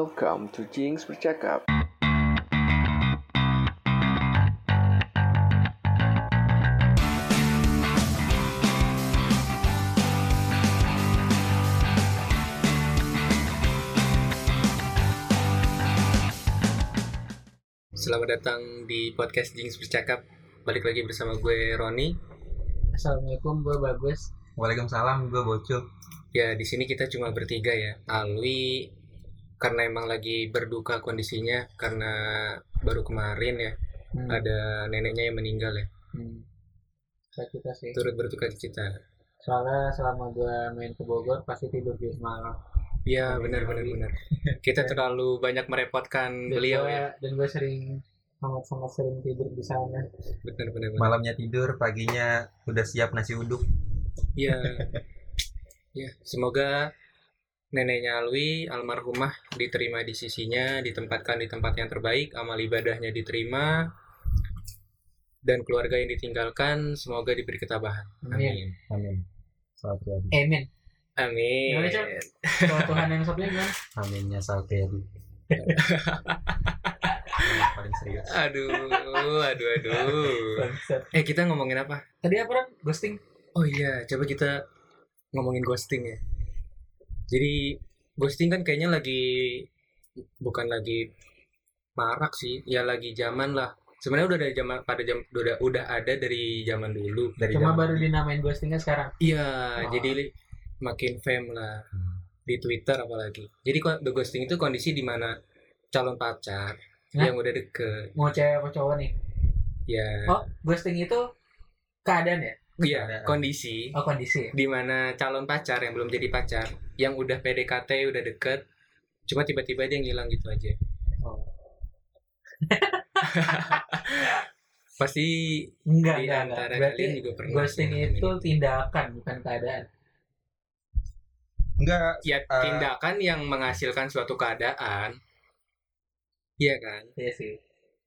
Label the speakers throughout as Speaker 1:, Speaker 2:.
Speaker 1: Welcome to Jinx Bercakap.
Speaker 2: Selamat datang di podcast Jinx Bercakap Balik lagi bersama gue Roni
Speaker 3: Assalamualaikum, gue Bagus.
Speaker 4: Waalaikumsalam, gue bocil.
Speaker 2: Ya di sini kita cuma bertiga ya Alwi karena emang lagi berduka kondisinya Karena baru kemarin ya Ada neneknya yang meninggal ya
Speaker 3: Hmm. Sakit kita sih.
Speaker 2: Turut berduka cita
Speaker 3: Soalnya selama gue main ke Bogor pasti tidur di malam.
Speaker 2: Ya benar benar benar Kita terlalu banyak merepotkan
Speaker 3: Dan
Speaker 2: beliau
Speaker 3: gua-
Speaker 2: ya
Speaker 3: Dan gue sering sangat-sangat sering tidur di sana.
Speaker 2: Benar benar benar
Speaker 4: Malamnya tidur, paginya udah siap nasi uduk.
Speaker 2: Ya Ya semoga neneknya Alwi almarhumah diterima di sisinya ditempatkan di tempat yang terbaik amal ibadahnya diterima dan keluarga yang ditinggalkan semoga diberi ketabahan
Speaker 3: Amin.
Speaker 2: amin
Speaker 4: Amin. Salveri.
Speaker 3: Amin.
Speaker 2: amin
Speaker 3: Gimana, Cok? Kalau Tuhan yang satunya gimana?
Speaker 4: Aminnya Salveri. paling serius.
Speaker 2: aduh aduh aduh
Speaker 3: Bangsat.
Speaker 2: eh kita ngomongin apa
Speaker 3: Tadi apa Ron? Ghosting.
Speaker 2: oh iya coba kita ngomongin ghosting ya jadi ghosting kan kayaknya lagi bukan lagi marak sih ya lagi zaman lah sebenarnya udah dari zaman pada jam udah udah ada dari zaman dulu
Speaker 4: Dari
Speaker 3: Cuma
Speaker 4: zaman- Ah.
Speaker 3: baru dinamain ghostingnya sekarang.
Speaker 2: iya
Speaker 3: Oh.
Speaker 2: jadi li- makin fame lah
Speaker 4: Hmm.
Speaker 2: di Twitter apalagi jadi ko- the ghosting itu kondisi di mana calon pacar
Speaker 3: Hah?
Speaker 2: yang udah deket
Speaker 3: Mau cewek apa cowok nih?
Speaker 2: ya
Speaker 3: Oh, ghosting itu keadaan ya?
Speaker 2: iya
Speaker 4: Oh, ada-
Speaker 2: kondisi
Speaker 3: Oh, kondisi. ya?
Speaker 2: di mana calon pacar yang belum jadi pacar yang udah PDKT udah deket cuma tiba-tiba dia ngilang gitu aja
Speaker 3: Oh.
Speaker 2: pasti
Speaker 3: Enggak,
Speaker 2: Di
Speaker 3: enggak, enggak.
Speaker 2: antara
Speaker 3: Berarti
Speaker 2: kalian Iya, juga pernah
Speaker 3: ghosting
Speaker 2: sih ngalamin
Speaker 3: itu tindakan bukan keadaan.
Speaker 4: Enggak,
Speaker 2: ya
Speaker 4: Eh.
Speaker 2: tindakan yang menghasilkan suatu keadaan iya kan
Speaker 3: Iya sih.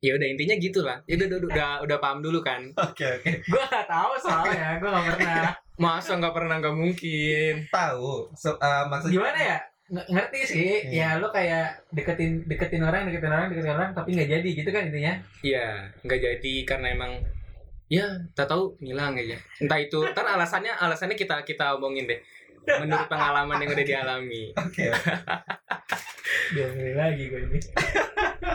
Speaker 2: ya udah intinya gitulah ya udah udah udah, udah paham dulu kan
Speaker 4: oke oke.
Speaker 3: gue gak tahu soalnya gue gak pernah
Speaker 2: masa nggak pernah nggak mungkin
Speaker 4: Tahu. So, eh, maksud
Speaker 3: gimana ya Ng- ngerti sih ya
Speaker 4: Iya.
Speaker 3: lu kayak deketin deketin orang deketin orang deketin orang tapi nggak jadi gitu kan intinya
Speaker 2: Iya, nggak jadi karena emang ya tak tahu ngilang aja. Entah itu, ntar alasannya alasannya kita kita omongin deh. Menurut pengalaman yang udah dialami.
Speaker 4: Oke.
Speaker 3: Diomongin lagi gue ini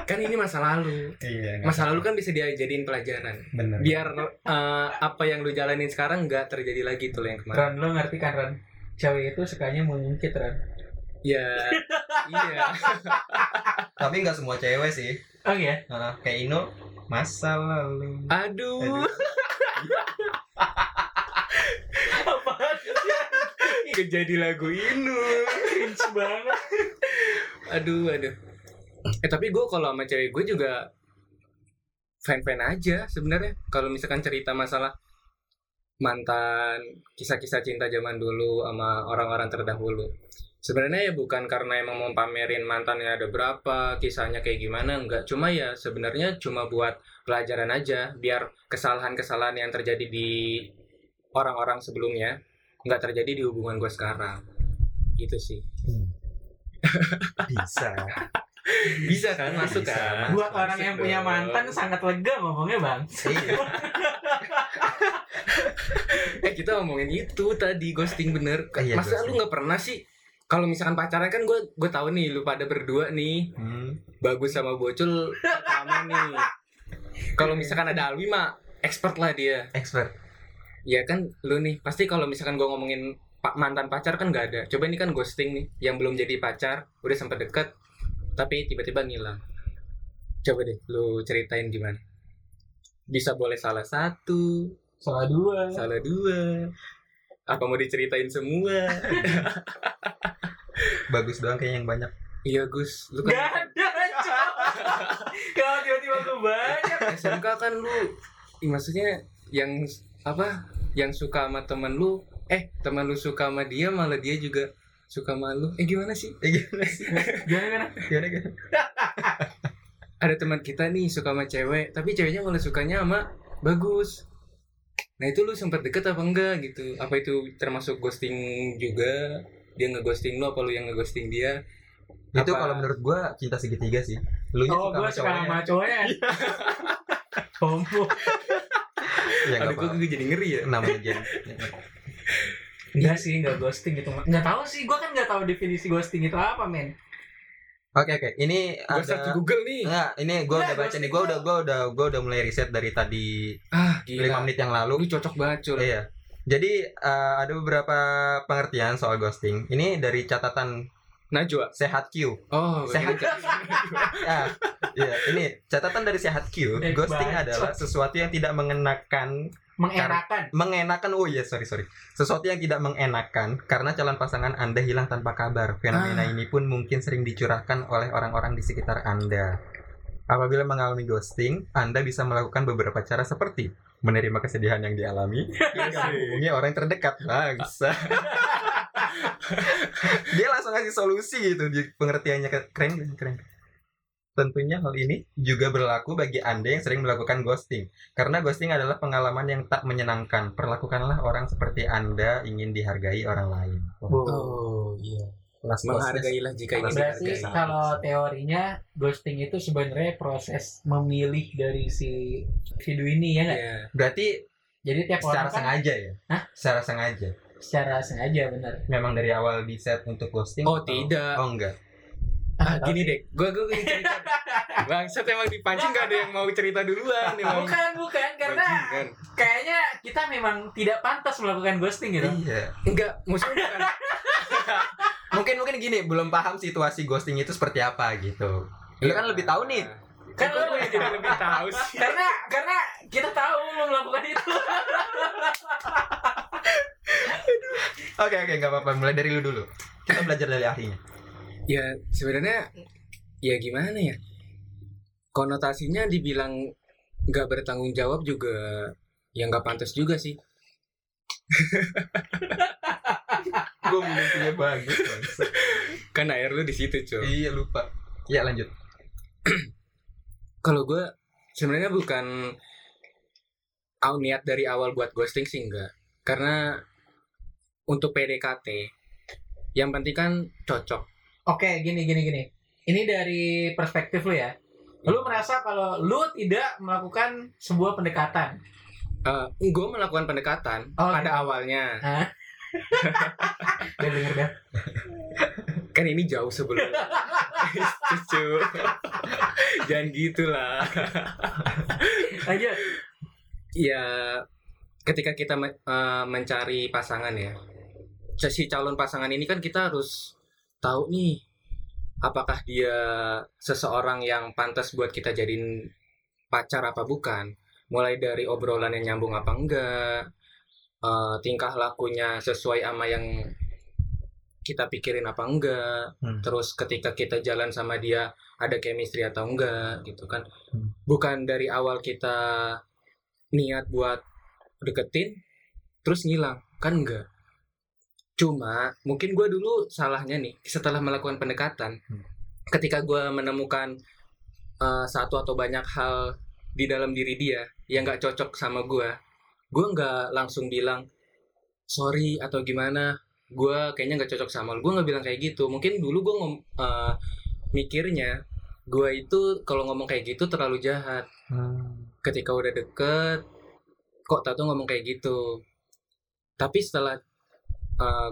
Speaker 2: Kan ini masa lalu.
Speaker 4: Iya. nggak
Speaker 2: Masa
Speaker 4: apa-apa.
Speaker 2: lalu kan bisa dia jadiin pelajaran.
Speaker 4: bener.
Speaker 2: Biar eh, apa yang lu jalanin sekarang nggak terjadi lagi tuh yang kemarin.
Speaker 3: Ron lu ngerti kan Ron cewek itu sukanya mengungkit Ron
Speaker 2: Ya, iya.
Speaker 4: Tapi enggak semua cewek sih.
Speaker 3: oh iya
Speaker 4: Heeh, kayak Ino masa lalu.
Speaker 2: Aduh,
Speaker 3: apaan
Speaker 2: kejadi lagu ini.
Speaker 3: cringe banget
Speaker 2: Aduh, aduh. Eh tapi gue kalau sama cewek gue juga fan-fan aja sebenarnya. Kalau misalkan cerita masalah mantan, kisah-kisah cinta zaman dulu sama orang-orang terdahulu. Sebenarnya ya bukan karena emang mau pamerin mantannya ada berapa, kisahnya kayak gimana, enggak. Cuma ya sebenarnya cuma buat pelajaran aja, biar kesalahan-kesalahan yang terjadi di orang-orang sebelumnya nggak terjadi di hubungan gue sekarang. Gitu sih.
Speaker 4: Bisa.
Speaker 2: Bisa kan masuk
Speaker 4: Bisa,
Speaker 2: kan?
Speaker 4: Mas,
Speaker 3: buat orang
Speaker 2: masuk
Speaker 3: yang punya
Speaker 2: dong.
Speaker 3: mantan sangat lega ngomongnya bang
Speaker 4: Iya.
Speaker 2: Eh kita ngomongin itu tadi ghosting bener.
Speaker 4: Eh, iya,
Speaker 2: Masa lu
Speaker 4: ghosting.
Speaker 2: nggak pernah sih? Kalau misalkan pacaran kan gue gue tahu nih lu pada berdua nih
Speaker 4: Hmm.
Speaker 2: bagus sama bocul pertama nih. Kalau misalkan ada Alwi mah expert lah dia.
Speaker 4: Expert.
Speaker 2: Ya kan lu nih pasti kalau misalkan gue ngomongin pak mantan pacar kan nggak ada. Coba ini kan ghosting nih yang belum jadi pacar udah sempat deket tapi tiba-tiba ngilang. Coba deh lu ceritain gimana. Bisa boleh salah satu,
Speaker 3: salah dua
Speaker 2: Salah dua. Apa mau diceritain semua?
Speaker 4: Bagus doang kayaknya yang banyak.
Speaker 2: Iya Gus, lu
Speaker 3: Gak
Speaker 2: kan
Speaker 3: ada cowok Kalau tiba-tiba gue banyak
Speaker 2: SMK kan lu, Ih, maksudnya yang apa? Yang suka sama temen lu, eh temen lu suka sama dia malah dia juga suka sama lu. Eh gimana sih?
Speaker 4: Eh, gimana sih?
Speaker 3: Gimana gimana?
Speaker 4: Gimana, gimana?
Speaker 2: Ada teman kita nih suka sama cewek, tapi ceweknya malah sukanya sama bagus. Nah itu lu sempat deket apa enggak gitu? Apa itu termasuk ghosting juga? Dia ngeghosting lu apa lu yang ngeghosting dia?
Speaker 4: itu
Speaker 2: Apa?
Speaker 4: kalau menurut gua cinta segitiga sih lu nya
Speaker 3: Oh,
Speaker 4: suka
Speaker 3: gue
Speaker 4: sama
Speaker 3: suka
Speaker 4: cowoknya Iya.
Speaker 3: sama cowoknya. Tompo.
Speaker 4: ya nggak
Speaker 2: Aduh,
Speaker 4: apa
Speaker 2: gue jadi ngeri ya.
Speaker 4: namanya gen
Speaker 3: Enggak sih, enggak ghosting gitu. Enggak tahu sih, gue kan enggak tahu definisi ghosting itu apa, men.
Speaker 4: oke oke ini
Speaker 2: Gue search di
Speaker 4: ada
Speaker 2: Google nih. Iya,
Speaker 4: Enggak, ini gua
Speaker 3: Nggak,
Speaker 4: udah baca nih. Gua udah gua udah gua udah mulai riset dari tadi
Speaker 2: Ah,
Speaker 4: 5
Speaker 2: gila.
Speaker 4: menit yang
Speaker 2: Lu
Speaker 4: lalu.
Speaker 2: cocok banget, Cul.
Speaker 4: Iya. Jadi eh, ada beberapa pengertian soal ghosting. Ini dari catatan
Speaker 2: Najwa.
Speaker 4: Sehat Q.
Speaker 2: Oh,
Speaker 4: Sehat
Speaker 2: bener.
Speaker 4: Ah, iya, ini catatan dari Sehat Q.
Speaker 3: Eh,
Speaker 4: Ghosting
Speaker 3: bacot.
Speaker 4: adalah sesuatu yang tidak mengenakan
Speaker 3: Mengenakan.
Speaker 4: mengenakan oh iya sorry sorry sesuatu yang tidak mengenakan karena calon pasangan anda hilang tanpa kabar
Speaker 2: Ah.
Speaker 4: fenomena ini pun mungkin sering dicurahkan oleh orang-orang di sekitar anda apabila mengalami ghosting anda bisa melakukan beberapa cara seperti menerima kesedihan yang dialami hingga menghubungi orang terdekat bangsa dia langsung ngasih solusi gitu di pengertiannya Ke- keren keren, keren Tentunya hal ini juga berlaku bagi Anda yang sering melakukan ghosting. Karena ghosting adalah pengalaman yang tak menyenangkan. Perlakukanlah orang seperti Anda ingin dihargai orang lain.
Speaker 3: Oh.
Speaker 2: Oh, iya.
Speaker 4: Kelas
Speaker 2: Menghargailah jika ingin
Speaker 3: Berarti
Speaker 2: dihargai.
Speaker 4: Biasa.
Speaker 3: kalau teorinya ghosting itu sebenarnya proses memilih dari si individu ini ya nggak?
Speaker 2: Iya.
Speaker 4: Berarti
Speaker 3: Jadi tiap
Speaker 4: secara
Speaker 3: orang kan
Speaker 4: sengaja ya?
Speaker 3: Hah?
Speaker 4: Secara sengaja.
Speaker 3: secara sengaja bener.
Speaker 4: Memang dari awal di set untuk ghosting?
Speaker 2: Oh,
Speaker 4: atau-
Speaker 2: tidak.
Speaker 4: Oh enggak.
Speaker 2: Ah, gini deh, gue gue gini cerita. Bangsat emang dipancing gak ada yang mau cerita duluan emang. kan.
Speaker 3: Bukan bukan karena
Speaker 2: Bajingan.
Speaker 3: kayaknya kita memang tidak pantas melakukan ghosting gitu.
Speaker 4: Iya.
Speaker 2: enggak maksudnya bukan.
Speaker 4: Mungkin mungkin gini, belum paham situasi ghosting itu seperti apa gitu. Lu
Speaker 2: Iya.
Speaker 4: kan lebih tahu nih.
Speaker 2: Kok
Speaker 3: Kan lo
Speaker 2: gue yang jadi lebih tahu sih.
Speaker 3: karena karena kita tahu lo melakukan itu.
Speaker 4: Oke oke nggak apa-apa. Mulai dari lu dulu. Kita belajar dari ahlinya.
Speaker 2: Ya sebenarnya ya gimana ya? Konotasinya dibilang nggak bertanggung jawab juga ya nggak pantas juga sih.
Speaker 4: Gue punya bagus. bangsa.
Speaker 2: Kan air lu di situ, cuy.
Speaker 4: iya lupa. Iya lanjut.
Speaker 2: Kalau gue sebenarnya bukan au- niat dari awal buat ghosting sih enggak. Karena untuk PDKT yang penting kan cocok.
Speaker 3: Oke, gini gini gini. Ini dari perspektif lu ya. Lu merasa kalau lu tidak melakukan sebuah pendekatan.
Speaker 2: gue Eh, melakukan pendekatan
Speaker 3: Oh,
Speaker 2: pada
Speaker 3: gitu.
Speaker 2: awalnya.
Speaker 3: Hah? Udah denger dah.
Speaker 2: Kan ini jauh sebelum cucu. Jangan gitulah.
Speaker 3: Lanjut.
Speaker 2: Ya ketika kita me- eh, mencari pasangan ya. Si calon pasangan ini kan kita harus tahu nih apakah dia seseorang yang pantas buat kita jadiin pacar apa bukan. Mulai dari obrolan yang nyambung apa enggak, eh, tingkah lakunya sesuai sama yang kita pikirin apa enggak.
Speaker 4: Hmm.
Speaker 2: terus ketika kita jalan sama dia ada chemistry atau enggak gitu kan
Speaker 4: Hmm.
Speaker 2: bukan dari awal kita niat buat deketin terus ngilang kan enggak cuma mungkin gue dulu salahnya nih setelah melakukan pendekatan
Speaker 4: Hmm.
Speaker 2: ketika gue menemukan eh, satu atau banyak hal di dalam diri dia yang nggak cocok sama gue gue nggak langsung bilang sorry atau gimana gue kayaknya nggak cocok sama lu gue nggak bilang kayak gitu mungkin dulu gue ngom eh, mikirnya gue itu kalau ngomong kayak gitu terlalu jahat
Speaker 4: Hmm.
Speaker 2: ketika udah deket kok tau tuh ngomong kayak gitu tapi setelah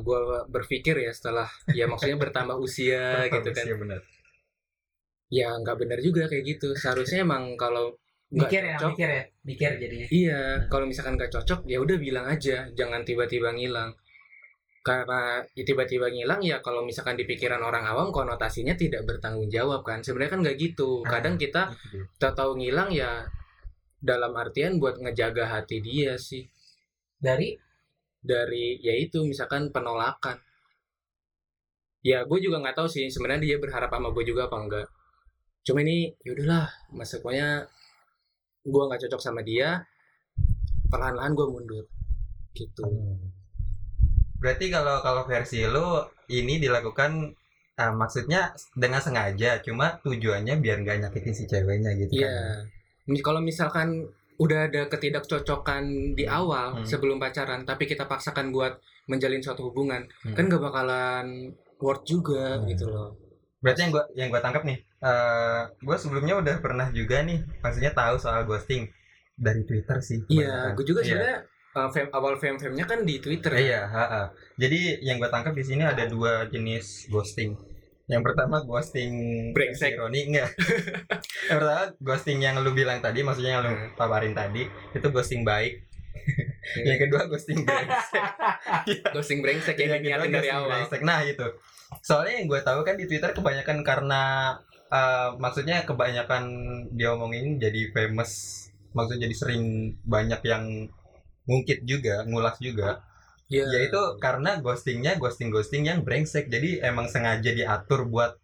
Speaker 2: gue berpikir ya setelah ya maksudnya bertambah usia gitu kan
Speaker 4: Iya, benar.
Speaker 2: ya nggak benar juga kayak gitu seharusnya emang kalau nggak
Speaker 3: Mikir ya,
Speaker 2: cocok
Speaker 3: mikir ya. Mikir jadinya.
Speaker 2: Iya, kalau misalkan gak cocok ya udah bilang aja, jangan tiba-tiba ngilang. Karena ya tiba-tiba ngilang ya kalau misalkan di pikiran orang awam konotasinya tidak bertanggung jawab kan. Sebenarnya kan nggak
Speaker 3: Hmm.
Speaker 2: gitu. Kadang kita
Speaker 4: Itu dia.
Speaker 2: tahu ngilang ya dalam artian buat ngejaga hati dia sih
Speaker 3: Dari
Speaker 2: dari yaitu misalkan penolakan. Ya gue juga nggak tahu sih sebenarnya dia berharap sama gue juga apa enggak. Cuma ini ya yaudahlah, maksudnya gue nggak cocok sama dia, perlahan-lahan gue mundur gitu.
Speaker 4: Berarti kalau kalau versi lu ini dilakukan ah, maksudnya dengan sengaja, cuma tujuannya biar nggak nyakitin si ceweknya gitu
Speaker 2: Iya.
Speaker 4: kan.
Speaker 2: Mi- Kalau misalkan udah ada ketidakcocokan di
Speaker 4: Hmm.
Speaker 2: awal
Speaker 4: Hmm.
Speaker 2: sebelum pacaran, tapi kita paksakan buat menjalin suatu hubungan,
Speaker 4: Hmm.
Speaker 2: kan gak bakalan worth juga
Speaker 4: Hmm.
Speaker 2: gitu loh.
Speaker 4: Berarti yang gua yang gua tangkap nih, eh gua sebelumnya udah pernah juga nih, maksudnya tahu soal ghosting dari Twitter sih.
Speaker 2: Iya,
Speaker 4: kebanyakan.
Speaker 2: gue juga
Speaker 4: Iya.
Speaker 2: sebenarnya uh, fam- awal fame-famenya kan di Twitter.
Speaker 4: Iya, ha-ha. Jadi yang gua tangkap di sini ada dua jenis ghosting. Yang pertama ghosting
Speaker 2: Brengsek.
Speaker 4: ironi enggak. yang pertama ghosting yang lu bilang tadi, maksudnya yang lu
Speaker 2: Hmm.
Speaker 4: paparin tadi, itu ghosting baik. yang kedua ghosting brengsek.
Speaker 2: Ghosting brengsek yang
Speaker 4: Iya,
Speaker 2: diniatin dari
Speaker 4: gitu, ghosting
Speaker 2: awal.
Speaker 4: brengsek. Nah itu Soalnya yang gue tahu kan di Twitter kebanyakan karena eh, Maksudnya kebanyakan dia omongin jadi famous Maksudnya jadi sering banyak yang ngungkit juga, ngulas juga
Speaker 2: Iya.
Speaker 4: Yaitu karena ghostingnya ghosting-ghosting yang brengsek Jadi emang sengaja diatur buat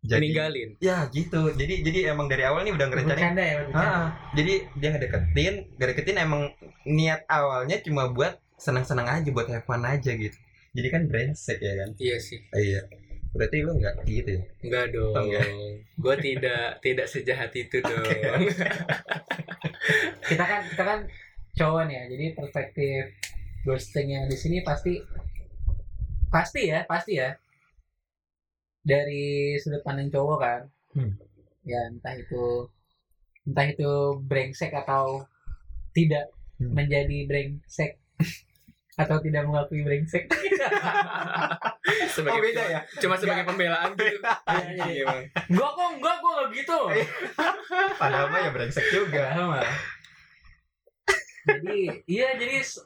Speaker 4: jadi
Speaker 2: Meninggalin.
Speaker 4: Ya gitu, jadi jadi emang dari awal nih udah ngerencanain
Speaker 3: Bercanda ya, bercanda.
Speaker 4: Ah, jadi dia ngedeketin, ngedeketin emang niat awalnya cuma buat senang-senang aja, buat have fun aja gitu. Jadi kan brengsek ya kan?
Speaker 2: Iya sih.
Speaker 4: Iya. Berarti lu nggak gitu ya?
Speaker 2: Enggak dong.
Speaker 4: Oh, enggak.
Speaker 2: Gue tidak tidak sejahat itu dong.
Speaker 3: Kita kan kita kan cowok nih ya, jadi perspektif ghosting yang di sini pasti pasti ya, pasti ya. Dari sudut pandang cowok kan.
Speaker 4: Hmm.
Speaker 3: Ya entah itu entah itu brengsek atau tidak
Speaker 4: Hmm.
Speaker 3: menjadi brengsek atau tidak mengakui brengsek.
Speaker 2: sebagai
Speaker 4: ya?
Speaker 2: Cuma sebagai pembelaan gitu.
Speaker 3: Iya, iya.
Speaker 2: Iya, Bang.
Speaker 3: gua kok enggak gua enggak gitu.
Speaker 4: Padahal mah ya brengsek juga.
Speaker 3: Sama. jadi iya jadi s-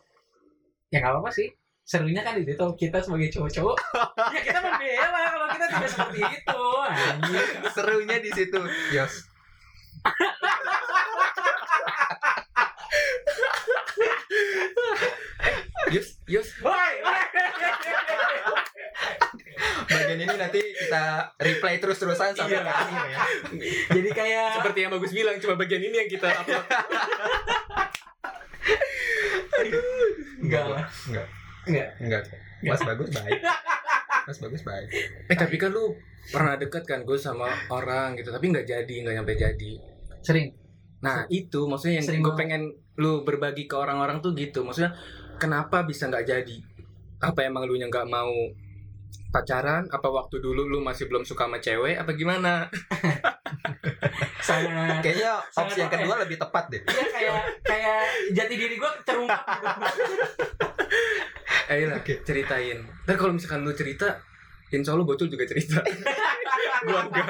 Speaker 3: ya nggak apa-apa sih serunya kan di situ kita sebagai cowok-cowok ya kita membela kalau kita tidak seperti itu anjir.
Speaker 4: Serunya di situ. Yos.
Speaker 2: Yus, Yus.
Speaker 3: Woi, woi.
Speaker 4: Bagian ini nanti kita replay terus-terusan sampai
Speaker 2: Iya.
Speaker 4: ke anime ya.
Speaker 3: jadi kayak
Speaker 2: Seperti yang bagus bilang, cuma bagian ini yang kita upload.
Speaker 3: enggak lah
Speaker 4: Enggak.
Speaker 3: Enggak.
Speaker 4: Enggak. Mas bagus baik. Mas bagus baik.
Speaker 2: eh tapi kan lu pernah deket kan gue sama orang gitu, tapi nggak jadi, nggak nyampe jadi.
Speaker 3: sering
Speaker 2: Nah itu maksudnya yang
Speaker 3: Sering
Speaker 2: gue
Speaker 3: banget.
Speaker 2: pengen lu berbagi ke orang-orang tuh gitu. Maksudnya kenapa bisa nggak jadi? Apa emang lu nya nggak mau pacaran? Apa waktu dulu lu masih belum suka sama cewek? Apa gimana?
Speaker 3: sangat
Speaker 4: Kayaknya opsi yang
Speaker 3: Sangat
Speaker 4: kedua lebih tepat deh.
Speaker 3: Iya kayak kayak jati diri gue terungkap gitu.
Speaker 2: Eh lah,
Speaker 4: Oke.
Speaker 2: ceritain. Dan kalau misalkan lu cerita, insya Allah bocul juga cerita. gua enggak.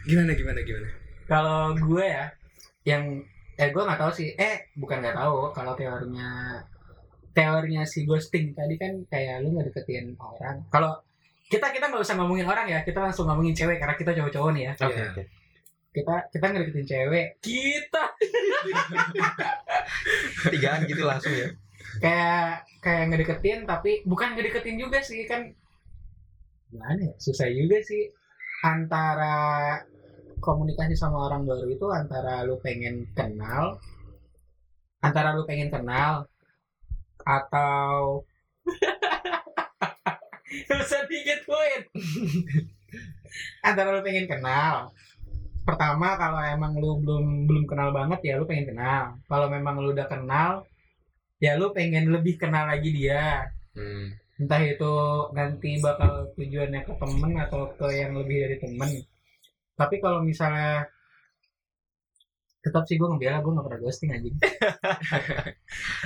Speaker 2: gimana gimana gimana?
Speaker 3: Kalau gue ya, yang eh gue nggak tahu sih. Eh bukan nggak tahu. Kalau teorinya teorinya si ghosting tadi kan kayak lu nggak deketin orang. Kalau kita kita nggak usah ngomongin orang ya. Kita langsung ngomongin cewek karena kita cowok-cowok nih ya.
Speaker 2: Oke,
Speaker 4: oke.
Speaker 3: Kita kita nggak deketin cewek. Kita
Speaker 4: Tigaan gitu langsung ya.
Speaker 3: kayak kayak ngedeketin tapi bukan ngedeketin juga sih kan gimana ya susah juga sih antara komunikasi sama orang baru itu antara lu pengen kenal antara lu pengen kenal atau bisa digituin antara lu pengen kenal pertama kalau emang lu belum belum kenal banget ya lu pengen kenal kalau memang lu udah kenal ya lu pengen lebih kenal lagi dia
Speaker 2: Hmm.
Speaker 3: entah itu nanti bakal tujuannya ke temen atau ke yang lebih dari temen tapi kalau misalnya tetap sih gue ngebela gue gak pernah ghosting anjing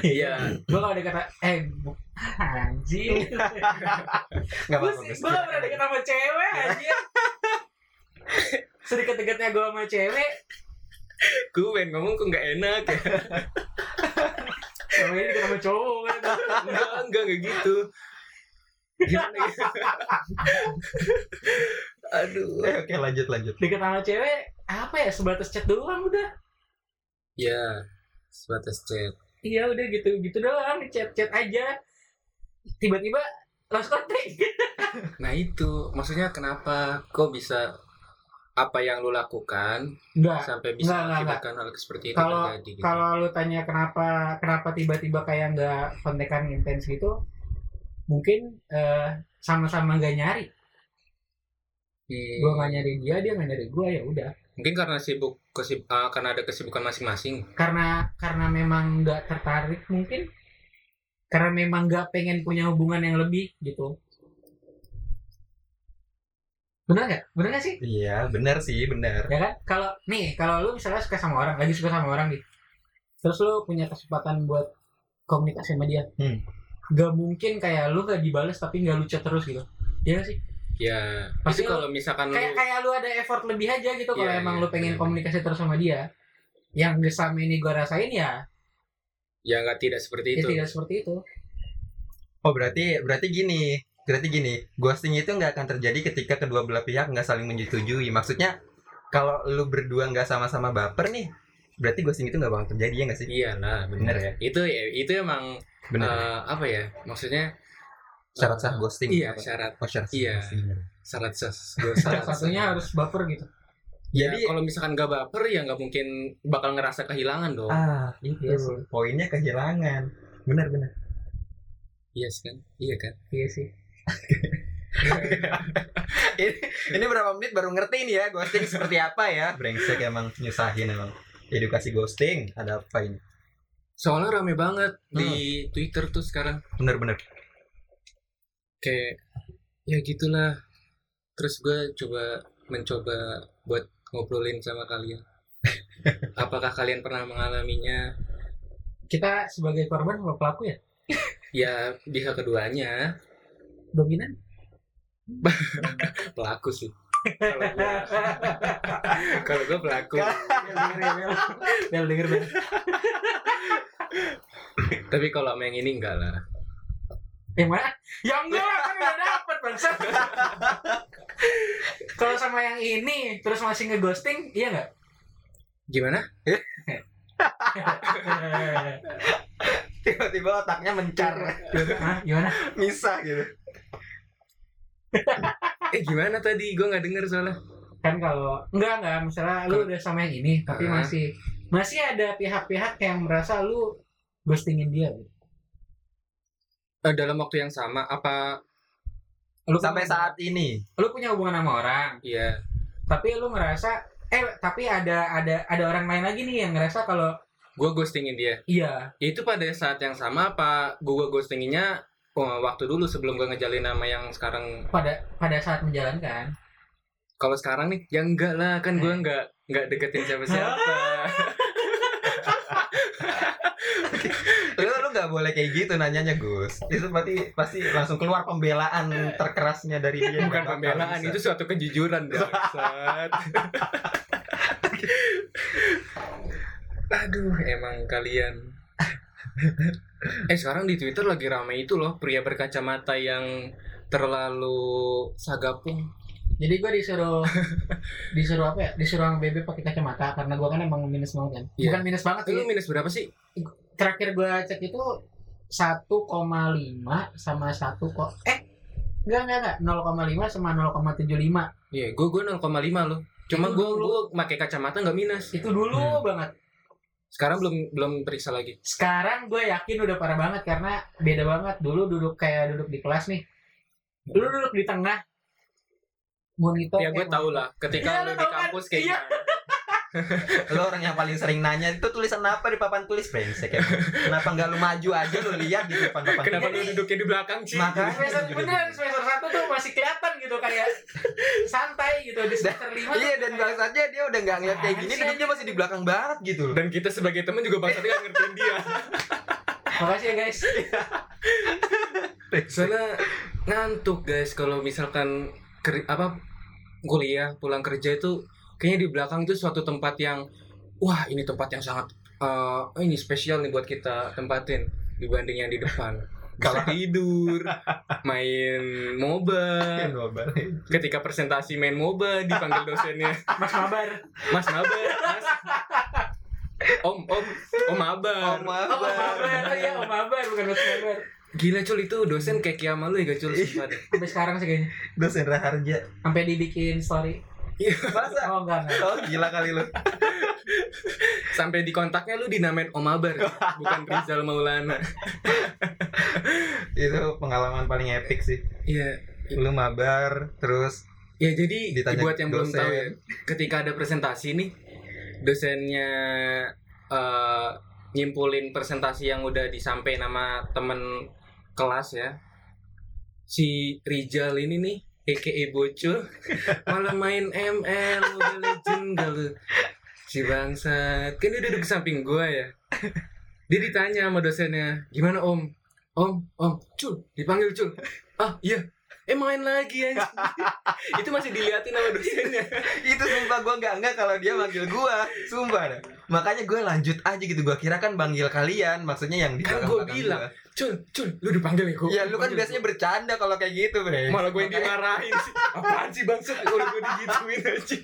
Speaker 2: Iya.
Speaker 3: gue kalau ada kata eh bu- anjing
Speaker 4: Enggak
Speaker 3: gue
Speaker 4: apa-apa.
Speaker 3: sih
Speaker 4: Gus.
Speaker 3: gue gak pernah deket sama cewek anjing sedekat-dekatnya gue sama cewek
Speaker 2: Gue pengen ngomong kok nggak enak ya.
Speaker 3: sama ini deket sama cowok kan.
Speaker 2: enggak, enggak, enggak gitu. Gimana ya? Aduh.
Speaker 4: Eh, oke lanjut lanjut.
Speaker 3: deket sama cewek apa ya sebatas chat doang udah
Speaker 2: Ya, sebatas chat.
Speaker 3: iya udah gitu gitu doang chat chat aja tiba-tiba lost contact
Speaker 2: Nah itu, maksudnya kenapa kok bisa apa yang lu lakukan
Speaker 3: enggak
Speaker 2: sampai bisa
Speaker 3: Nggak, nggak,
Speaker 2: mengakibatkan hal seperti itu
Speaker 3: nah, Kalau-
Speaker 2: terjadi gitu?
Speaker 3: kalau lu tanya kenapa kenapa tiba-tiba kayak nggak kontekan intens gitu mungkin eh, sama-sama nggak nyari
Speaker 2: Hmm.
Speaker 3: gue nggak nyari dia dia nggak nyari gue ya udah
Speaker 2: Mungkin karena sibuk kesib ah, karena ada kesibukan masing-masing.
Speaker 3: karena karena memang nggak tertarik mungkin karena memang nggak pengen punya hubungan yang lebih gitu Bener nggak? Bener nggak sih?
Speaker 4: Iya, benar sih, benar.
Speaker 3: Ya kan? Kalau nih, kalau lu misalnya suka sama orang, lagi suka sama orang nih. Terus lu punya kesempatan buat komunikasi sama dia.
Speaker 4: Hmm.
Speaker 3: Gak mungkin kayak lu gak dibales tapi gak lucu terus gitu. Iya nggak sih?
Speaker 2: Ya,
Speaker 3: Pasti
Speaker 2: itu kalau misalkan lu
Speaker 3: Kayak kayak lu ada effort lebih aja gitu kalau
Speaker 2: Hmm. Iya,
Speaker 3: emang
Speaker 2: iya,
Speaker 3: lu pengen
Speaker 2: bener-bener.
Speaker 3: komunikasi terus sama dia. Yang sama ini gua rasain ya,
Speaker 2: ya nggak tidak seperti
Speaker 3: ya
Speaker 2: itu.
Speaker 3: tidak seperti itu.
Speaker 4: Oh, berarti berarti gini. Berarti gini, ghosting itu nggak akan terjadi ketika kedua belah pihak nggak saling menyetujui. Maksudnya, kalau lu berdua nggak sama-sama baper nih, berarti ghosting itu nggak bakal terjadi ya nggak sih?
Speaker 2: Iya lah,
Speaker 4: Bener
Speaker 2: benar.
Speaker 4: ya?
Speaker 2: Itu ya- itu emang
Speaker 4: Benar.
Speaker 2: eh, apa ya? Maksudnya
Speaker 4: syarat sah ghosting.
Speaker 2: iya
Speaker 4: Apa?
Speaker 2: syarat
Speaker 4: Oh, syarat sah
Speaker 2: Iya.
Speaker 4: ghosting.
Speaker 2: syarat ses.
Speaker 3: Salah
Speaker 2: syarat-
Speaker 3: satunya harus baper gitu.
Speaker 2: Ya,
Speaker 4: Jadi
Speaker 2: kalau misalkan gak baper ya nggak mungkin bakal ngerasa kehilangan dong.
Speaker 4: ah, itu
Speaker 3: Iya sih.
Speaker 4: poinnya kehilangan. Benar, benar.
Speaker 2: Iya sih kan? Iya kan?
Speaker 3: Iya sih.
Speaker 4: ini, ini berapa menit baru ngerti nih ya ghosting seperti apa ya brengsek emang nyusahin emang edukasi ghosting ada apa ini
Speaker 2: Soalnya rame banget di Twitter tuh sekarang
Speaker 4: bener-bener
Speaker 2: kayak ya gitulah. Terus gue coba mencoba buat ngobrolin sama kalian. Apakah kalian pernah mengalaminya?
Speaker 3: Kita sebagai korban atau pelaku ya?
Speaker 2: Ya bisa keduanya
Speaker 3: Dominan.
Speaker 2: pelaku sih. Kalau gua- Kalau gue pelaku. Iya,
Speaker 3: Bel denger Bel.
Speaker 2: Tapi kalau sama yang ini enggak lah.
Speaker 3: Yang mana? Ya enggak, kan udah dapet bangsa. Kalau sama yang ini terus masih ngeghosting, iya enggak?
Speaker 2: Gimana?
Speaker 4: tiba-tiba otaknya mencar
Speaker 3: Hah, gimana?
Speaker 4: misah gitu
Speaker 2: Eh gimana tadi? Gue nggak denger soalnya.
Speaker 3: Kan kalau enggak enggak, misalnya lu udah sama yang ini tapi
Speaker 2: Hah?
Speaker 3: masih masih ada pihak-pihak yang merasa lu ghostingin dia gitu.
Speaker 2: Eh, dalam waktu yang sama apa?
Speaker 3: Lu
Speaker 4: sampai
Speaker 3: punya-
Speaker 4: saat ini
Speaker 3: lu punya hubungan sama orang,
Speaker 2: Iya.
Speaker 3: tapi lu ngerasa eh tapi ada ada ada orang lain lagi nih yang ngerasa kalau
Speaker 2: Gue ghostingin dia.
Speaker 3: iya
Speaker 2: Itu pada saat yang sama apa? Gue ghostinginnya oh, waktu dulu sebelum gue ngejalin nama yang sekarang.
Speaker 3: pada pada saat menjalankan
Speaker 2: Kalau sekarang nih, ya enggak lah kan gue nggak nggak deketin siapa-siapa.
Speaker 4: lu lu nggak boleh kayak gitu nanyanya Gus itu pasti pasti langsung keluar pembelaan terkerasnya dari dia
Speaker 2: Bukan
Speaker 4: Nggak bakal
Speaker 2: pembelaan,
Speaker 4: bisa.
Speaker 2: itu suatu kejujuran bangsat. Aduh, emang kalian. eh sekarang di Twitter lagi rame itu loh, pria berkacamata yang terlalu sagapung.
Speaker 3: jadi gue disuruh disuruh apa ya disuruh sama bebe pakai kacamata karena gue kan emang minus banget kan
Speaker 2: Iya.
Speaker 3: bukan minus banget sih
Speaker 2: Lu minus berapa sih?
Speaker 3: terakhir gue cek itu 1,5 sama 1 kok eh enggak enggak enggak 0,5 sama 0,75
Speaker 2: Iya, gua gua 0,5 loh. Cuma
Speaker 3: Itu
Speaker 2: Iya, gua
Speaker 3: dulu.
Speaker 2: gua pakai kacamata nggak minus.
Speaker 3: itu dulu
Speaker 4: Hmm.
Speaker 3: banget
Speaker 2: Sekarang belum belum periksa lagi.
Speaker 3: sekarang gue yakin udah parah banget karena beda banget dulu duduk kayak duduk di kelas nih lu duduk di tengah monitor
Speaker 2: Ya gua
Speaker 3: kayak-
Speaker 2: tau lah,
Speaker 3: Iya,
Speaker 2: ketika
Speaker 3: lu
Speaker 2: lu di
Speaker 3: tau kan?
Speaker 2: kampus kayak
Speaker 3: Iya.
Speaker 2: gimana.
Speaker 4: lu orang yang paling sering nanya itu tulisan apa di papan tulis brengsek emang. kenapa nggak lu maju aja lu lihat di depan papan
Speaker 2: Kenapa lu
Speaker 4: tulis.
Speaker 2: duduknya di belakang sih?
Speaker 4: Makanya.
Speaker 3: semester beneran semester satu tuh masih kelihatan gitu kayak santai gitu di semester lima tuh
Speaker 4: Iya dan
Speaker 3: kayak-
Speaker 4: bangsatnya dia udah nggak ngeliat kayak gini
Speaker 3: Apaan sih,
Speaker 4: duduknya masih di belakang banget gitu loh.
Speaker 2: Dan kita sebagai teman juga bangsatnya nggak ngertiin dia.
Speaker 3: makasih ya guys
Speaker 2: Soalnya ngantuk guys kalau misalkan ker- apa kuliah pulang kerja itu kayaknya di belakang itu suatu tempat yang wah ini tempat yang sangat eh, ini spesial nih buat kita tempatin dibanding yang di depan. Bisa
Speaker 4: Kalau-
Speaker 2: tidur, main
Speaker 4: ya,
Speaker 2: MOBA. Ketika presentasi main MOBA dipanggil dosennya,
Speaker 3: mas mabar
Speaker 2: "Mas Maba, Mas." Om, Om, Om Mabar.
Speaker 4: Oh, maaf.
Speaker 3: oh mas mabar oh iya oh mabar bukan mas mabar
Speaker 2: Gila Cul itu dosen kayak kiamat lu ya Cul sempat.
Speaker 3: sampai sekarang sih kayaknya
Speaker 4: Dosen Raharja.
Speaker 3: sampai dibikin story
Speaker 4: Masa?
Speaker 3: oh enggak enggak
Speaker 4: Oh gila kali lu.
Speaker 2: Sampai di kontaknya lu dinamain Om Abar, bukan Rizal Maulana.
Speaker 4: Itu pengalaman paling epic sih.
Speaker 2: Iya.
Speaker 4: Lu mabar terus
Speaker 2: Ya jadi
Speaker 4: Ditanya
Speaker 2: buat yang belum
Speaker 4: dosen.
Speaker 2: tahu ya, ketika ada presentasi nih, dosennya eh, nyimpulin presentasi yang udah disampaikan sama temen kelas ya. Si Rizal ini nih EKE bocil malah main ML Mobile Legend galau si bangsat kan dia duduk di samping gua ya dia ditanya sama dosennya gimana om om om cul dipanggil cul ah iya eh main lagi anjing itu masih diliatin sama dosennya
Speaker 4: itu sumpah gue nggak nggak kalau dia manggil gue sumpah dah. makanya gue lanjut aja gitu gue kira kan manggil kalian maksudnya yang di
Speaker 2: Kan
Speaker 4: belakang
Speaker 2: gua bilang. cul cul lu dipanggil ya kok
Speaker 4: ya lu kan biasanya bercanda kalau kayak gitu bre
Speaker 2: malah gue yang
Speaker 4: Makanya-
Speaker 2: dimarahin sih apaan sih bangsat udah gue digituin aja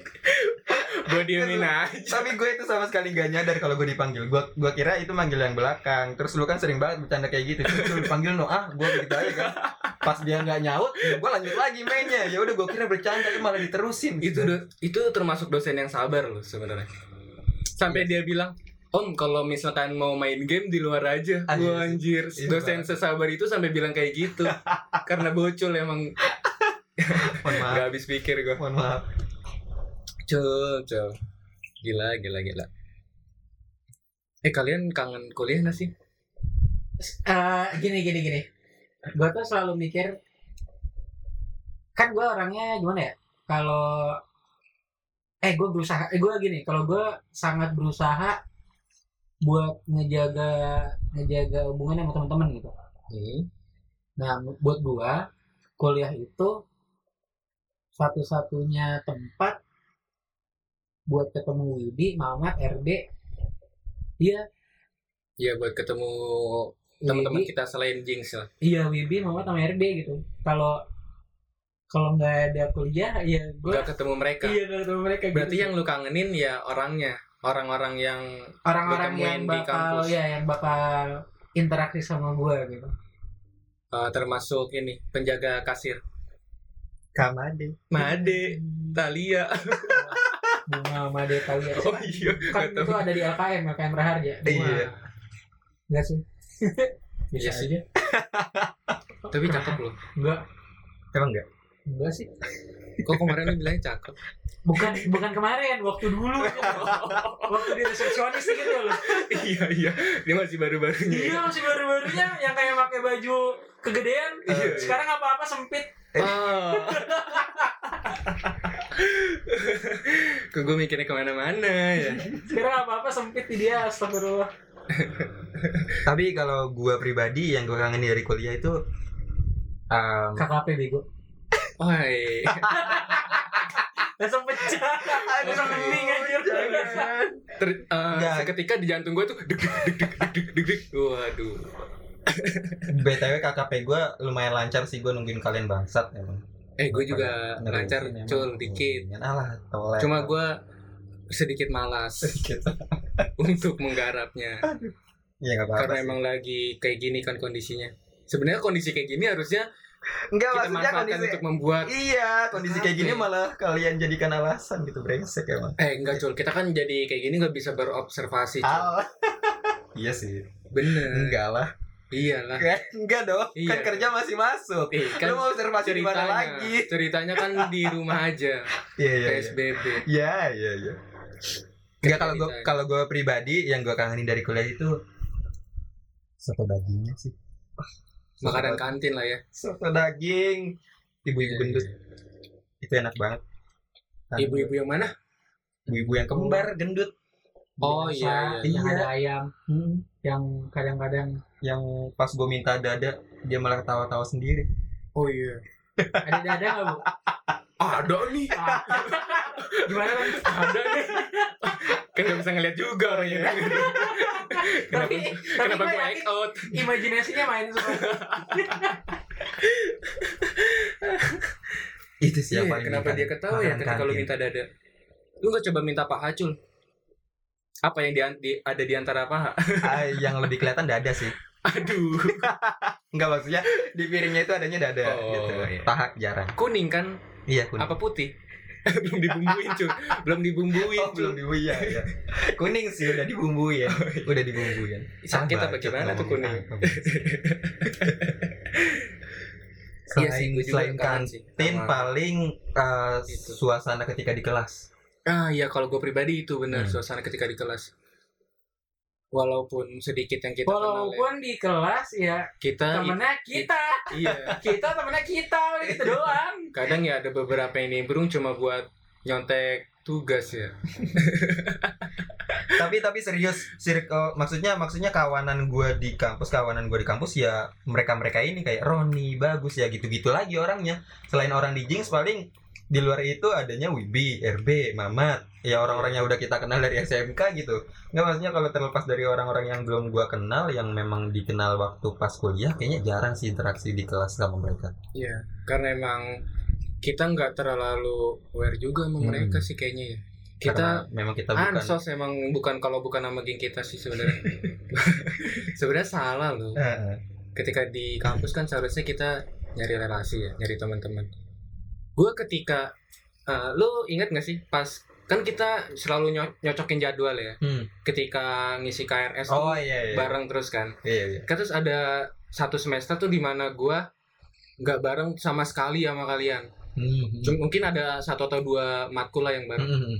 Speaker 2: gue diemin aja
Speaker 4: tapi gue itu sama sekali nggak nyadar kalau gue dipanggil gue gue kira itu manggil yang belakang terus lu kan sering banget bercanda kayak gitu terus lu dipanggil no ah gue begitu aja kan pas dia nggak nyaut ya gue lanjut lagi mainnya ya udah gue kira bercanda tapi malah diterusin
Speaker 2: itu do- itu termasuk dosen yang sabar loh sebenarnya sampai dia bilang Om kalau misalkan mau main game di luar aja
Speaker 4: Anjir.
Speaker 2: Wah anjir
Speaker 4: Iya
Speaker 2: Dosen sesabar itu sampai bilang kayak gitu Karena bocul emang
Speaker 4: mohon maaf
Speaker 2: Gak habis pikir gue
Speaker 4: mohon maaf
Speaker 2: Cul cul Gila gila gila Eh kalian kangen kuliah gak sih?
Speaker 3: Eh, gini gini gini gue tuh selalu mikir kan gue orangnya gimana ya kalau eh gue berusaha eh gue gini kalau gue sangat berusaha buat ngejaga ngejaga hubungan sama teman-teman gitu
Speaker 2: Hmm.
Speaker 3: nah buat gue kuliah itu satu-satunya tempat buat ketemu Widi, Mamat, Iya, RD,
Speaker 2: Ya buat ketemu teman-teman
Speaker 3: Widi,
Speaker 2: kita selain Jinx lah
Speaker 3: Iya Wibi Mamat sama RD gitu. Kalau kalau nggak ada kuliah ya gue
Speaker 2: Gak ketemu mereka
Speaker 3: iya kalau ketemu mereka. gitu.
Speaker 2: Berarti yang lu kangenin ya orangnya, orang-orang yang
Speaker 3: orang-orang
Speaker 2: ditemuin
Speaker 3: yang
Speaker 2: di
Speaker 3: bakal
Speaker 2: kampus.
Speaker 3: ya yang bakal interaksi sama gue gitu.
Speaker 2: eh, termasuk ini penjaga kasir.
Speaker 4: kamade
Speaker 2: Made, Talia.
Speaker 3: Bunga Made tahu ya.
Speaker 2: Oh iya, gak
Speaker 3: kan itu
Speaker 2: tahu.
Speaker 3: ada di LKM LKM Raharja. Bunga.
Speaker 4: Iya.
Speaker 3: Enggak sih.
Speaker 2: Iya sih. Tapi cakep loh.
Speaker 3: Enggak.
Speaker 4: emang enggak
Speaker 3: Enggak sih.
Speaker 2: Kok kemarin lu bilang cakep?
Speaker 3: Bukan bukan kemarin, waktu dulu. gitu. waktu di resepsionis gitu loh.
Speaker 2: iya, iya. Dia masih baru-barunya.
Speaker 3: Iya masih baru-barunya yang kayak pakai baju kegedean.
Speaker 2: Iya,
Speaker 3: Sekarang apa-apa sempit.
Speaker 2: Ah. Kok gue mikirnya kemana-mana ya.
Speaker 3: Sekarang apa-apa sempit di dia astagfirullah.
Speaker 4: tapi kalau gue pribadi yang gue kangen dari kuliah itu um,
Speaker 3: KKP bego.
Speaker 2: Woi.
Speaker 3: Langsung pecah. Langsung bening anjir. iya.
Speaker 4: jangan.
Speaker 2: Ter- eh,
Speaker 4: Nggak.
Speaker 2: seketika di jantung gue tuh deg deg deg deg deg deg deg. Waduh.
Speaker 4: BTW KKP gue lumayan lancar sih gue nungguin kalian bangsat emang.
Speaker 2: Eh, gue juga
Speaker 4: Ngerusin
Speaker 2: lancar
Speaker 4: emang. Ya
Speaker 2: cul dikit.
Speaker 4: Alah, tolek.
Speaker 2: Cuma gue sedikit malas
Speaker 4: sedikit.
Speaker 2: untuk menggarapnya
Speaker 4: Gitu. Ya enggak apa-apa.
Speaker 2: karena
Speaker 4: sih.
Speaker 2: emang lagi kayak gini kan kondisinya. Sebenarnya kondisi kayak gini harusnya
Speaker 4: enggak
Speaker 2: kita
Speaker 4: maksudnya
Speaker 2: manfaatkan
Speaker 4: kondisi
Speaker 2: untuk membuat
Speaker 4: Iya, kondisi kayak gini malah kalian jadikan alasan gitu brengsek emang.
Speaker 2: eh enggak cul kita kan jadi kayak gini nggak bisa berobservasi. Cul.
Speaker 4: Alah. iya
Speaker 2: Eh.
Speaker 4: sih.
Speaker 2: Bener.
Speaker 4: Ah. Enggak lah.
Speaker 2: Iyalah.
Speaker 4: Enggak dong.
Speaker 2: Nah. Iya.
Speaker 4: Kan kerja masih masuk.
Speaker 2: Eh
Speaker 4: Lu
Speaker 2: kan
Speaker 4: mau observasi di mana
Speaker 2: ceritanya
Speaker 4: lagi?
Speaker 2: ceritanya kan di rumah aja
Speaker 4: Iya, iya, iya.
Speaker 2: PSBB.
Speaker 4: Iya, iya, iya. Enggak kalau gue kalau gue pribadi yang gue kangenin dari kuliah itu soto dagingnya sih.
Speaker 2: Makanan Iya, kantin lah ya.
Speaker 4: soto daging ibu-ibu gendut itu enak banget Kan,
Speaker 2: Ibu-ibu yang mana?
Speaker 4: ibu-ibu yang kembar gendut
Speaker 2: Oh iya. iya.
Speaker 3: Biasa, Yang
Speaker 4: Iya.
Speaker 3: ada ayam. Hmm, Yang kadang-kadang
Speaker 4: yang pas gue minta dada dia malah ketawa-tawa sendiri
Speaker 2: Oh iya.
Speaker 3: ada dada nggak bu?
Speaker 2: Ada nih.
Speaker 3: Ah. Gimana kan?
Speaker 2: Ada nih. Iya. Kan nggak bisa ngeliat juga orangnya.
Speaker 3: Tapi tapi
Speaker 2: Kenapa
Speaker 3: gue
Speaker 2: gue
Speaker 3: yakin
Speaker 2: act out?
Speaker 3: imajinasinya main semua.
Speaker 4: itu sih yang
Speaker 2: Iya,
Speaker 4: paling
Speaker 2: kenapa dia ketawa ya ketika lu minta dada? Lu nggak coba minta paha cul? Apa yang di, di- ada di antara paha?
Speaker 4: yang lebih kelihatan dada sih
Speaker 2: Aduh,
Speaker 4: Enggak maksudnya di piringnya itu adanya dada
Speaker 2: Oh,
Speaker 4: gitu.
Speaker 2: iya.
Speaker 4: Paha jarang.
Speaker 2: kuning kan?
Speaker 4: Iya kuning.
Speaker 2: Apa putih? belum dibumbuin cul, belum dibumbuin.
Speaker 4: Oh,
Speaker 2: cul.
Speaker 4: belum dibumbui ya, ya. Kuning sih udah dibumbui ya. Udah dibumbui ya.
Speaker 2: Oh, iya. Sakit
Speaker 4: Ah,
Speaker 2: apa
Speaker 4: bacot
Speaker 2: gimana tuh kuning?
Speaker 4: ngomongin apa. Selain,
Speaker 2: Iya sih, gua juga
Speaker 4: selain kan,
Speaker 2: kangen
Speaker 4: kantin
Speaker 2: sih sama-
Speaker 4: paling eh,
Speaker 2: Itu.
Speaker 4: suasana ketika di kelas.
Speaker 2: Ah iya kalau gue pribadi itu benar
Speaker 4: Hmm.
Speaker 2: suasana ketika di kelas. walaupun sedikit yang kita kenal ya.
Speaker 3: Walaupun di kelas ya
Speaker 2: kita
Speaker 3: temennya kita,
Speaker 2: iya
Speaker 3: kita temennya kita udah gitu doang.
Speaker 2: kadang ya ada beberapa yang nimbrung cuma buat nyontek tugas ya
Speaker 4: tapi tapi serius circle maksudnya maksudnya kawanan gua di kampus kawanan gua di kampus ya mereka mereka ini kayak Roni bagus ya gitu gitu lagi orangnya selain orang di Jinx paling di luar itu adanya Wibi, RB, Mamat, ya orang-orang yang udah kita kenal dari SMK gitu. Nggak maksudnya kalau terlepas dari orang-orang yang belum gua kenal, yang memang dikenal waktu pas kuliah, kayaknya jarang sih interaksi di kelas sama mereka.
Speaker 2: iya karena emang kita nggak terlalu aware juga sama
Speaker 4: Hmm.
Speaker 2: mereka sih kayaknya ya kita
Speaker 4: Karena memang kita bukan.
Speaker 2: ansos emang bukan kalau bukan nama geng kita sih sebenarnya sebenarnya salah loh
Speaker 4: Eh, eh.
Speaker 2: ketika di kampus kan seharusnya kita nyari relasi ya nyari teman-teman gue ketika eh, lu ingat gak sih pas kan kita selalu nyo- nyocokin jadwal ya
Speaker 4: Hmm.
Speaker 2: ketika ngisi KRS tuh
Speaker 4: Oh iya iya.
Speaker 2: bareng terus kan
Speaker 4: Iya iya.
Speaker 2: kan terus ada satu semester tuh dimana gue nggak bareng sama sekali sama kalian
Speaker 4: Hmm, hmm.
Speaker 2: Cuma mungkin ada satu atau dua matkul lah yang bareng
Speaker 4: Hmm, hmm.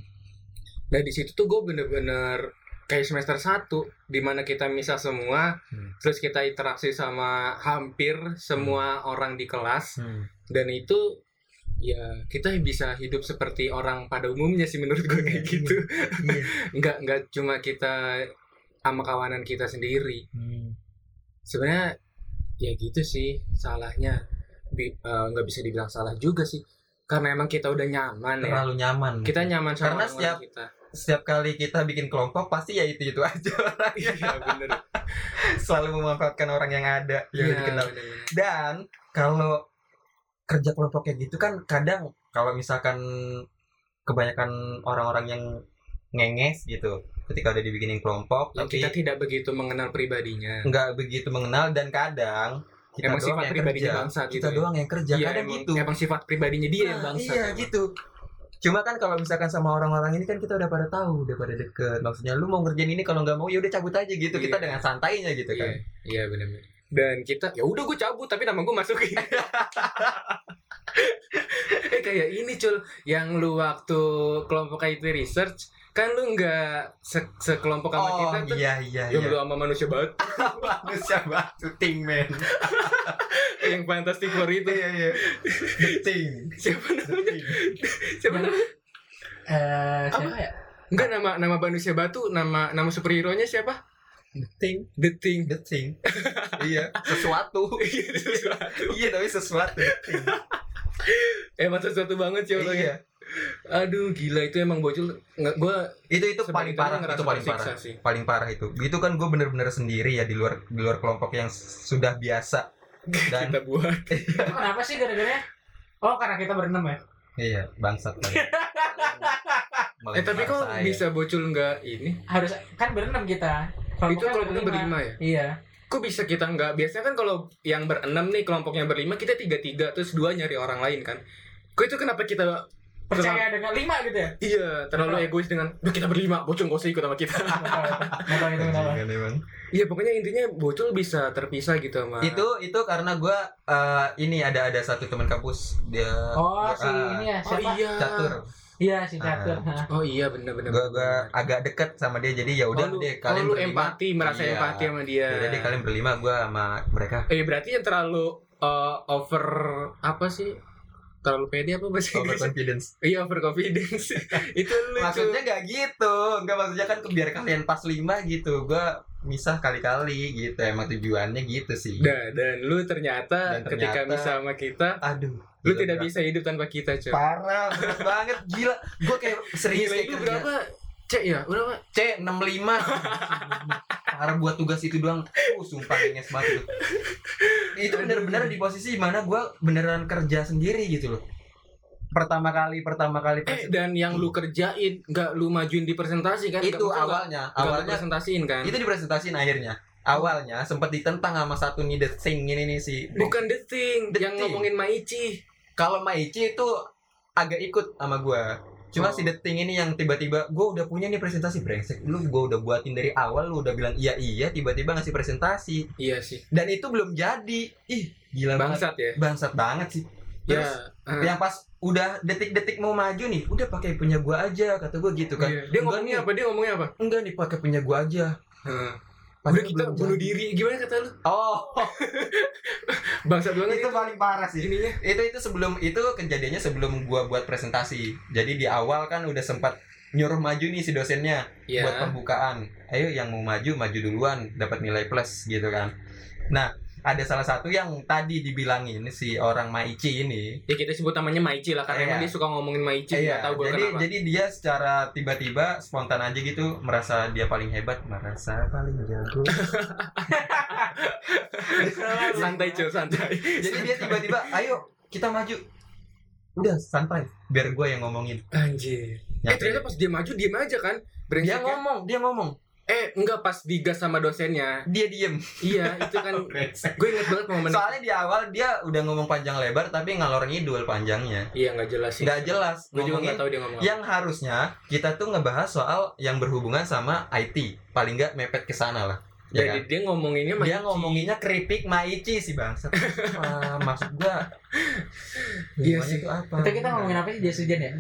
Speaker 2: Nah di situ tuh gue bener-bener kayak semester 1 dimana kita misah semua,
Speaker 4: Hmm.
Speaker 2: terus kita interaksi sama hampir semua orang di kelas
Speaker 4: Hmm.
Speaker 2: dan itu ya kita bisa hidup seperti orang pada umumnya sih menurut gue kayak gitu.
Speaker 4: Iya.
Speaker 2: Nggak nggak cuma kita sama kawanan kita sendiri.
Speaker 4: Hmm.
Speaker 2: Sebenarnya ya gitu sih salahnya Bi- eh, nggak bisa dibilang salah juga sih karena emang kita udah nyaman ya.
Speaker 4: terlalu nyaman
Speaker 2: Kita nyaman sama
Speaker 4: Karena
Speaker 2: orang-orang
Speaker 4: setiap-
Speaker 2: kita.
Speaker 4: setiap kali kita bikin kelompok pasti ya itu itu aja orangnya
Speaker 2: Iya bener.
Speaker 4: selalu memanfaatkan orang yang ada
Speaker 2: Iya,
Speaker 4: yang udah dikenal
Speaker 2: bener-bener.
Speaker 4: dan kalau kerja kelompok kayak gitu kan kadang kalau misalkan kebanyakan orang-orang yang ngenges gitu ketika udah dibikinin kelompok
Speaker 2: Yang
Speaker 4: tapi
Speaker 2: Iya, kita tidak begitu mengenal pribadinya.
Speaker 4: nggak begitu mengenal dan kadang kita
Speaker 2: emang sifat
Speaker 4: yang
Speaker 2: pribadinya
Speaker 4: kerja
Speaker 2: bangsa gitu.
Speaker 4: kita
Speaker 2: ya.
Speaker 4: doang yang kerja
Speaker 2: Iya,
Speaker 4: kadang
Speaker 2: emang,
Speaker 4: gitu
Speaker 2: emang sifat pribadinya dia yang
Speaker 4: Nah,
Speaker 2: bangsa.
Speaker 4: Iya
Speaker 2: emang.
Speaker 4: gitu. Cuma kan kalau misalkan sama orang-orang ini kan kita udah pada tahu, udah pada deket. Maksudnya lu mau ngerjain ini kalau nggak mau ya udah cabut aja gitu. Kita
Speaker 2: Iya.
Speaker 4: dengan santainya gitu
Speaker 2: Iya,
Speaker 4: kan.
Speaker 2: iya benar-benar. Dan kita ya udah gue cabut tapi nama gue masukin. eh kayak ini cul yang lu waktu kelompok IT research kan lu nggak se- sekelompok sama
Speaker 4: oh
Speaker 2: kita tuh.
Speaker 4: iya iya
Speaker 2: Yang lu
Speaker 4: iya.
Speaker 2: sama manusia banget
Speaker 4: Manusia batu ting men.
Speaker 2: yang fantastic four itu
Speaker 4: Iya iya. The ting.
Speaker 2: siapa
Speaker 4: The
Speaker 2: namanya
Speaker 4: ting.
Speaker 2: siapa namanya
Speaker 3: Eh, siapa ya?
Speaker 2: enggak nama nama manusia batu nama nama superhero nya siapa
Speaker 4: The ting.
Speaker 2: the thing
Speaker 4: The ting. Iya. Sesuatu.
Speaker 2: Gitu.
Speaker 4: iya tapi sesuatu. The ting.
Speaker 2: emang sesuatu banget sih orangnya.
Speaker 4: Iya.
Speaker 2: Aduh gila itu emang bocil nggak gue
Speaker 4: Itu itu paling parah. Itu paling parah.
Speaker 2: sih.
Speaker 4: paling parah itu itu kan gue bener-bener sendiri ya di luar di luar kelompok yang s- sudah biasa dan
Speaker 2: Kita buat
Speaker 3: Itu kenapa sih gara-gara? Oh karena kita berenam ya.
Speaker 4: iya bangsat kali. iya.
Speaker 2: Eh tapi kok
Speaker 4: Melebar saya.
Speaker 2: bisa bocil nggak ini?
Speaker 3: Harus kan berenam kita. Kelompoknya
Speaker 2: itu kelompoknya berlima ya?
Speaker 3: Iya.
Speaker 2: Kok bisa kita nggak? Biasanya kan kalau yang berenam nih kelompoknya berlima kita tiga tiga terus dua nyari orang lain kan? Kok itu kenapa kita
Speaker 3: Percaya dengan lima gitu ya.
Speaker 2: iya terlalu egois dengan Duh kita berlima bocil nggak usah ikut sama kita
Speaker 3: Nggak tahu itu kenapa.
Speaker 4: Bajingan kan, emang.
Speaker 2: iya pokoknya intinya bocil bisa terpisah gitu sama
Speaker 4: itu itu karena gue ini ada ada satu teman kampus dia
Speaker 3: Oh
Speaker 4: gua-
Speaker 3: si
Speaker 4: ah,
Speaker 3: ini ya
Speaker 2: oh
Speaker 3: siapa?
Speaker 2: iya
Speaker 4: catur
Speaker 3: Iya si catur. Hah.
Speaker 2: oh iya bener bener
Speaker 4: gue agak deket sama dia jadi ya
Speaker 2: oh,
Speaker 4: udah
Speaker 2: lu,
Speaker 4: deh
Speaker 2: oh,
Speaker 4: kalian
Speaker 2: lu
Speaker 4: berlima
Speaker 2: empati merasa
Speaker 4: Iya.
Speaker 2: empati sama dia
Speaker 4: Ya udah deh kalian berlima gue sama mereka
Speaker 2: eh berarti yang terlalu uh, over apa sih terlalu pede apa bahasa Inggrisnya?
Speaker 4: overconfidence
Speaker 2: iya over confidence itu lucu
Speaker 4: maksudnya gak gitu nggak maksudnya kan biar kalian pas lima gitu gue misah kali-kali gitu emang tujuannya gitu sih
Speaker 2: Nah, dan lu ternyata,
Speaker 4: Dan ternyata-
Speaker 2: ketika bisa sama kita
Speaker 4: aduh
Speaker 2: lu
Speaker 4: gila,
Speaker 2: tidak
Speaker 4: berat.
Speaker 2: bisa hidup tanpa kita cuy
Speaker 4: parah berat banget gila gue kayak
Speaker 2: Gila,
Speaker 4: serius kayak
Speaker 2: itu
Speaker 4: kerja.
Speaker 2: berapa cek ya berapa
Speaker 4: C 65 Parah buat tugas itu doang Uh sumpah nges banget itu Itu bener-bener di posisi mana gue beneran kerja sendiri gitu loh Pertama kali, pertama kali
Speaker 2: eh
Speaker 4: presen-
Speaker 2: dan yang lu kerjain nggak lu majuin di presentasi kan
Speaker 4: Itu
Speaker 2: Nggak- nggak-
Speaker 4: awalnya,
Speaker 2: nggak lu
Speaker 4: awalnya
Speaker 2: presentasiin kan
Speaker 4: Itu dipresentasiin akhirnya Awalnya sempet ditentang sama satu nih The Thing ini nih si
Speaker 2: bukan the thing
Speaker 4: The
Speaker 2: yang
Speaker 4: thing.
Speaker 2: ngomongin Maici
Speaker 4: Kalau Maici itu agak ikut sama gue Cuma
Speaker 2: Oh.
Speaker 4: si The Thing ini yang tiba-tiba gue udah punya nih presentasi brengsek Lu gue udah buatin dari awal, lu udah bilang iya-iya Tiba-tiba ngasih presentasi
Speaker 2: iya sih
Speaker 4: dan itu belum jadi ih gila banget
Speaker 2: bangsat ya
Speaker 4: bangsat Hmm. banget sih
Speaker 2: ya
Speaker 4: terus yang pas udah detik-detik mau maju nih udah pakai punya gua aja kata gua gitu kan
Speaker 2: Iya. dia
Speaker 4: Enggak
Speaker 2: ngomongnya
Speaker 4: nih.
Speaker 2: apa dia ngomongnya apa
Speaker 4: enggak nih pakai punya gua aja
Speaker 2: Heeh.
Speaker 4: Padahal
Speaker 2: Udah kita
Speaker 4: belum
Speaker 2: bunuh
Speaker 4: jadi.
Speaker 2: diri gimana kata lu?
Speaker 4: Oh,
Speaker 2: Bangsat banget
Speaker 4: itu paling parah sih.
Speaker 2: ininya.
Speaker 4: itu itu sebelum itu kejadiannya sebelum gua buat presentasi jadi di awal kan udah sempat nyuruh maju nih si dosennya
Speaker 2: Iya.
Speaker 4: buat pembukaan ayo yang mau maju maju duluan dapat nilai plus gitu kan nah ada salah satu yang tadi dibilangin si orang Maici ini
Speaker 2: Ya kita sebut namanya Maici lah karena
Speaker 4: Iya.
Speaker 2: emang dia suka ngomongin Maici
Speaker 4: Iya,
Speaker 2: nggak tahu gue
Speaker 4: jadi
Speaker 2: kenapa.
Speaker 4: jadi dia secara tiba-tiba spontan aja gitu merasa dia paling hebat merasa paling jago
Speaker 2: santai cuy santai.
Speaker 4: jadi dia tiba-tiba ayo kita maju udah santai biar gue yang ngomongin
Speaker 2: Anjir. Eh
Speaker 4: Nyampe.
Speaker 2: ternyata pas dia maju diem aja kan.
Speaker 4: dia
Speaker 2: Brengsek. ya?
Speaker 4: ngomong dia ngomong
Speaker 2: Eh enggak pas digas sama dosennya.
Speaker 4: dia diem
Speaker 2: iya itu kan gue inget banget momen.
Speaker 4: Soalnya di awal dia udah ngomong panjang lebar tapi ngalor ngidul panjangnya.
Speaker 2: Iya nggak jelas sih.
Speaker 4: Nggak jelas
Speaker 2: Gue juga
Speaker 4: ngomongin Ya,
Speaker 2: nggak tahu dia ngomong. apa.
Speaker 4: yang harusnya kita tuh ngebahas soal yang berhubungan sama IT. Paling nggak mepet ke sana lah. Ya
Speaker 2: Jadi
Speaker 4: kan?
Speaker 2: dia ngomonginnya Maici.
Speaker 4: Dia ngomonginnya keripik maici sih bang. Ah, maksud gua
Speaker 2: Iya
Speaker 4: hubungannya
Speaker 2: sih.
Speaker 4: tuh apa?
Speaker 3: Itu kita ngomongin apa sih jas hujan ya?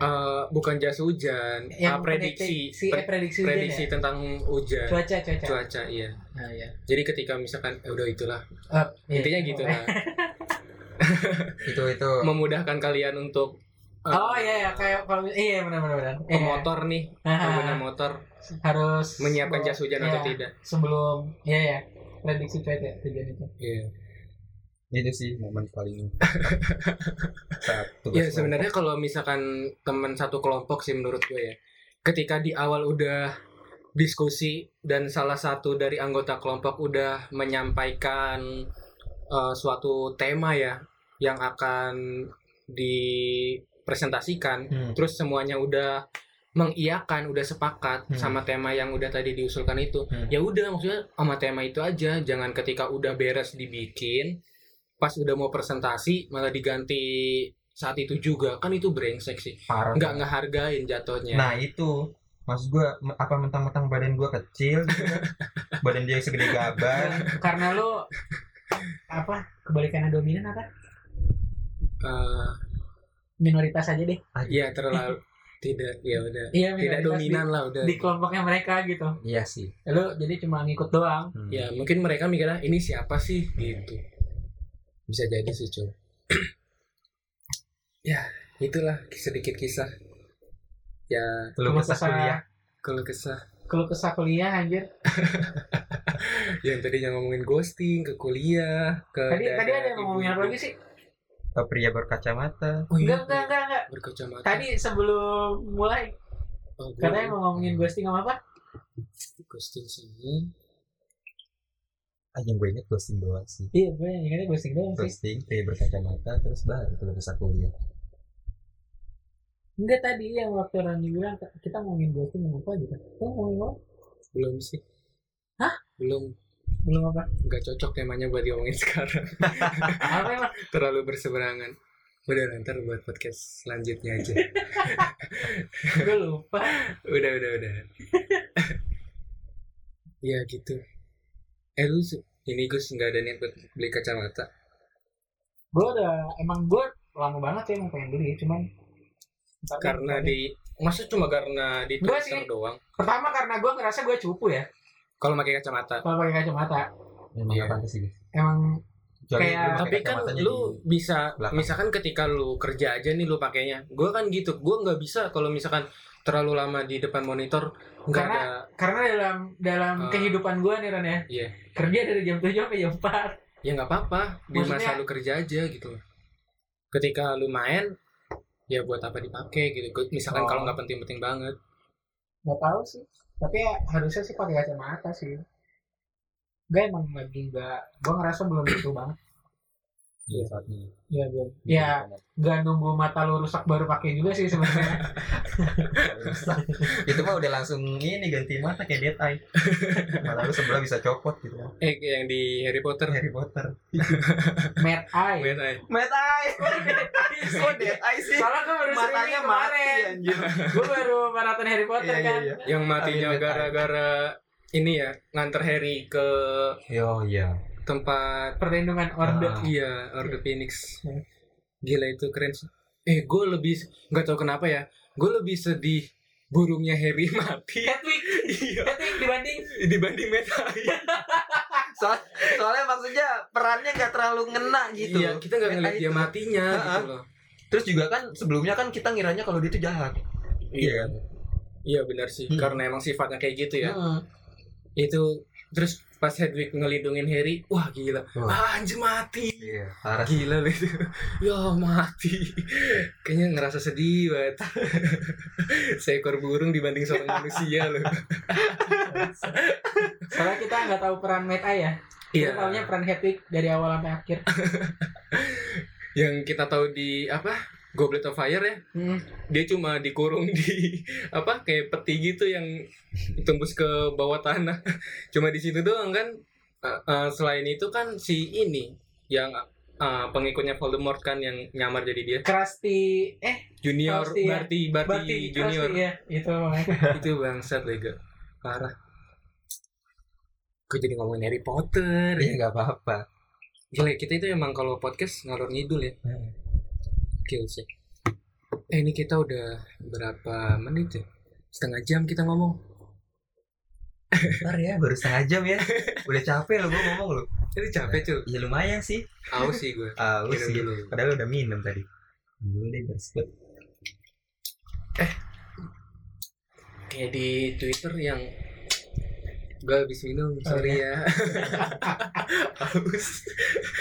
Speaker 2: Eh, bukan jas hujan, Ah, prediksi,
Speaker 3: prediksi, eh,
Speaker 2: Pre-
Speaker 3: prediksi, hujan
Speaker 2: prediksi tentang
Speaker 3: ya?
Speaker 2: hujan,
Speaker 3: Cuaca, cuaca.
Speaker 2: cuaca, iya.
Speaker 3: Nah, iya.
Speaker 2: Jadi ketika misalkan, eh, udah itulah,
Speaker 3: Eh, iya.
Speaker 2: intinya gitu lah.
Speaker 4: Itu itu.
Speaker 2: Memudahkan kalian untuk eh,
Speaker 3: Oh iya ya, kayak kalau iya benar-benar benar. Iya.
Speaker 2: pemotor nih,
Speaker 3: Nah,
Speaker 2: pengguna motor
Speaker 3: harus
Speaker 2: menyiapkan
Speaker 3: sebelum-
Speaker 2: jas hujan
Speaker 3: iya,
Speaker 2: atau tidak.
Speaker 3: Sebelum iya ya, prediksi cuaca tujuan itu.
Speaker 2: Iya.
Speaker 4: Itu sih momen paling. Satu.
Speaker 2: Ya sebenarnya kalau misalkan teman satu kelompok sih menurut gue ya, ketika di awal udah diskusi dan salah satu dari anggota kelompok udah menyampaikan eh, suatu tema ya yang akan dipresentasikan,
Speaker 4: Hmm.
Speaker 2: terus semuanya udah mengiakan, udah sepakat
Speaker 4: Hmm.
Speaker 2: sama tema yang udah tadi diusulkan itu,
Speaker 4: Hmm.
Speaker 2: ya udah maksudnya sama tema itu aja, jangan ketika udah beres dibikin, pas udah mau presentasi malah diganti saat itu juga kan itu brengsek sih
Speaker 4: Parah.
Speaker 2: nggak ngehargain jatuhnya
Speaker 4: Nah itu Maksud gue apa mentang-mentang badan gue kecil gitu kan? Badan dia segede
Speaker 3: Dan
Speaker 4: gaban
Speaker 3: Iya, karena lu apa kebalikannya dominan apa?
Speaker 2: Eh,
Speaker 3: Minoritas aja deh.
Speaker 2: ya terlalu tidak ya udah
Speaker 3: Iya,
Speaker 2: tidak
Speaker 3: minoritas
Speaker 2: dominan lah
Speaker 3: di,
Speaker 2: udah
Speaker 3: di kelompoknya mereka gitu.
Speaker 4: Iya sih
Speaker 3: Lu jadi cuma ngikut doang.
Speaker 4: Hmm.
Speaker 2: ya mungkin mereka mikirnya ini siapa sih gitu bisa jadi sih cuy ya itulah sedikit kisah ya
Speaker 4: Lu
Speaker 3: Cuma
Speaker 4: kesah
Speaker 3: kesah-
Speaker 4: kuliah
Speaker 2: kalau kesah
Speaker 3: Kalau kesah kuliah anjir.
Speaker 2: yang tadinya ngomongin ghosting ke kuliah ke
Speaker 3: Tadi
Speaker 2: dada
Speaker 3: tadi ada yang
Speaker 2: ibu-ibu.
Speaker 3: ngomongin apa lagi sih?
Speaker 4: ke pria berkacamata
Speaker 2: oh, iya,
Speaker 3: Enggak, enggak, enggak, enggak.
Speaker 2: berkacamata
Speaker 3: Tadi sebelum mulai
Speaker 2: Oh, gue-
Speaker 3: katanya mau ngomongin ghosting sama apa?
Speaker 2: ghosting sini
Speaker 4: ah yang gue inget ghosting doang sih
Speaker 3: Iya, gue yang ingatnya ghosting doang sih.
Speaker 4: ghosting pria berkacamata terus baru tuh kesah kuliah
Speaker 3: Enggak tadi yang waktu Rani bilang kita mau ngomongin ghosting sama apa gitu. Kita mau ngomongin apa?
Speaker 2: belum sih
Speaker 3: Hah?
Speaker 2: belum
Speaker 3: Belum apa?
Speaker 2: nggak cocok temanya buat diomongin sekarang
Speaker 3: apa emang?
Speaker 2: terlalu berseberangan udah ntar buat podcast selanjutnya aja
Speaker 3: Gue lupa.
Speaker 2: udah udah udah ya gitu eh lu se- ini Gus nggak ada niat buat beli kacamata
Speaker 3: Gue udah emang gue lama banget ya emang pengen beli, cuman
Speaker 2: karena di masa cuma karena di
Speaker 3: Gua
Speaker 2: Twitter
Speaker 3: sih.
Speaker 2: doang
Speaker 3: pertama karena gue ngerasa gue cupu ya
Speaker 2: kalau pakai kacamata
Speaker 3: kalau pakai kacamata
Speaker 4: memang
Speaker 2: Iya.
Speaker 4: apa sih guys
Speaker 3: emang Kayak-
Speaker 4: lu pakai
Speaker 2: tapi kan
Speaker 4: kacamatanya
Speaker 2: lu bisa
Speaker 4: belakang.
Speaker 2: misalkan ketika lu kerja aja nih lu pakainya gue kan gitu gue nggak bisa kalau misalkan terlalu lama di depan monitor nggak
Speaker 3: Karena-
Speaker 2: ada
Speaker 3: karena dalam dalam
Speaker 4: Ah.
Speaker 2: Eh.
Speaker 3: kehidupan gue nih Ron ya
Speaker 2: Iya.
Speaker 3: kerja dari jam 7 sampai jam 4
Speaker 2: ya nggak apa-apa di masa
Speaker 3: Maksudnya-
Speaker 2: lu kerja aja gitu loh. ketika lu main ya buat apa dipakai gitu Ke- misalkan
Speaker 3: Oh.
Speaker 2: kalau nggak penting-penting banget
Speaker 3: nggak tahu sih tapi ya, harusnya sih pakai kacamata sih gue emang lagi nggak gue ngerasa belum gitu banget
Speaker 4: di- iya saatnya
Speaker 3: ya belum
Speaker 4: Iya.
Speaker 3: ya nggak nunggu mata lu rusak baru pakai juga sih sebenarnya
Speaker 4: itu mah udah langsung ini ganti mata kayak dead eye malah lu sebelah bisa copot gitu kan
Speaker 2: eh kayak yang di Harry Potter
Speaker 4: Harry Potter
Speaker 3: mad eye
Speaker 2: Wait, ay.
Speaker 4: mad eye kok dead eye sih
Speaker 3: soalnya gue baru
Speaker 4: matanya
Speaker 3: matanya
Speaker 4: mati ya.
Speaker 3: kemarin
Speaker 4: anjir
Speaker 3: gue baru maraton Harry Potter
Speaker 4: Iya, iya,
Speaker 3: kan
Speaker 4: iya.
Speaker 2: yang matinya
Speaker 4: Wait, ay.
Speaker 2: gara-gara ini ya nganter Harry ke
Speaker 4: yo iya
Speaker 2: tempat
Speaker 3: perlindungan orde
Speaker 4: Ah.
Speaker 2: iya Order Phoenix
Speaker 3: Hmm.
Speaker 2: gila itu keren sih eh gue lebih nggak tahu kenapa ya gue lebih sedih burungnya Harry mati
Speaker 4: Kan?
Speaker 3: Hedwig
Speaker 2: iya
Speaker 3: Hedwig dibanding
Speaker 2: dibanding Meta
Speaker 4: Kan Soal- soalnya maksudnya perannya nggak terlalu ngena gitu
Speaker 2: iya kita nggak
Speaker 4: Meta
Speaker 2: ngeliat dia
Speaker 4: itu.
Speaker 2: matinya
Speaker 4: Ha-ha.
Speaker 2: gitu loh
Speaker 4: terus juga kan sebelumnya kan kita ngiranya kalau dia itu jahat Iya.
Speaker 2: iya benar sih
Speaker 4: Hmm.
Speaker 2: karena emang sifatnya kayak gitu ya
Speaker 4: Heeh.
Speaker 2: itu terus pas Hedwig ngelindungin Harry wah gila
Speaker 4: Wah.
Speaker 2: ah, anjir mati
Speaker 4: iya parah
Speaker 2: gila lu itu ya mati kayaknya ngerasa sedih banget seekor burung dibanding seorang manusia loh
Speaker 3: soalnya kita nggak tahu peran Meta ya
Speaker 2: iya
Speaker 3: kita tahunya peran Hedwig dari awal sampai akhir
Speaker 2: yang kita tahu di apa Goblet of Fire ya
Speaker 3: hmm.
Speaker 2: dia cuma dikurung di apa kayak peti gitu yang tembus ke bawah tanah cuma di situ doang kan Eh, eh, selain itu kan si ini yang eh, pengikutnya Voldemort kan yang nyamar jadi dia
Speaker 3: Krusty eh
Speaker 2: junior
Speaker 3: Krusty
Speaker 2: Barty
Speaker 3: ya.
Speaker 2: Barty,
Speaker 3: Berarti
Speaker 2: junior
Speaker 3: Krusty ya itu makanya.
Speaker 2: itu bangsat lega parah gue jadi ngomongin Harry Potter
Speaker 4: iya nggak apa-apa
Speaker 2: Gila ya, kita itu emang kalau podcast ngalor ngidul ya.
Speaker 4: Hmm.
Speaker 2: Gokil sih. Eh ini kita udah berapa menit ya? Setengah jam kita ngomong.
Speaker 4: ntar ya baru setengah jam ya udah capek lo gue ngomong lo
Speaker 2: Itu capek cuy.
Speaker 4: ya lumayan sih
Speaker 2: Aus sih gue.
Speaker 4: ah lu
Speaker 2: Minum
Speaker 4: sih
Speaker 2: dulu.
Speaker 4: padahal udah minum tadi belum deh basket
Speaker 2: Kayak di Twitter yang gue habis minum, sorry ya. Aus.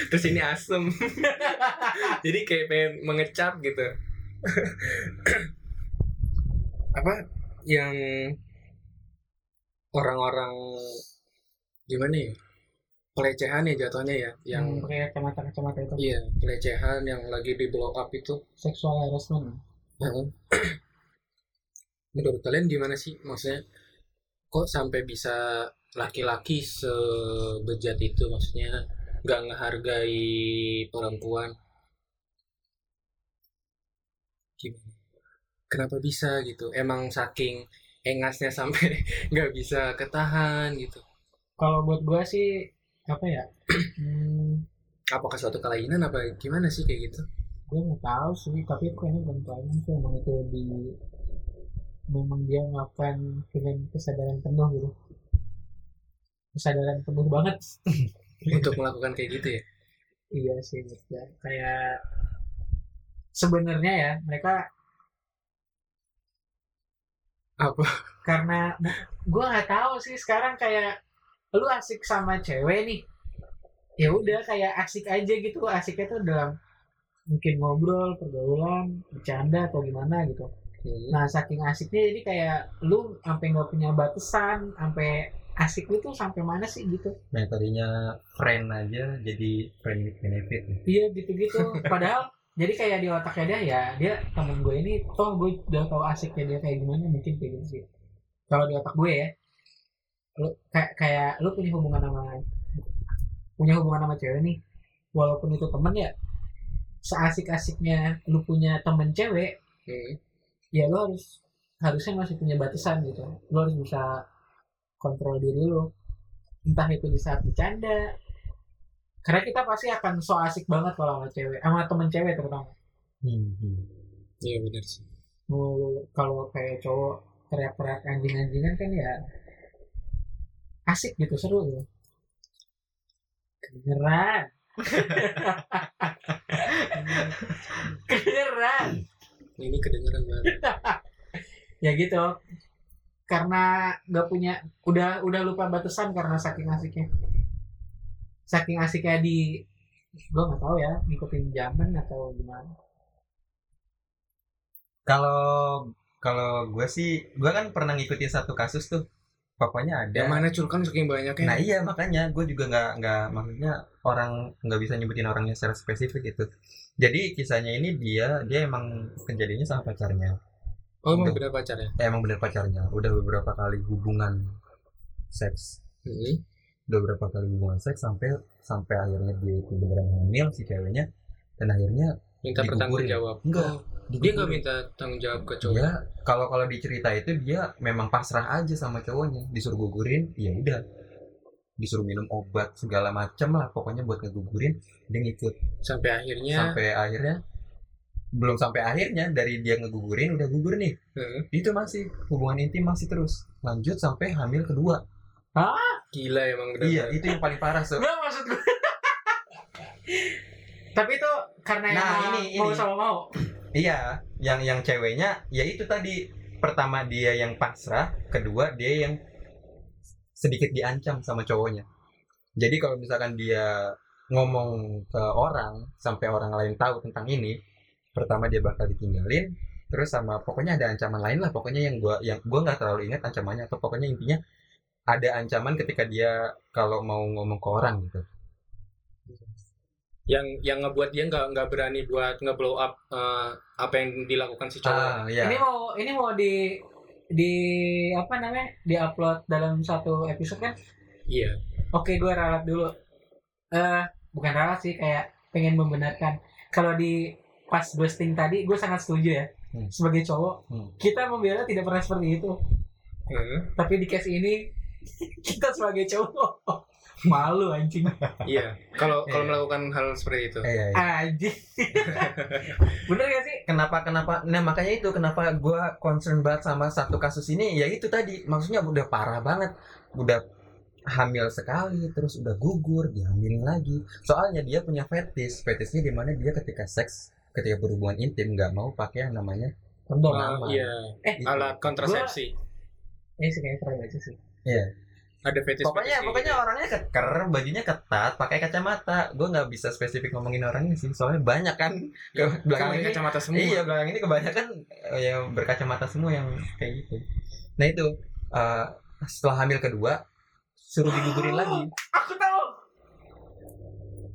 Speaker 2: Terus ini asem. Jadi kayak pengen mengecap gitu. Apa yang orang-orang gimana ya? Pelecehan ya jatuhnya ya, yang
Speaker 3: yang pakai kacamata kacamata itu
Speaker 2: iya, pelecehan yang lagi di blow up itu.
Speaker 3: seksual harassment
Speaker 2: Heeh. Menurut kalian gimana sih maksudnya kok sampai bisa laki-laki sebejat itu maksudnya nggak ngehargai perempuan? Gimana? Kenapa bisa gitu? Emang saking engasnya sampai nggak bisa ketahan gitu?
Speaker 3: kalau buat gua sih apa ya hmm,
Speaker 2: Apakah suatu kelainan apa gimana sih kayak gitu?
Speaker 3: gue nggak tahu sih tapi kayaknya bukan kelainan sih emang itu di memang dia melakukan dengan kesadaran penuh gitu kesadaran penuh banget
Speaker 2: Untuk melakukan kayak gitu ya?
Speaker 3: iya sih ya. kayak sebenarnya ya mereka
Speaker 2: Apa?
Speaker 3: karena gue nggak tahu sih sekarang kayak lu asik sama cewek nih ya udah kayak asik aja gitu asiknya tuh dalam mungkin ngobrol pergaulan bercanda atau gimana gitu
Speaker 2: Hmm.
Speaker 3: Nah saking asiknya jadi kayak lu sampai nggak punya batasan, sampai asik lu tuh sampai mana sih gitu?
Speaker 4: nah tadinya friend aja jadi friend with benefit nih.
Speaker 3: Iya gitu-gitu. Padahal jadi kayak di otaknya dia ya dia temen gue ini toh gue udah tahu asiknya dia kayak gimana mungkin kayak gitu sih. Kalau di otak gue ya, lu kayak kayak lu punya hubungan sama punya hubungan sama cewek nih, walaupun itu temen ya seasik-asiknya lu punya temen cewek
Speaker 2: Hmm.
Speaker 3: ya lo harus harusnya masih punya batasan gitu lo harus bisa kontrol diri lo entah itu di saat bercanda karena kita pasti akan so asik banget kalau sama cewek sama temen cewek terutama
Speaker 4: Hmm.
Speaker 2: Iya benar sih.
Speaker 3: mau kalau kayak cowok teriak-teriak anjing-anjingan kan ya asik gitu seru gitu kedengeran kedengeran
Speaker 2: Ini kedengeran banget.
Speaker 3: ya gitu karena nggak punya udah udah lupa batasan karena saking asiknya saking asiknya di gue nggak tahu ya ngikutin zaman atau gimana
Speaker 4: kalau kalau gue sih gue kan pernah ngikutin satu kasus tuh pokoknya ada
Speaker 2: Yang mana curkan saking banyaknya?
Speaker 4: Nah iya makanya gue juga nggak nggak maksudnya orang nggak bisa nyebutin orangnya secara spesifik gitu. Jadi kisahnya ini dia dia emang kejadiannya sama pacarnya.
Speaker 2: oh emang
Speaker 4: Udah.
Speaker 2: beda pacar ya?
Speaker 4: Eh, emang bener pacarnya. Udah beberapa kali hubungan seks. Udah beberapa kali hubungan seks sampai sampai akhirnya dia itu beneran hamil si ceweknya dan akhirnya
Speaker 2: Minta
Speaker 4: Digugurin.
Speaker 2: pertanggung jawab.
Speaker 4: Enggak.
Speaker 2: Oh, dia nggak minta tanggung jawab ke cowok.
Speaker 4: Dia Iya, kalau kalau dicerita itu dia memang pasrah aja sama cowoknya, disuruh gugurin, ya udah. Disuruh minum obat segala macem lah pokoknya buat ngegugurin, dia ngikut
Speaker 2: Ya. Sampai akhirnya
Speaker 4: sampai akhirnya belum sampai akhirnya dari dia ngegugurin udah gugur nih
Speaker 2: Heeh.
Speaker 4: itu masih hubungan intim masih terus lanjut sampai hamil kedua
Speaker 2: Gila emang bener.
Speaker 4: iya itu yang paling parah so.
Speaker 3: Enggak maksud gue. Tapi itu karena
Speaker 4: Nah,
Speaker 3: emang
Speaker 4: ini-
Speaker 3: mau
Speaker 4: ini.
Speaker 3: sama mau.
Speaker 4: iya yang yang ceweknya ya itu tadi pertama dia yang pasrah kedua dia yang sedikit diancam sama cowoknya jadi kalau misalkan dia ngomong ke orang sampai orang lain tahu tentang ini pertama dia bakal ditinggalin terus sama pokoknya ada ancaman lain lah pokoknya yang gua yang gua nggak terlalu ingat ancamannya atau pokoknya intinya ada ancaman ketika dia kalau mau ngomong ke orang gitu
Speaker 2: Yang yang ngebuat dia nggak nggak berani buat ngeblow up eh, apa yang dilakukan si cowok.
Speaker 4: ah ya
Speaker 3: Ini mau ini mau di di apa namanya? Di-upload dalam satu episode kan?
Speaker 2: Iya.
Speaker 3: Oke, gue ralat dulu. Eh, bukan ralat sih kayak pengen membenarkan. Kalau di pas ghosting tadi, gue sangat setuju ya.
Speaker 4: Hmm.
Speaker 3: Sebagai cowok,
Speaker 4: Hmm.
Speaker 3: kita membela tidak pernah seperti itu.
Speaker 2: Heeh.
Speaker 3: Tapi di case ini kita sebagai cowok malu anjing.
Speaker 2: Iya. Kalau kalau
Speaker 4: Iya.
Speaker 2: melakukan hal seperti itu.
Speaker 4: Eh, iya, iya.
Speaker 3: Anjing. Bener gak sih?
Speaker 4: kenapa kenapa nah makanya itu kenapa gua concern banget sama satu kasus ini ya itu tadi maksudnya udah parah banget udah hamil sekali terus udah gugur dihamilin lagi soalnya dia punya fetis fetisnya dimana dia ketika seks ketika berhubungan intim nggak mau pakai yang namanya Gitu.
Speaker 3: Kondom.
Speaker 2: Ah,
Speaker 4: Aman.
Speaker 2: iya.
Speaker 4: itu.
Speaker 2: Alat kontrasepsi.
Speaker 3: Ini sih kayaknya pernah baca sih.
Speaker 2: Ada gitu. fetis.
Speaker 4: pokoknya pokoknya
Speaker 2: Kan
Speaker 4: orangnya keker bajunya ketat pakai kacamata gua nggak bisa spesifik ngomongin orangnya sih soalnya banyak kan ke belakang ini
Speaker 2: kacamata semua.
Speaker 4: Iya belakang ini kebanyakan eh, ya berkacamata semua yang kayak gitu. Nah itu eh, setelah hamil kedua suruh digugurin lagi.
Speaker 3: Aku tahu.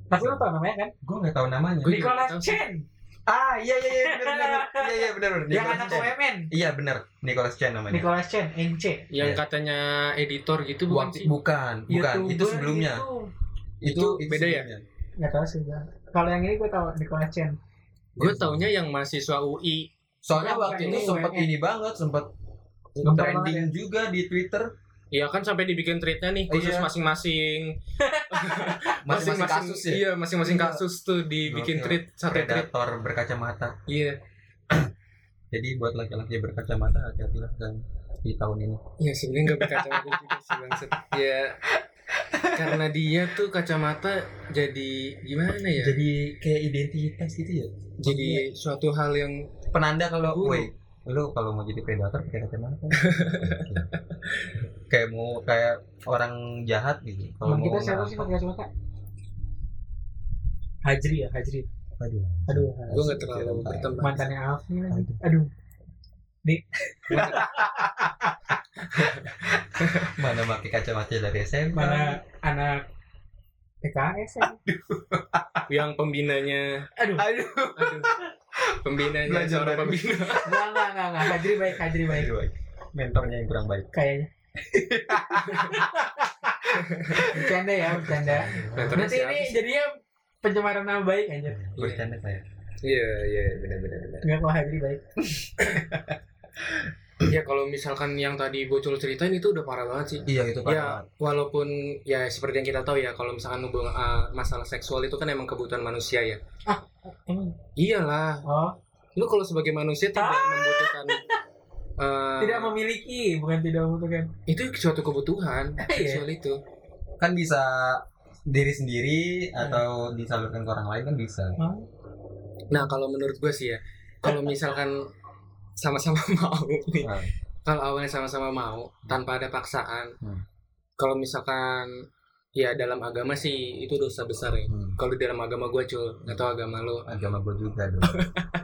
Speaker 3: Tapi lu tau namanya kan?
Speaker 4: Gue nggak tahu namanya.
Speaker 2: Gua- juga
Speaker 3: Nicholas
Speaker 2: tahu sih.
Speaker 3: Chen
Speaker 4: Ah iya iya iya benar benar iya iya benar benar.
Speaker 3: yang
Speaker 4: Nicholas
Speaker 3: anak
Speaker 4: Chen.
Speaker 3: UMN.
Speaker 4: Iya benar Nicholas Chen namanya.
Speaker 3: Nicholas Chen, NC.
Speaker 2: Yang
Speaker 4: Iya.
Speaker 2: katanya editor gitu bukan
Speaker 4: Bukan
Speaker 2: sih?
Speaker 4: bukan, bukan. itu
Speaker 3: YouTuber
Speaker 4: sebelumnya.
Speaker 3: gitu.
Speaker 4: Itu, itu
Speaker 2: beda ya?
Speaker 4: sebelumnya.
Speaker 3: Nggak tahu sih gua. Kalau yang ini gue tahu Nicholas Chen.
Speaker 2: Gue taunya yang mahasiswa UI.
Speaker 4: Soalnya
Speaker 3: Bukan,
Speaker 4: waktu itu
Speaker 3: ini
Speaker 4: sempat
Speaker 3: UMN.
Speaker 4: ini banget sempat
Speaker 3: Ngeper
Speaker 2: ya?
Speaker 4: trending juga di Twitter
Speaker 2: Iya kan sampai dibikin treatnya nih khusus
Speaker 4: Iya.
Speaker 2: masing-masing
Speaker 4: masing-masing kasus ya.
Speaker 2: Iya, masing-masing
Speaker 4: Iya.
Speaker 2: kasus tuh dibikin treat
Speaker 4: Gokil.
Speaker 2: satu treat.
Speaker 4: Predator berkacamata.
Speaker 2: Iya.
Speaker 4: Jadi buat laki-laki berkacamata hati-hatilah kan di tahun ini.
Speaker 2: Ya sebenarnya nggak berkacamata juga sih bangsat. Ya karena dia tuh kacamata jadi gimana
Speaker 3: Iya.
Speaker 2: ya? Jadi,
Speaker 4: Jadi kayak identitas gitu ya.
Speaker 2: suatu hal yang
Speaker 4: Penanda kalau
Speaker 2: Buruk.
Speaker 4: woi, lu kalau mau jadi predator pakai kacamata. kayak mau kayak orang jahat gitu.
Speaker 3: Emang
Speaker 4: Kalau
Speaker 3: kita
Speaker 4: mau
Speaker 3: siapa
Speaker 4: ngerampok.
Speaker 3: sih pakai kacamata? Hajri ya, Hajri.
Speaker 4: Aduh.
Speaker 3: Aduh,
Speaker 2: gue nggak
Speaker 4: Iya,
Speaker 2: terlalu berteman.
Speaker 3: mantannya Alfi lagi. Aduh.
Speaker 4: Mana pakai kacamata dari SMA?
Speaker 3: Mana anak PKS ya?
Speaker 2: Yang pembinanya,
Speaker 3: Aduh.
Speaker 4: Aduh.
Speaker 2: aduh, pembinanya
Speaker 4: Belajar
Speaker 2: seorang
Speaker 4: dari-
Speaker 2: pembina. Nah,
Speaker 3: Enggak, enggak, enggak, enggak. Hajri baik, Hajri baik.
Speaker 4: Aduh. Mentornya yang kurang baik.
Speaker 3: Kayaknya. bercanda ya, bercanda.
Speaker 2: Mentornya
Speaker 3: Nanti
Speaker 2: siapa
Speaker 3: ini
Speaker 2: sih?
Speaker 3: jadinya pencemaran nama baik anjir.
Speaker 4: Bercanda saya.
Speaker 2: Iya, iya, benar-benar. benar.
Speaker 3: Enggak kok Hajri baik.
Speaker 2: Ya kalau misalkan yang tadi bocor ceritain itu udah parah banget sih.
Speaker 4: Iya itu
Speaker 2: Ya,
Speaker 4: parah.
Speaker 2: walaupun ya seperti yang kita tahu ya, kalau misalkan hubungan eh, masalah seksual itu kan emang kebutuhan manusia ya.
Speaker 3: Emang.
Speaker 2: Iyalah,
Speaker 3: Hmm. Oh,
Speaker 2: lu kalau sebagai manusia tidak membutuhkan eh,
Speaker 3: Ah. tidak memiliki, bukan tidak membutuhkan.
Speaker 2: itu suatu kebutuhan
Speaker 3: Iya.
Speaker 2: seksual itu
Speaker 4: Kan bisa diri sendiri atau disalurkan ke orang lain kan bisa.
Speaker 2: nah kalau menurut gue sih ya kalau misalkan sama-sama mau nih
Speaker 3: Ah.
Speaker 4: Hmm.
Speaker 2: kalau awalnya sama-sama
Speaker 3: Hmm.
Speaker 2: mau tanpa ada paksaan
Speaker 4: Hmm.
Speaker 2: kalau misalkan ya dalam agama sih itu dosa besar ya
Speaker 4: Hmm.
Speaker 2: kalau di dalam agama gue cul atau agama lo
Speaker 4: agama gue juga dong.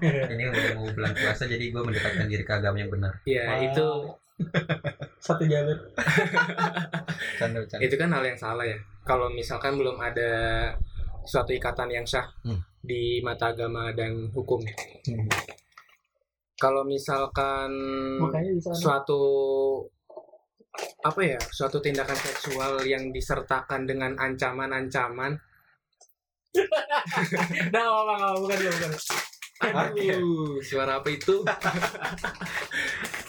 Speaker 4: ini udah mau bulan puasa jadi gue mendekatkan diri ke agama yang benar.
Speaker 2: ya
Speaker 3: Wow.
Speaker 2: itu
Speaker 3: Satu jalur.
Speaker 4: Canda canda.
Speaker 2: itu kan hal yang salah ya kalau misalkan belum ada suatu ikatan yang syah
Speaker 4: Hmm.
Speaker 2: di mata agama dan hukum kalau misalkan
Speaker 3: Makanya bisa
Speaker 2: suatu apa ya suatu tindakan seksual yang disertakan dengan ancaman-ancaman
Speaker 3: Nah, enggak apa-apa, bukan dia, bukan.
Speaker 2: aduh suara apa itu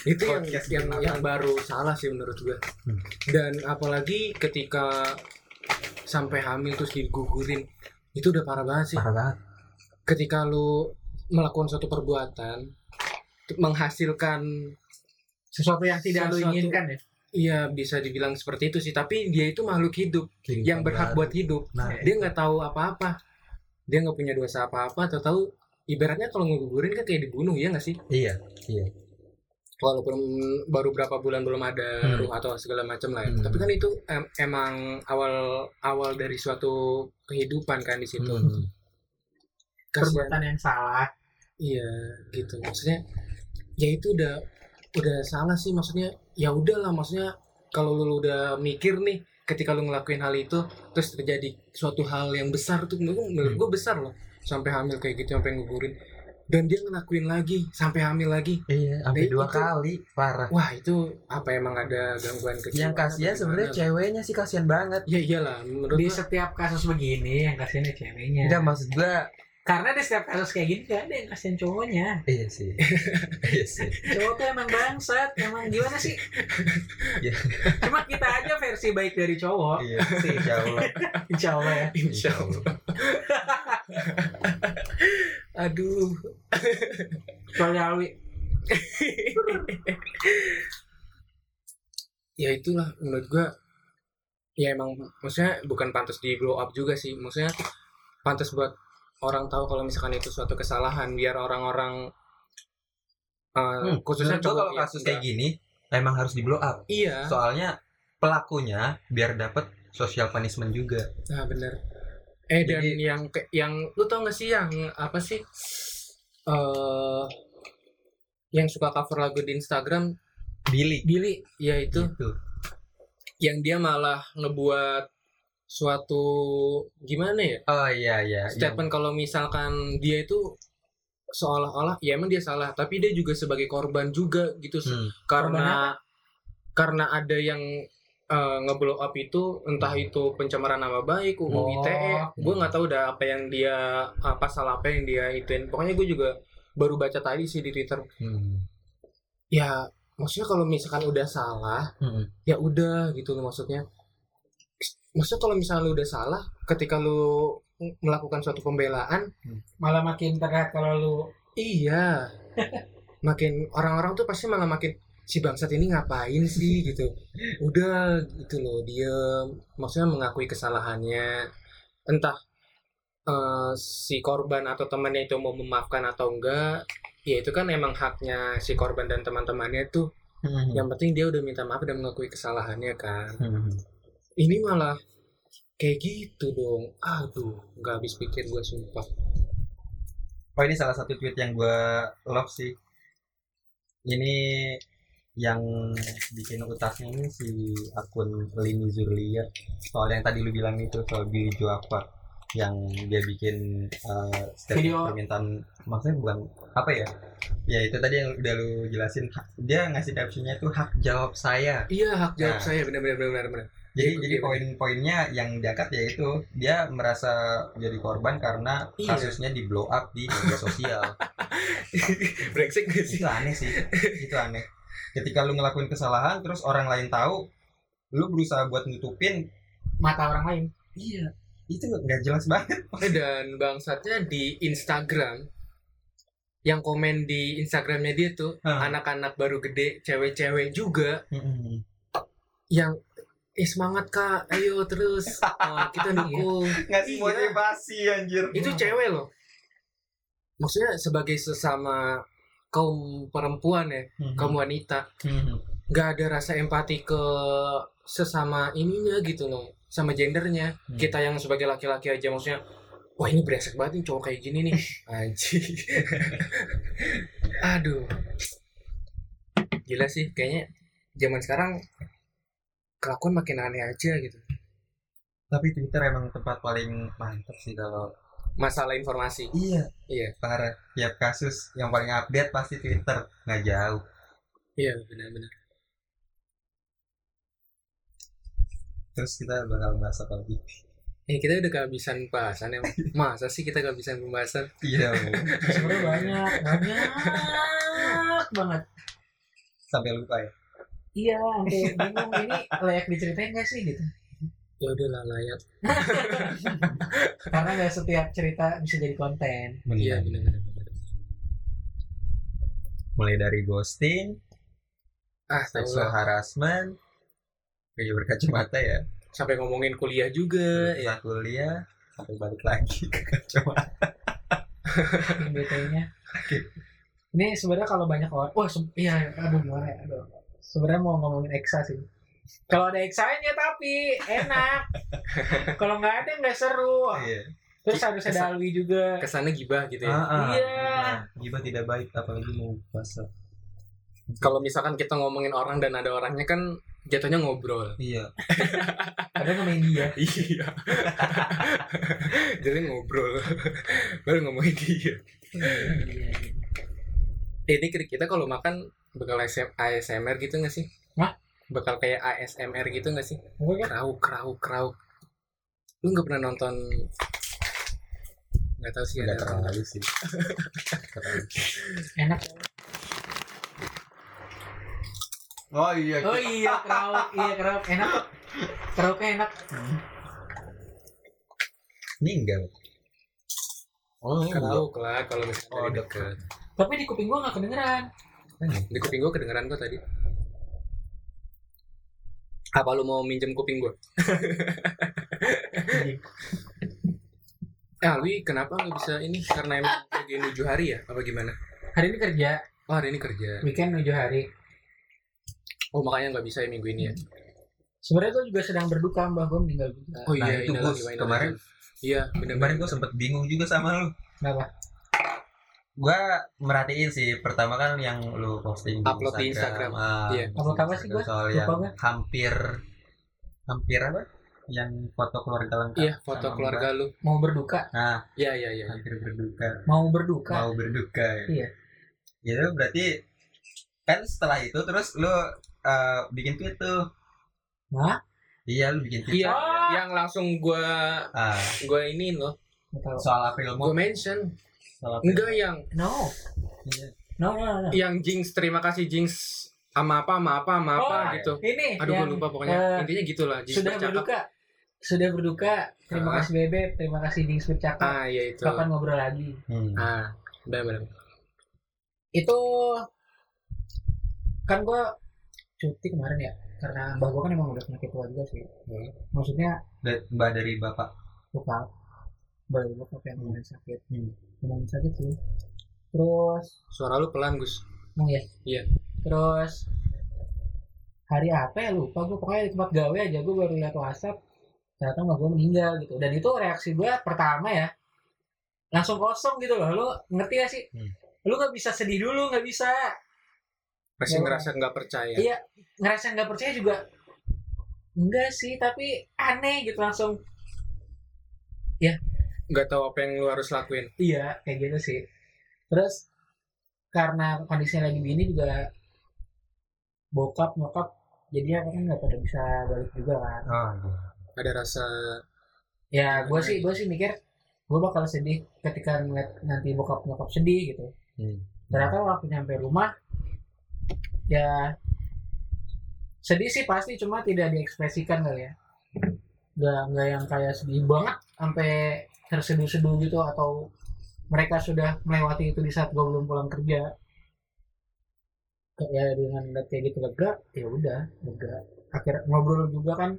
Speaker 2: itu yang
Speaker 4: Podcast
Speaker 2: yang,
Speaker 4: kenangan.
Speaker 2: yang baru salah sih menurut gue
Speaker 4: Hmm.
Speaker 2: dan apalagi ketika sampai hamil terus digugurin itu udah parah banget sih
Speaker 4: Parah banget.
Speaker 2: ketika lu melakukan suatu perbuatan menghasilkan
Speaker 3: sesuatu yang tidak lu
Speaker 2: Sesuatu-
Speaker 3: inginkan ya
Speaker 2: Iya bisa dibilang seperti itu sih tapi dia itu makhluk hidup
Speaker 4: Iya,
Speaker 2: yang berhak buat hidup
Speaker 4: Nah,
Speaker 2: dia nggak tahu apa-apa dia nggak punya dosa apa-apa atau tahu ibaratnya kalau ngegugurin kan kayak dibunuh ya nggak sih
Speaker 4: iya, iya.
Speaker 2: walaupun baru berapa bulan belum ada
Speaker 4: Hmm.
Speaker 2: ruh atau segala macam lah ya.
Speaker 4: Hmm.
Speaker 2: tapi kan itu em- emang awal awal dari suatu kehidupan kan di situ
Speaker 4: Hmm.
Speaker 2: Kasihan.
Speaker 3: perbuatan yang salah
Speaker 2: Iya gitu maksudnya ya itu udah udah salah sih maksudnya ya udahlah maksudnya kalau lu udah mikir nih ketika lu ngelakuin hal itu terus terjadi suatu hal yang besar tuh menurut gua-
Speaker 4: Hmm.
Speaker 2: menurut gua besar loh sampai hamil kayak gitu sampai ngugurin dan dia ngelakuin lagi sampai hamil lagi
Speaker 4: Iya, sampai
Speaker 2: Eh,
Speaker 4: dua
Speaker 2: itu-
Speaker 4: kali parah.
Speaker 2: wah itu apa emang ada gangguan kecil
Speaker 4: Yang kasihan sebenarnya ceweknya sih kasihan banget.
Speaker 2: ya iyalah menurut
Speaker 3: di
Speaker 2: gua
Speaker 3: setiap kasus begini yang kasihan ya
Speaker 2: Iya.
Speaker 3: ceweknya
Speaker 4: Enggak maksud gua
Speaker 3: karena di setiap kasus kayak gini gak ada yang kasihan cowoknya
Speaker 4: iya sih. iya sih.
Speaker 3: cowok tuh emang bangsat emang gimana sih
Speaker 4: Iya.
Speaker 3: cuma kita aja versi baik dari
Speaker 2: Oh.
Speaker 3: cowok
Speaker 4: Iya, insyaallah.
Speaker 3: insya Allah ya
Speaker 4: Insyaallah.
Speaker 2: aduh
Speaker 3: kecuali Alwi
Speaker 2: ya itulah menurut gua ya emang maksudnya bukan pantas di blow up juga sih maksudnya pantas buat orang tahu kalau misalkan itu suatu kesalahan biar orang-orang uh,
Speaker 4: Hmm,
Speaker 2: khususnya
Speaker 4: Menurut gua
Speaker 2: cowok ya.
Speaker 4: kalau kasus kayak gitu. gini emang harus di blow up.
Speaker 2: iya
Speaker 4: Soalnya pelakunya biar dapat social punishment juga.
Speaker 2: nah bener eh dan
Speaker 4: Jadi-
Speaker 2: yang ke- yang lu tau gak sih yang apa sih eh yang suka cover lagu di Instagram
Speaker 4: Billy.
Speaker 2: Billy ya itu
Speaker 4: Gitu. Iya.
Speaker 2: yang dia malah ngebuat suatu gimana ya
Speaker 4: Oh iya iya.
Speaker 2: statement kalau misalkan dia itu seolah-olah ya emang dia salah tapi dia juga sebagai korban juga gitu
Speaker 4: Yang- Hmm.
Speaker 2: karena karena ada yang eh, ngeblow up itu entah itu pencemaran nama baik UU
Speaker 3: Oh.
Speaker 2: ITE gue E, nggak tahu udah apa yang dia eh, pasal apa yang dia ituin pokoknya gue juga baru baca tadi sih di Twitter
Speaker 4: Hmm.
Speaker 2: ya maksudnya kalau misalkan udah salah
Speaker 4: Hmm.
Speaker 2: ya udah gitu loh maksudnya maksudnya kalau misalnya lu udah salah ketika lu melakukan suatu pembelaan
Speaker 3: malah makin terlihat kalau lu
Speaker 2: Iya. makin orang-orang tuh pasti malah makin si bangsat ini ngapain sih gitu. Udah gitu loh dia maksudnya mengakui kesalahannya. Entah eh, si korban atau temannya itu mau memaafkan atau enggak, ya itu kan emang haknya si korban dan teman-temannya tuh.
Speaker 4: Hmm.
Speaker 2: Yang penting dia udah minta maaf dan mengakui kesalahannya kan.
Speaker 4: Hmm.
Speaker 2: Ini malah kayak gitu dong. Aduh, nggak habis pikir gue sumpah.
Speaker 4: Oh ini salah satu tweet yang gue love sih. Ini yang bikin utasnya ini si akun Lini Zurlia soal yang tadi lu bilang itu soal Billy Joe Aqua yang dia bikin uh, statement
Speaker 3: Video.
Speaker 4: permintaan maksudnya bukan apa ya ya itu tadi yang udah lu jelasin dia ngasih captionnya tuh hak jawab saya
Speaker 2: Iya, hak jawab
Speaker 4: Nah.
Speaker 2: saya benar-benar benar-benar.
Speaker 4: jadi
Speaker 2: Iya,
Speaker 4: jadi
Speaker 2: iya,
Speaker 4: poin-poinnya yang diangkat yaitu dia merasa jadi korban karena
Speaker 2: Iya.
Speaker 4: kasusnya di blow up di media sosial.
Speaker 2: Brengsek gak sih?
Speaker 4: itu aneh sih, itu aneh. Ketika lu ngelakuin kesalahan terus orang lain tahu, lu berusaha buat nutupin,
Speaker 3: mata orang lain
Speaker 4: iya itu nggak jelas banget.
Speaker 2: Eh, dan bangsatnya di Instagram yang komen di Instagramnya dia tuh
Speaker 4: Hah.
Speaker 2: anak-anak baru gede cewek-cewek juga yang eh semangat kak ayo terus Eh, kita dukung
Speaker 4: Ngasih
Speaker 2: Iya.
Speaker 4: motivasi
Speaker 3: Iya.
Speaker 4: anjir.
Speaker 2: itu cewek loh maksudnya sebagai sesama kaum perempuan ya kaum wanita
Speaker 4: Mhm.
Speaker 2: nggak ada rasa empati ke sesama ininya gitu loh sama gendernya
Speaker 4: Hmm.
Speaker 2: kita yang sebagai laki-laki aja maksudnya wah ini brengsek banget nih cowok kayak gini nih anjing aduh gila sih kayaknya zaman sekarang kelakuan makin aneh aja gitu
Speaker 4: Tapi Twitter emang tempat paling mantep sih kalau
Speaker 2: masalah informasi
Speaker 4: iya
Speaker 2: Iya.
Speaker 4: parah tiap kasus yang paling update pasti Twitter nggak jauh.
Speaker 2: iya benar-benar
Speaker 4: Terus kita bakal bahas apa lagi?
Speaker 2: eh kita udah kehabisan pembahasan emang masa sih kita kehabisan pembahasan
Speaker 4: Iya.
Speaker 3: sebenarnya banyak banyak banget
Speaker 4: Sampai lupa ya.
Speaker 3: iya sampai bingung ini layak diceritain gak sih gitu
Speaker 2: ya udah lah layak
Speaker 3: karena gak setiap cerita bisa jadi konten
Speaker 2: iya benar-benar
Speaker 4: mulai dari ghosting,
Speaker 2: ah tahu
Speaker 4: sexual
Speaker 2: lah.
Speaker 4: harassment, kayak berkacamata ya,
Speaker 2: sampai ngomongin kuliah juga ya
Speaker 4: Setelah kuliah sampai balik lagi ke kacamata.
Speaker 3: BT-nya. gitu ya. Ini sebenarnya kalau banyak orang, wah se- iya aduh gimana ya, aduh. Sebenarnya mau ngomongin eksa sih. Kalau ada eksanya tapi enak. kalau nggak ada nggak seru.
Speaker 4: Iya.
Speaker 3: Terus harus ada alwi juga.
Speaker 2: kesannya gibah gitu ya.
Speaker 4: Ah, ah.
Speaker 3: Iya.
Speaker 4: Nah, Gibah tidak baik apalagi mau puasa.
Speaker 2: Kalau misalkan kita ngomongin orang dan ada orangnya kan jatuhnya ngobrol.
Speaker 4: Iya.
Speaker 3: Ada nggak main dia?
Speaker 2: Iya. Jadi ngobrol. Baru ngomongin dia.
Speaker 4: Iya,
Speaker 2: Eh, ini kira- kita kalau makan bakal ASM ASMR gitu nggak sih?
Speaker 3: Hah?
Speaker 2: Bakal kayak ASMR gitu nggak sih?
Speaker 3: Gue kan
Speaker 2: Krauk, krauk, krauk. Lu nggak pernah nonton nggak tahu sih
Speaker 4: Tidak
Speaker 2: ada
Speaker 4: terlalu sih. Terlalu.
Speaker 3: enak.
Speaker 4: Oh iya.
Speaker 3: Oh iya kerawak, iya kerawak enak. Kerawaknya enak.
Speaker 4: Ninggal. Oh,
Speaker 2: krauk lah kalau misalnya
Speaker 4: Oh,
Speaker 2: dari deket.
Speaker 4: deket.
Speaker 3: Tapi di kuping gua nggak kedengeran.
Speaker 2: Di kuping gua kedengeran kok tadi. Apa lu mau minjem kuping gua?
Speaker 4: Iya.
Speaker 2: Eh, Alwi, kenapa nggak bisa ini? Karena emang lagi menuju hari ya? Apa gimana?
Speaker 3: Hari ini kerja,
Speaker 2: Oh, hari ini kerja.
Speaker 3: weekend menuju hari.
Speaker 2: Oh, makanya nggak bisa ya minggu ini ya?
Speaker 3: Sebenarnya gue juga sedang berduka mbah gue meninggal juga.
Speaker 2: Oh
Speaker 4: Nah, itu
Speaker 2: Indah
Speaker 4: gua
Speaker 2: lagi, Indah lagi.
Speaker 4: kemarin
Speaker 2: Iya,
Speaker 4: kemarin
Speaker 2: benar-benar.
Speaker 4: gue sempet bingung juga sama lu.
Speaker 3: Kenapa?
Speaker 4: Gue merhatiin sih pertama kan yang lu posting di
Speaker 2: Upload di Instagram.
Speaker 4: ah,
Speaker 2: Iya.
Speaker 4: posting
Speaker 3: Upload
Speaker 4: di
Speaker 3: apa sih
Speaker 4: Instagram
Speaker 3: gua?
Speaker 4: Soal
Speaker 3: Lupa
Speaker 4: yang
Speaker 3: gua.
Speaker 4: hampir hampir apa? Yang foto keluarga lengkap.
Speaker 2: Iya, foto
Speaker 4: sama
Speaker 2: keluarga lu.
Speaker 3: Mau berduka,
Speaker 4: Nah,
Speaker 2: Iya, iya, iya.
Speaker 4: hampir berduka.
Speaker 3: mau berduka.
Speaker 4: Mau berduka. Ya.
Speaker 3: Iya.
Speaker 4: Ya lu berarti kan setelah itu terus lu eh, bikin tweet tuh.
Speaker 3: Hah?
Speaker 4: Iya, lu bikin tweet.
Speaker 2: Iya,
Speaker 3: Ah.
Speaker 2: yang langsung gua
Speaker 4: Ah,
Speaker 2: gua ini loh,
Speaker 3: Nggak tahu.
Speaker 4: soal April
Speaker 2: gua
Speaker 4: Mop.
Speaker 2: mention.
Speaker 4: Soal April
Speaker 2: Enggak yang
Speaker 3: No,
Speaker 4: Iya.
Speaker 3: no, no, no. no.
Speaker 2: yang Jinx, terima kasih Jinx sama apa sama apa sama apa
Speaker 3: Oh,
Speaker 2: gitu.
Speaker 3: Ini
Speaker 2: Aduh,
Speaker 3: yang
Speaker 2: gua lupa pokoknya.
Speaker 3: eh,
Speaker 2: Intinya gitulah, Jinx
Speaker 3: sudah
Speaker 2: bercakap.
Speaker 3: berduka, sudah berduka. Terima
Speaker 2: Ah.
Speaker 3: kasih bebek, terima kasih Dings bercakap.
Speaker 2: Ah, iya itu.
Speaker 3: Kapan ngobrol lagi?
Speaker 4: Hmm.
Speaker 2: Ah, benar-benar.
Speaker 3: Itu kan gue cuti kemarin ya, karena mbak gue kan emang udah penyakit tua juga sih.
Speaker 4: Hmm.
Speaker 3: Maksudnya
Speaker 4: Da- Mbak dari bapak.
Speaker 3: luka, baru luka yang
Speaker 4: Hmm.
Speaker 3: kemarin sakit,
Speaker 4: Hmm.
Speaker 3: kemarin sakit sih. Terus
Speaker 2: Suara lu pelan, Gus.
Speaker 3: Oh iya.
Speaker 2: Iya.
Speaker 3: Terus hari apa ya lupa gue pokoknya di tempat gawe aja gue baru lihat WhatsApp ternyata mbak gue meninggal gitu dan itu reaksi gue pertama ya langsung kosong gitu loh lu ngerti gak sih
Speaker 4: Hmm.
Speaker 3: lu nggak bisa sedih dulu nggak bisa
Speaker 2: Masih
Speaker 3: Iya.
Speaker 2: ngerasa nggak percaya.
Speaker 3: Iya. ngerasa nggak percaya juga enggak sih tapi aneh gitu langsung
Speaker 2: Nggak tahu apa yang lu harus lakuin.
Speaker 3: iya kayak gitu sih terus karena kondisinya lagi begini juga bokap nyokap jadi aku kan nggak pada bisa balik juga kan
Speaker 4: Oh, iya.
Speaker 2: Ada rasa
Speaker 3: ya
Speaker 2: Gimana
Speaker 3: gue sih gue sih mikir gue bakal sedih ketika ngeliat nanti bokap nyokap sedih gitu
Speaker 4: Hmm.
Speaker 3: ternyata waktu nyampe rumah ya sedih sih pasti cuma tidak diekspresikan kali ya nggak nggak yang kayak sedih banget sampai terseduh-seduh gitu atau mereka sudah melewati itu di saat gue belum pulang kerja kayak ya, dengan ngeliat kayak gitu lega ya udah lega akhir ngobrol juga kan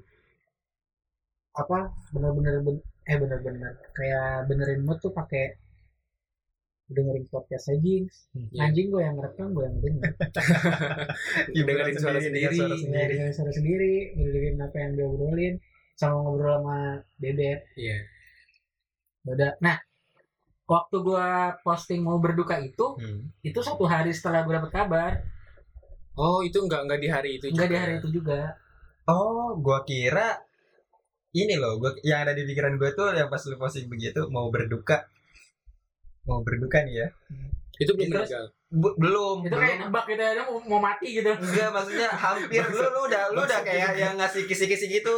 Speaker 3: apa bener-bener ben- eh bener-bener kayak benerin mood tuh pakai dengerin podcast aja
Speaker 2: Iya.
Speaker 3: Anjing gue yang ngerekam, gue yang denger.
Speaker 2: dengerin suara sendiri.
Speaker 4: Dengerin suara
Speaker 3: Gue yang dengerin suara sendiri, dengerin apa yang diobrolin, sama ngobrol sama Bebek.
Speaker 2: Iya.
Speaker 3: Udah. Nah, waktu gue posting mau berduka itu,
Speaker 4: Hmm.
Speaker 3: itu satu hari setelah gue dapet kabar,
Speaker 2: Oh, itu nggak nggak di hari itu
Speaker 3: enggak di
Speaker 2: juga. ya?
Speaker 3: hari itu juga.
Speaker 4: Oh, gua kira ini loh, gua yang ada di pikiran gua tuh yang pas lu posting begitu mau berduka. Mau berduka nih ya.
Speaker 2: Itu belum
Speaker 4: Terus-
Speaker 2: meninggal.
Speaker 4: Bu- belum,
Speaker 3: Itu kayak
Speaker 4: belum.
Speaker 3: nebak gitu, dia mau, mau mati gitu.
Speaker 2: Iya.
Speaker 4: Enggak, maksudnya hampir lu, lu udah lu udah kayak yang ngasih kisi-kisi gitu.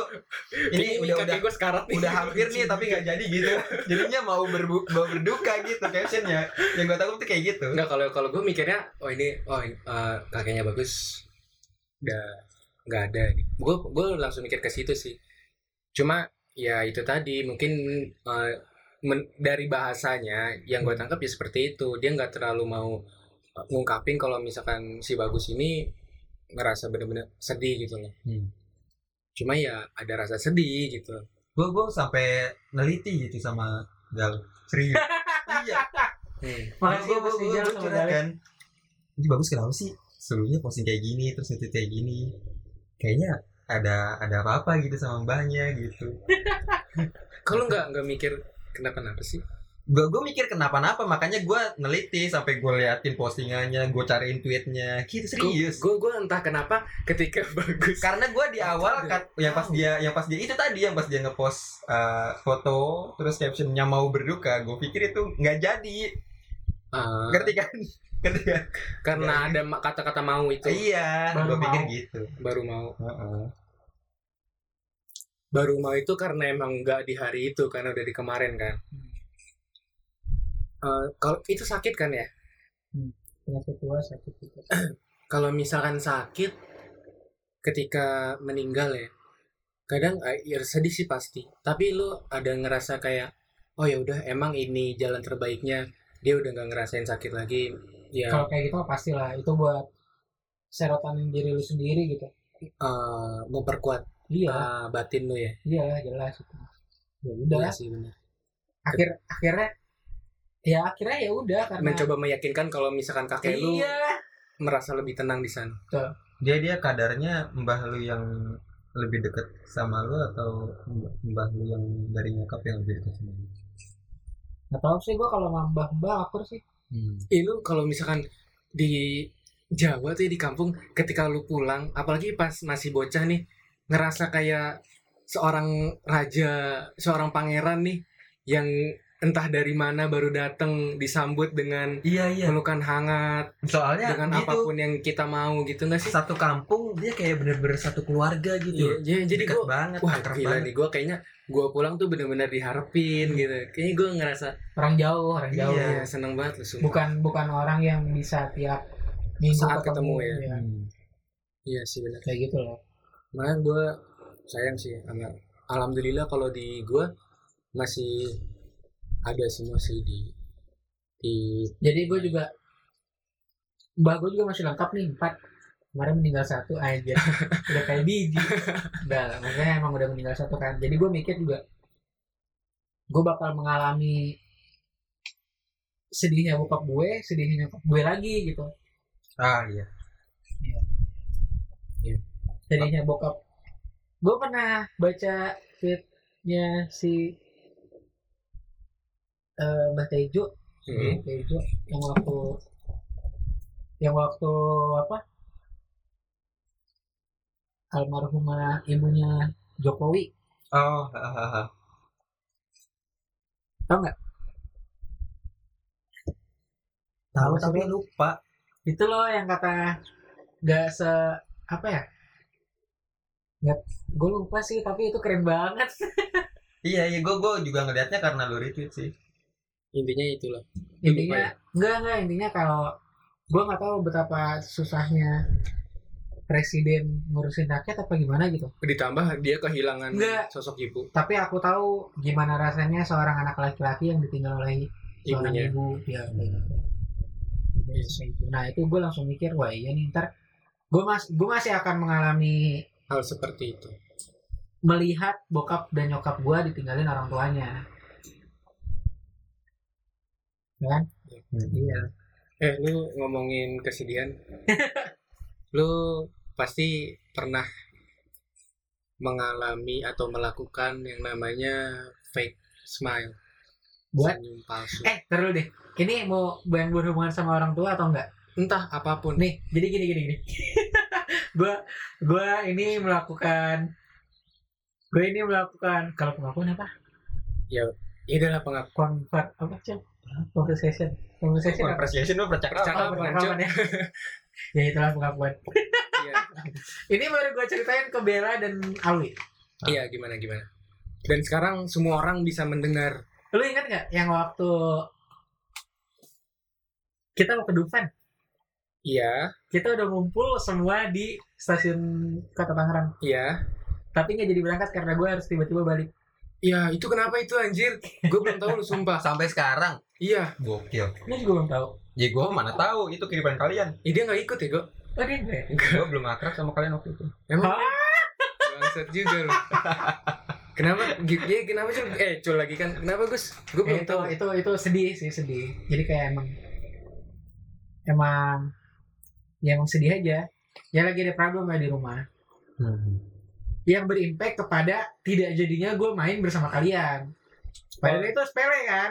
Speaker 4: Ini udah udah
Speaker 2: gue sekarat nih.
Speaker 4: udah hampir nih tapi nggak jadi gitu. Jadinya mau berbu mau berduka gitu captionnya. Yang gua takut tuh kayak gitu.
Speaker 2: Enggak kalau kalau gue mikirnya oh ini oh ini, eh, kakeknya bagus. Udah nggak ada nih. Gue gue langsung mikir ke situ sih. Cuma ya itu tadi mungkin eh, men- dari bahasanya yang gue tangkap ya seperti itu. Dia nggak terlalu mau ngungkapin kalau misalkan si bagus ini ngerasa bener-bener sedih gitu loh
Speaker 4: Hmm.
Speaker 2: cuma ya ada rasa sedih gitu
Speaker 4: gue gue sampai neliti gitu sama Gal serius iya
Speaker 2: hmm.
Speaker 3: Makasih ya, Mas Rijal, sama Galih.
Speaker 4: kan ini bagus kenapa sih sebelumnya posting kayak gini terus itu kayak gini kayaknya ada ada apa-apa gitu sama mbaknya gitu
Speaker 2: kalau nggak nggak mikir kenapa napa sih
Speaker 4: gue gue mikir kenapa-napa makanya gue neliti sampai gue liatin postingannya gue cariin tweetnya gitu serius
Speaker 2: gue gue entah kenapa ketika bagus
Speaker 4: karena gue di awal
Speaker 2: Tahu.
Speaker 4: kat- yang pas dia yang pas dia itu tadi yang pas dia ngepost eh, foto terus captionnya mau berduka gue pikir itu nggak jadi
Speaker 3: Ah.
Speaker 2: Eh,
Speaker 4: ngerti kan ngerti kan
Speaker 2: karena ada ma- kata-kata mau itu
Speaker 4: iya
Speaker 3: Baru
Speaker 4: gue pikir
Speaker 3: mau.
Speaker 4: gitu
Speaker 2: baru mau
Speaker 4: Heeh.
Speaker 2: baru mau itu karena emang nggak di hari itu karena udah di kemarin kan Eh, kalau itu sakit kan ya
Speaker 3: penyakit tua sakit gitu. tua.
Speaker 2: kalau misalkan sakit ketika meninggal ya kadang eh, ya sedih sih pasti tapi lu ada ngerasa kayak oh ya udah emang ini jalan terbaiknya dia udah nggak ngerasain sakit lagi ya
Speaker 3: kalau kayak gitu mah pastilah itu buat serotonin diri lu sendiri gitu
Speaker 2: eh, memperkuat
Speaker 3: iya
Speaker 2: eh, batin lu ya
Speaker 3: iya jelas itu ya
Speaker 2: Iya
Speaker 3: udah
Speaker 2: sih bener.
Speaker 3: akhir akhirnya ya akhirnya ya udah karena
Speaker 2: mencoba meyakinkan kalau misalkan kakek lu
Speaker 3: iya
Speaker 2: merasa lebih tenang di sana
Speaker 4: dia dia kadarnya mbah lu yang lebih deket sama lu atau mb- mbah lu yang dari nyokap yang lebih deket sama lu
Speaker 3: nggak tahu sih gua kalau mbah mbah akur sih
Speaker 2: Ih, lu kalau misalkan di Jawa tuh ya, di kampung ketika lu pulang apalagi pas masih bocah nih ngerasa kayak seorang raja seorang pangeran nih yang entah dari mana baru datang disambut dengan
Speaker 4: iya iya
Speaker 2: pelukan hangat
Speaker 4: soalnya
Speaker 2: dengan
Speaker 4: gitu
Speaker 2: apapun yang kita mau gitu nggak sih
Speaker 4: satu kampung dia kayak bener-bener satu keluarga
Speaker 2: Iya,
Speaker 4: gitu
Speaker 2: iya, jadi
Speaker 4: Deket
Speaker 2: gue
Speaker 4: banget
Speaker 2: wah
Speaker 4: akrab
Speaker 2: gila
Speaker 4: banget.
Speaker 2: nih gue kayaknya gue pulang tuh bener-bener diharapin gitu kayaknya gue ngerasa
Speaker 3: orang jauh orang jauh
Speaker 4: Iya.
Speaker 2: ya seneng banget lu semua
Speaker 3: bukan bukan orang yang bisa tiap minggu
Speaker 2: Saat ketemu, ya.
Speaker 4: Hmm.
Speaker 2: iya sih benar
Speaker 3: kayak gitu loh
Speaker 2: makanya gue sayang sih sama alhamdulillah kalau di gue masih ada semua sih di di
Speaker 3: jadi gue juga mbah gue juga masih lengkap nih empat kemarin meninggal satu aja udah kayak biji udah lah, maksudnya emang udah meninggal satu kan jadi gue mikir juga gue bakal mengalami sedihnya bokap gue sedihnya nyokap gue lagi gitu
Speaker 4: ah iya
Speaker 3: sedihnya bokap gue pernah baca tweetnya si eh Mbah Tejo
Speaker 2: Hmm.
Speaker 3: Tejo yang waktu yang waktu apa almarhumah ibunya Jokowi
Speaker 4: oh ah, ah, ah.
Speaker 3: tau nggak
Speaker 4: tahu
Speaker 3: Maksud
Speaker 4: tapi
Speaker 3: lu?
Speaker 4: lupa
Speaker 3: itu loh yang kata nggak se apa ya nggak gue lupa sih tapi itu keren banget
Speaker 4: iya iya gue gue juga ngelihatnya karena lu retweet sih
Speaker 2: intinya itulah
Speaker 3: intinya enggak enggak intinya kalau gua nggak tahu betapa susahnya presiden ngurusin rakyat apa gimana gitu
Speaker 2: ditambah dia kehilangan
Speaker 3: Nggak.
Speaker 2: sosok ibu
Speaker 3: tapi aku tahu gimana rasanya seorang anak laki-laki yang ditinggal oleh seorang
Speaker 2: ibunya
Speaker 3: ibu ya kayak gitu.
Speaker 2: iya
Speaker 3: Jadi kayak gitu. nah itu gue langsung mikir wah iya nih ntar gue mas gue masih akan mengalami
Speaker 2: hal seperti itu
Speaker 3: melihat bokap dan nyokap gua ditinggalin orang tuanya
Speaker 2: iya eh lu ngomongin kesedihan lu pasti pernah mengalami atau melakukan yang namanya fake smile
Speaker 3: Buat?
Speaker 2: senyum palsu
Speaker 3: eh terus deh ini mau yang berhubungan sama orang tua atau enggak
Speaker 2: entah apapun
Speaker 3: nih jadi gini gini gini gua gua ini melakukan gue ini melakukan kalau pengakuan apa
Speaker 2: inilah Iya, pengap
Speaker 3: convert apa sih conversation conversation apa?
Speaker 4: appreciation lu percakapan
Speaker 2: Percakapan.
Speaker 3: Oh, pengakuan ya ya itulah pengakuan
Speaker 2: Iya.
Speaker 3: ini baru gue ceritain ke Bella dan Alwi
Speaker 2: Iya
Speaker 3: Nah.
Speaker 2: gimana gimana. Dan sekarang semua orang bisa mendengar.
Speaker 3: lu ingat nggak yang waktu kita mau ke Dufan
Speaker 2: Iya,
Speaker 3: kita udah ngumpul semua di stasiun Kota Tangerang
Speaker 2: iya.
Speaker 3: tapi nggak jadi berangkat karena gue harus tiba-tiba balik
Speaker 2: Ya itu kenapa itu anjir? Gue belum tahu lu sumpah.
Speaker 4: sampai sekarang
Speaker 2: Iya,
Speaker 4: gokil
Speaker 3: lu juga belum tahu
Speaker 4: Ya gue mana tahu itu kehidupan kalian.
Speaker 2: Ih, dia nggak ikut ya gue
Speaker 3: Oh, dia enggak ya?
Speaker 4: Gue belum akrab sama kalian waktu itu.
Speaker 2: emang
Speaker 3: Hah?
Speaker 2: bangsat juga lu kenapa Gi- Gi, kenapa sih eh cul lagi kan kenapa Gus gue
Speaker 3: Ya,
Speaker 2: belum
Speaker 3: itu,
Speaker 2: tahu
Speaker 3: itu itu sedih sih sedih. Jadi kayak emang emang ya emang sedih aja. Ya lagi ada problem lah di rumah Hmm. yang berimpact kepada tidak jadinya gue main bersama kalian. Padahal
Speaker 2: Oh.
Speaker 3: itu sepele kan.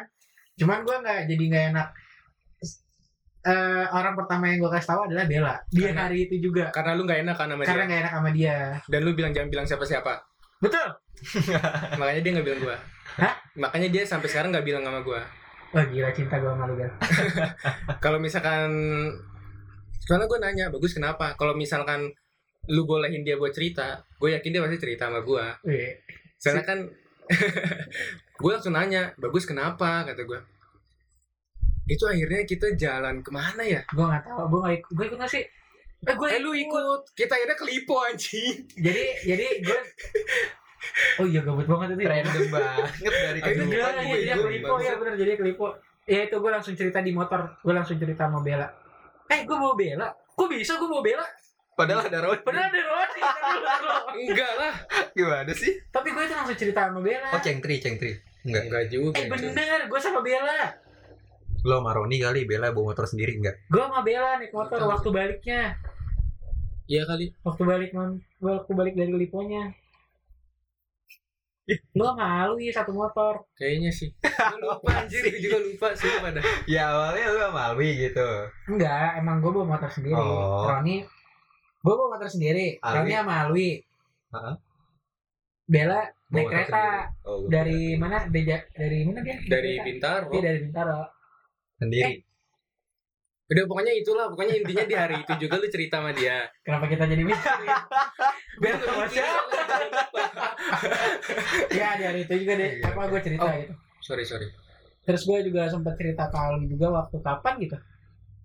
Speaker 3: Cuman gue nggak jadi nggak enak. Eh, orang pertama yang gue kasih tahu adalah Bella. Dia
Speaker 2: Karena-
Speaker 3: hari itu juga
Speaker 2: karena lu nggak enak kan sama
Speaker 3: karena
Speaker 2: dia
Speaker 3: nggak enak sama dia.
Speaker 2: dan lu bilang jangan bilang siapa-siapa
Speaker 3: Betul.
Speaker 2: makanya dia nggak bilang gue
Speaker 3: Hah?
Speaker 2: makanya dia sampai sekarang nggak bilang sama gue
Speaker 3: Wah Oh, gila cinta gue sama lu Bella.
Speaker 2: kalau misalkan karena gue nanya bagus kenapa kalau misalkan lu bolehin dia buat cerita gue yakin dia pasti cerita sama gue
Speaker 3: Wih.
Speaker 2: Soalnya kan gue langsung nanya, bagus kenapa? Kata gue. Itu akhirnya kita jalan kemana ya?
Speaker 3: Gue nggak tahu. Gue nggak ikut. Gue ikut nggak sih? Eh, gue
Speaker 2: Eh lu ikut, kita akhirnya kelipo anjing.
Speaker 3: Jadi jadi gue. Oh iya gabut banget itu.
Speaker 4: Random banget dari
Speaker 2: Aduh,
Speaker 3: Itu
Speaker 4: kehidupan
Speaker 3: gila,
Speaker 4: gue
Speaker 3: iya, iya,
Speaker 4: gue
Speaker 3: kelipo
Speaker 4: bingung.
Speaker 3: ya bener jadi kelipo. Ya itu gue langsung cerita di motor, gue langsung cerita sama Bella. Eh gue mau Bella, kok bisa gue mau Bella?
Speaker 4: Padahal ada road
Speaker 3: Padahal ada Roni.
Speaker 2: Enggak lah.
Speaker 4: gimana sih?
Speaker 3: Tapi gue itu langsung cerita sama Bella.
Speaker 4: Oh cengtri cengtri. Enggak.
Speaker 2: Enggak juga.
Speaker 3: eh bener, gue sama Bella.
Speaker 4: Lo sama Roni kali Bella bawa motor sendiri enggak?
Speaker 3: Gue sama Bella naik motor waktu baliknya,
Speaker 2: Iya kali.
Speaker 3: waktu balik man, waktu balik dari Liponya. Lo malu ya satu motor.
Speaker 2: Kayaknya sih. Gue lupa anjir, gue juga lupa sih pada.
Speaker 4: Ya awalnya lu sama Alwi gitu.
Speaker 3: Enggak, emang gue bawa motor sendiri.
Speaker 4: Oh.
Speaker 3: Roni, gue bawa motor sendiri.
Speaker 4: Alwi.
Speaker 3: Roni sama Alwi.
Speaker 4: Heeh.
Speaker 3: Bella
Speaker 4: Bawa
Speaker 3: naik
Speaker 4: motor
Speaker 3: kereta
Speaker 4: sendiri. Oh, gua
Speaker 3: dari
Speaker 4: kira.
Speaker 3: mana? Deja, dari mana dia?
Speaker 2: Dari
Speaker 3: Kereta.
Speaker 2: Bintaro.
Speaker 3: Iya dari Bintaro. Eh.
Speaker 4: sendiri.
Speaker 2: Udah pokoknya itulah, pokoknya intinya di hari itu juga lu cerita sama dia.
Speaker 3: Kenapa kita jadi misteri? Bella sama siapa? Iya di hari itu juga deh.
Speaker 4: Iya.
Speaker 3: Apa gue cerita
Speaker 2: Oh.
Speaker 3: gitu.
Speaker 2: Sorry, sorry.
Speaker 3: Terus gue juga sempat cerita ke Alwi juga waktu kapan gitu.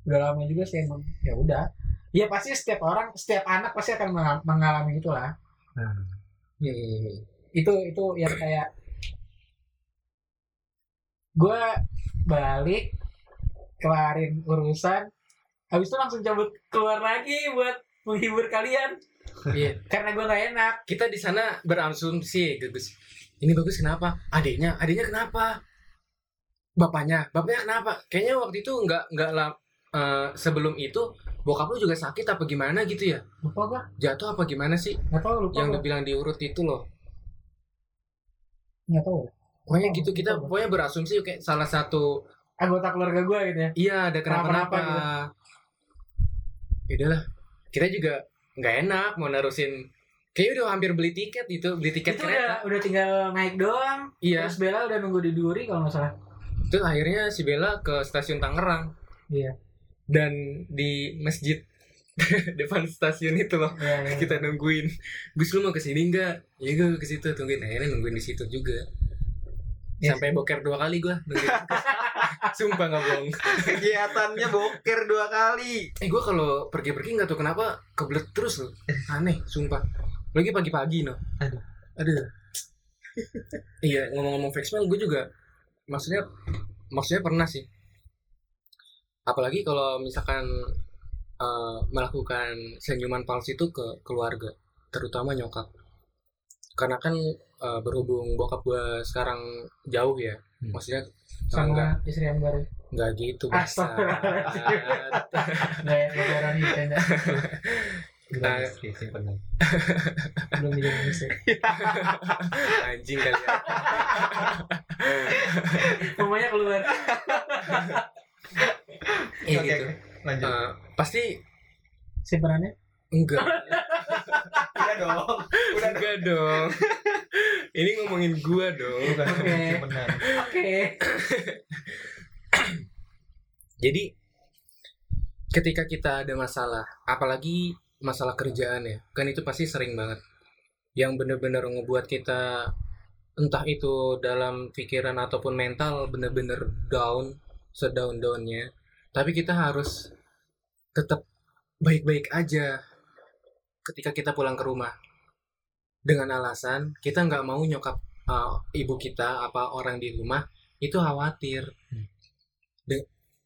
Speaker 3: Udah lama juga sih emang. Ya udah. Ya pasti setiap orang, setiap anak pasti akan mengal- mengalami itulah.
Speaker 2: Hmm.
Speaker 3: itu itu yang kayak gue balik kelarin urusan habis itu langsung cabut keluar lagi buat menghibur kalian
Speaker 2: Iya.
Speaker 3: karena gue nggak enak
Speaker 2: Kita di sana berasumsi, Gus. Ini bagus kenapa? Adiknya, adiknya kenapa? Bapaknya, bapaknya kenapa? Kayaknya waktu itu nggak nggak la- eh, sebelum itu bokap lu juga sakit apa gimana gitu ya?
Speaker 3: lupa gue
Speaker 2: Jatuh apa gimana sih?
Speaker 3: nggak tahu lupa
Speaker 2: Yang lu
Speaker 3: gue
Speaker 2: bilang diurut itu loh.
Speaker 3: nggak tahu
Speaker 2: Pokoknya
Speaker 3: Oh,
Speaker 2: gitu kita
Speaker 3: betul.
Speaker 2: pokoknya berasumsi kayak salah satu
Speaker 3: anggota keluarga gue gitu ya
Speaker 2: iya ada kenapa-napa.
Speaker 3: Kenapa-napa gitu.
Speaker 2: Ya udahlah. Kita juga nggak enak mau nerusin Kayaknya udah hampir beli tiket itu, beli tiket
Speaker 3: itu udah
Speaker 2: kereta.
Speaker 3: udah tinggal naik doang
Speaker 2: Iya.
Speaker 3: terus Bella udah nunggu di Duri kalau nggak salah
Speaker 2: Terus akhirnya si Bella ke stasiun Tangerang.
Speaker 3: Iya.
Speaker 2: Dan di masjid depan stasiun itu loh
Speaker 3: Iya, iya.
Speaker 2: kita nungguin. Gus lu mau kesini nggak? Ya gue ke situ tungguin. Akhirnya nungguin di situ juga.
Speaker 3: Iya.
Speaker 2: Sampai boker dua kali gue. Sumpah nggak bohong.
Speaker 4: Kegiatannya boker dua kali.
Speaker 2: Eh gue kalau pergi-pergi nggak tahu kenapa kebelet terus loh. Aneh, sumpah. Lagi pagi-pagi no.
Speaker 4: Eh. Aduh.
Speaker 2: Aduh. iya ngomong-ngomong flexman gue juga maksudnya maksudnya pernah sih. Apalagi kalau misalkan eh, melakukan senyuman palsu itu ke keluarga, terutama nyokap. Karena kan eh, berhubung bokap gue sekarang jauh ya,
Speaker 4: Hmm.
Speaker 2: maksudnya
Speaker 3: sama istri yang baru
Speaker 2: nggak gitu bahasa.
Speaker 3: Astagfirullahaladzim. nggak ya nggak ada orang gitu ya, nggak.
Speaker 2: Nah,
Speaker 4: Oke, simpen aja.
Speaker 3: belum jadi misteri
Speaker 2: anjing kali ya.
Speaker 3: Mamanya keluar.
Speaker 2: Iya
Speaker 4: Oke,
Speaker 2: gitu.
Speaker 4: oke. Lanjut.
Speaker 2: Eh, pasti
Speaker 3: Simpenannya?
Speaker 2: enggak.
Speaker 4: Udah dong. Udah dong.
Speaker 2: enggak dong. Ini ngomongin gua dong.
Speaker 4: Bukan
Speaker 3: Oke.
Speaker 4: simpenan.
Speaker 3: Oke.
Speaker 2: Jadi ketika kita ada masalah, apalagi masalah kerjaan ya, kan itu pasti sering banget. Yang bener-bener ngebuat kita entah itu dalam pikiran ataupun mental bener-bener down, sedown-downnya. Tapi kita harus tetap baik-baik aja ketika kita pulang ke rumah. Dengan alasan kita nggak mau nyokap eh, uh, ibu kita apa orang di rumah itu khawatir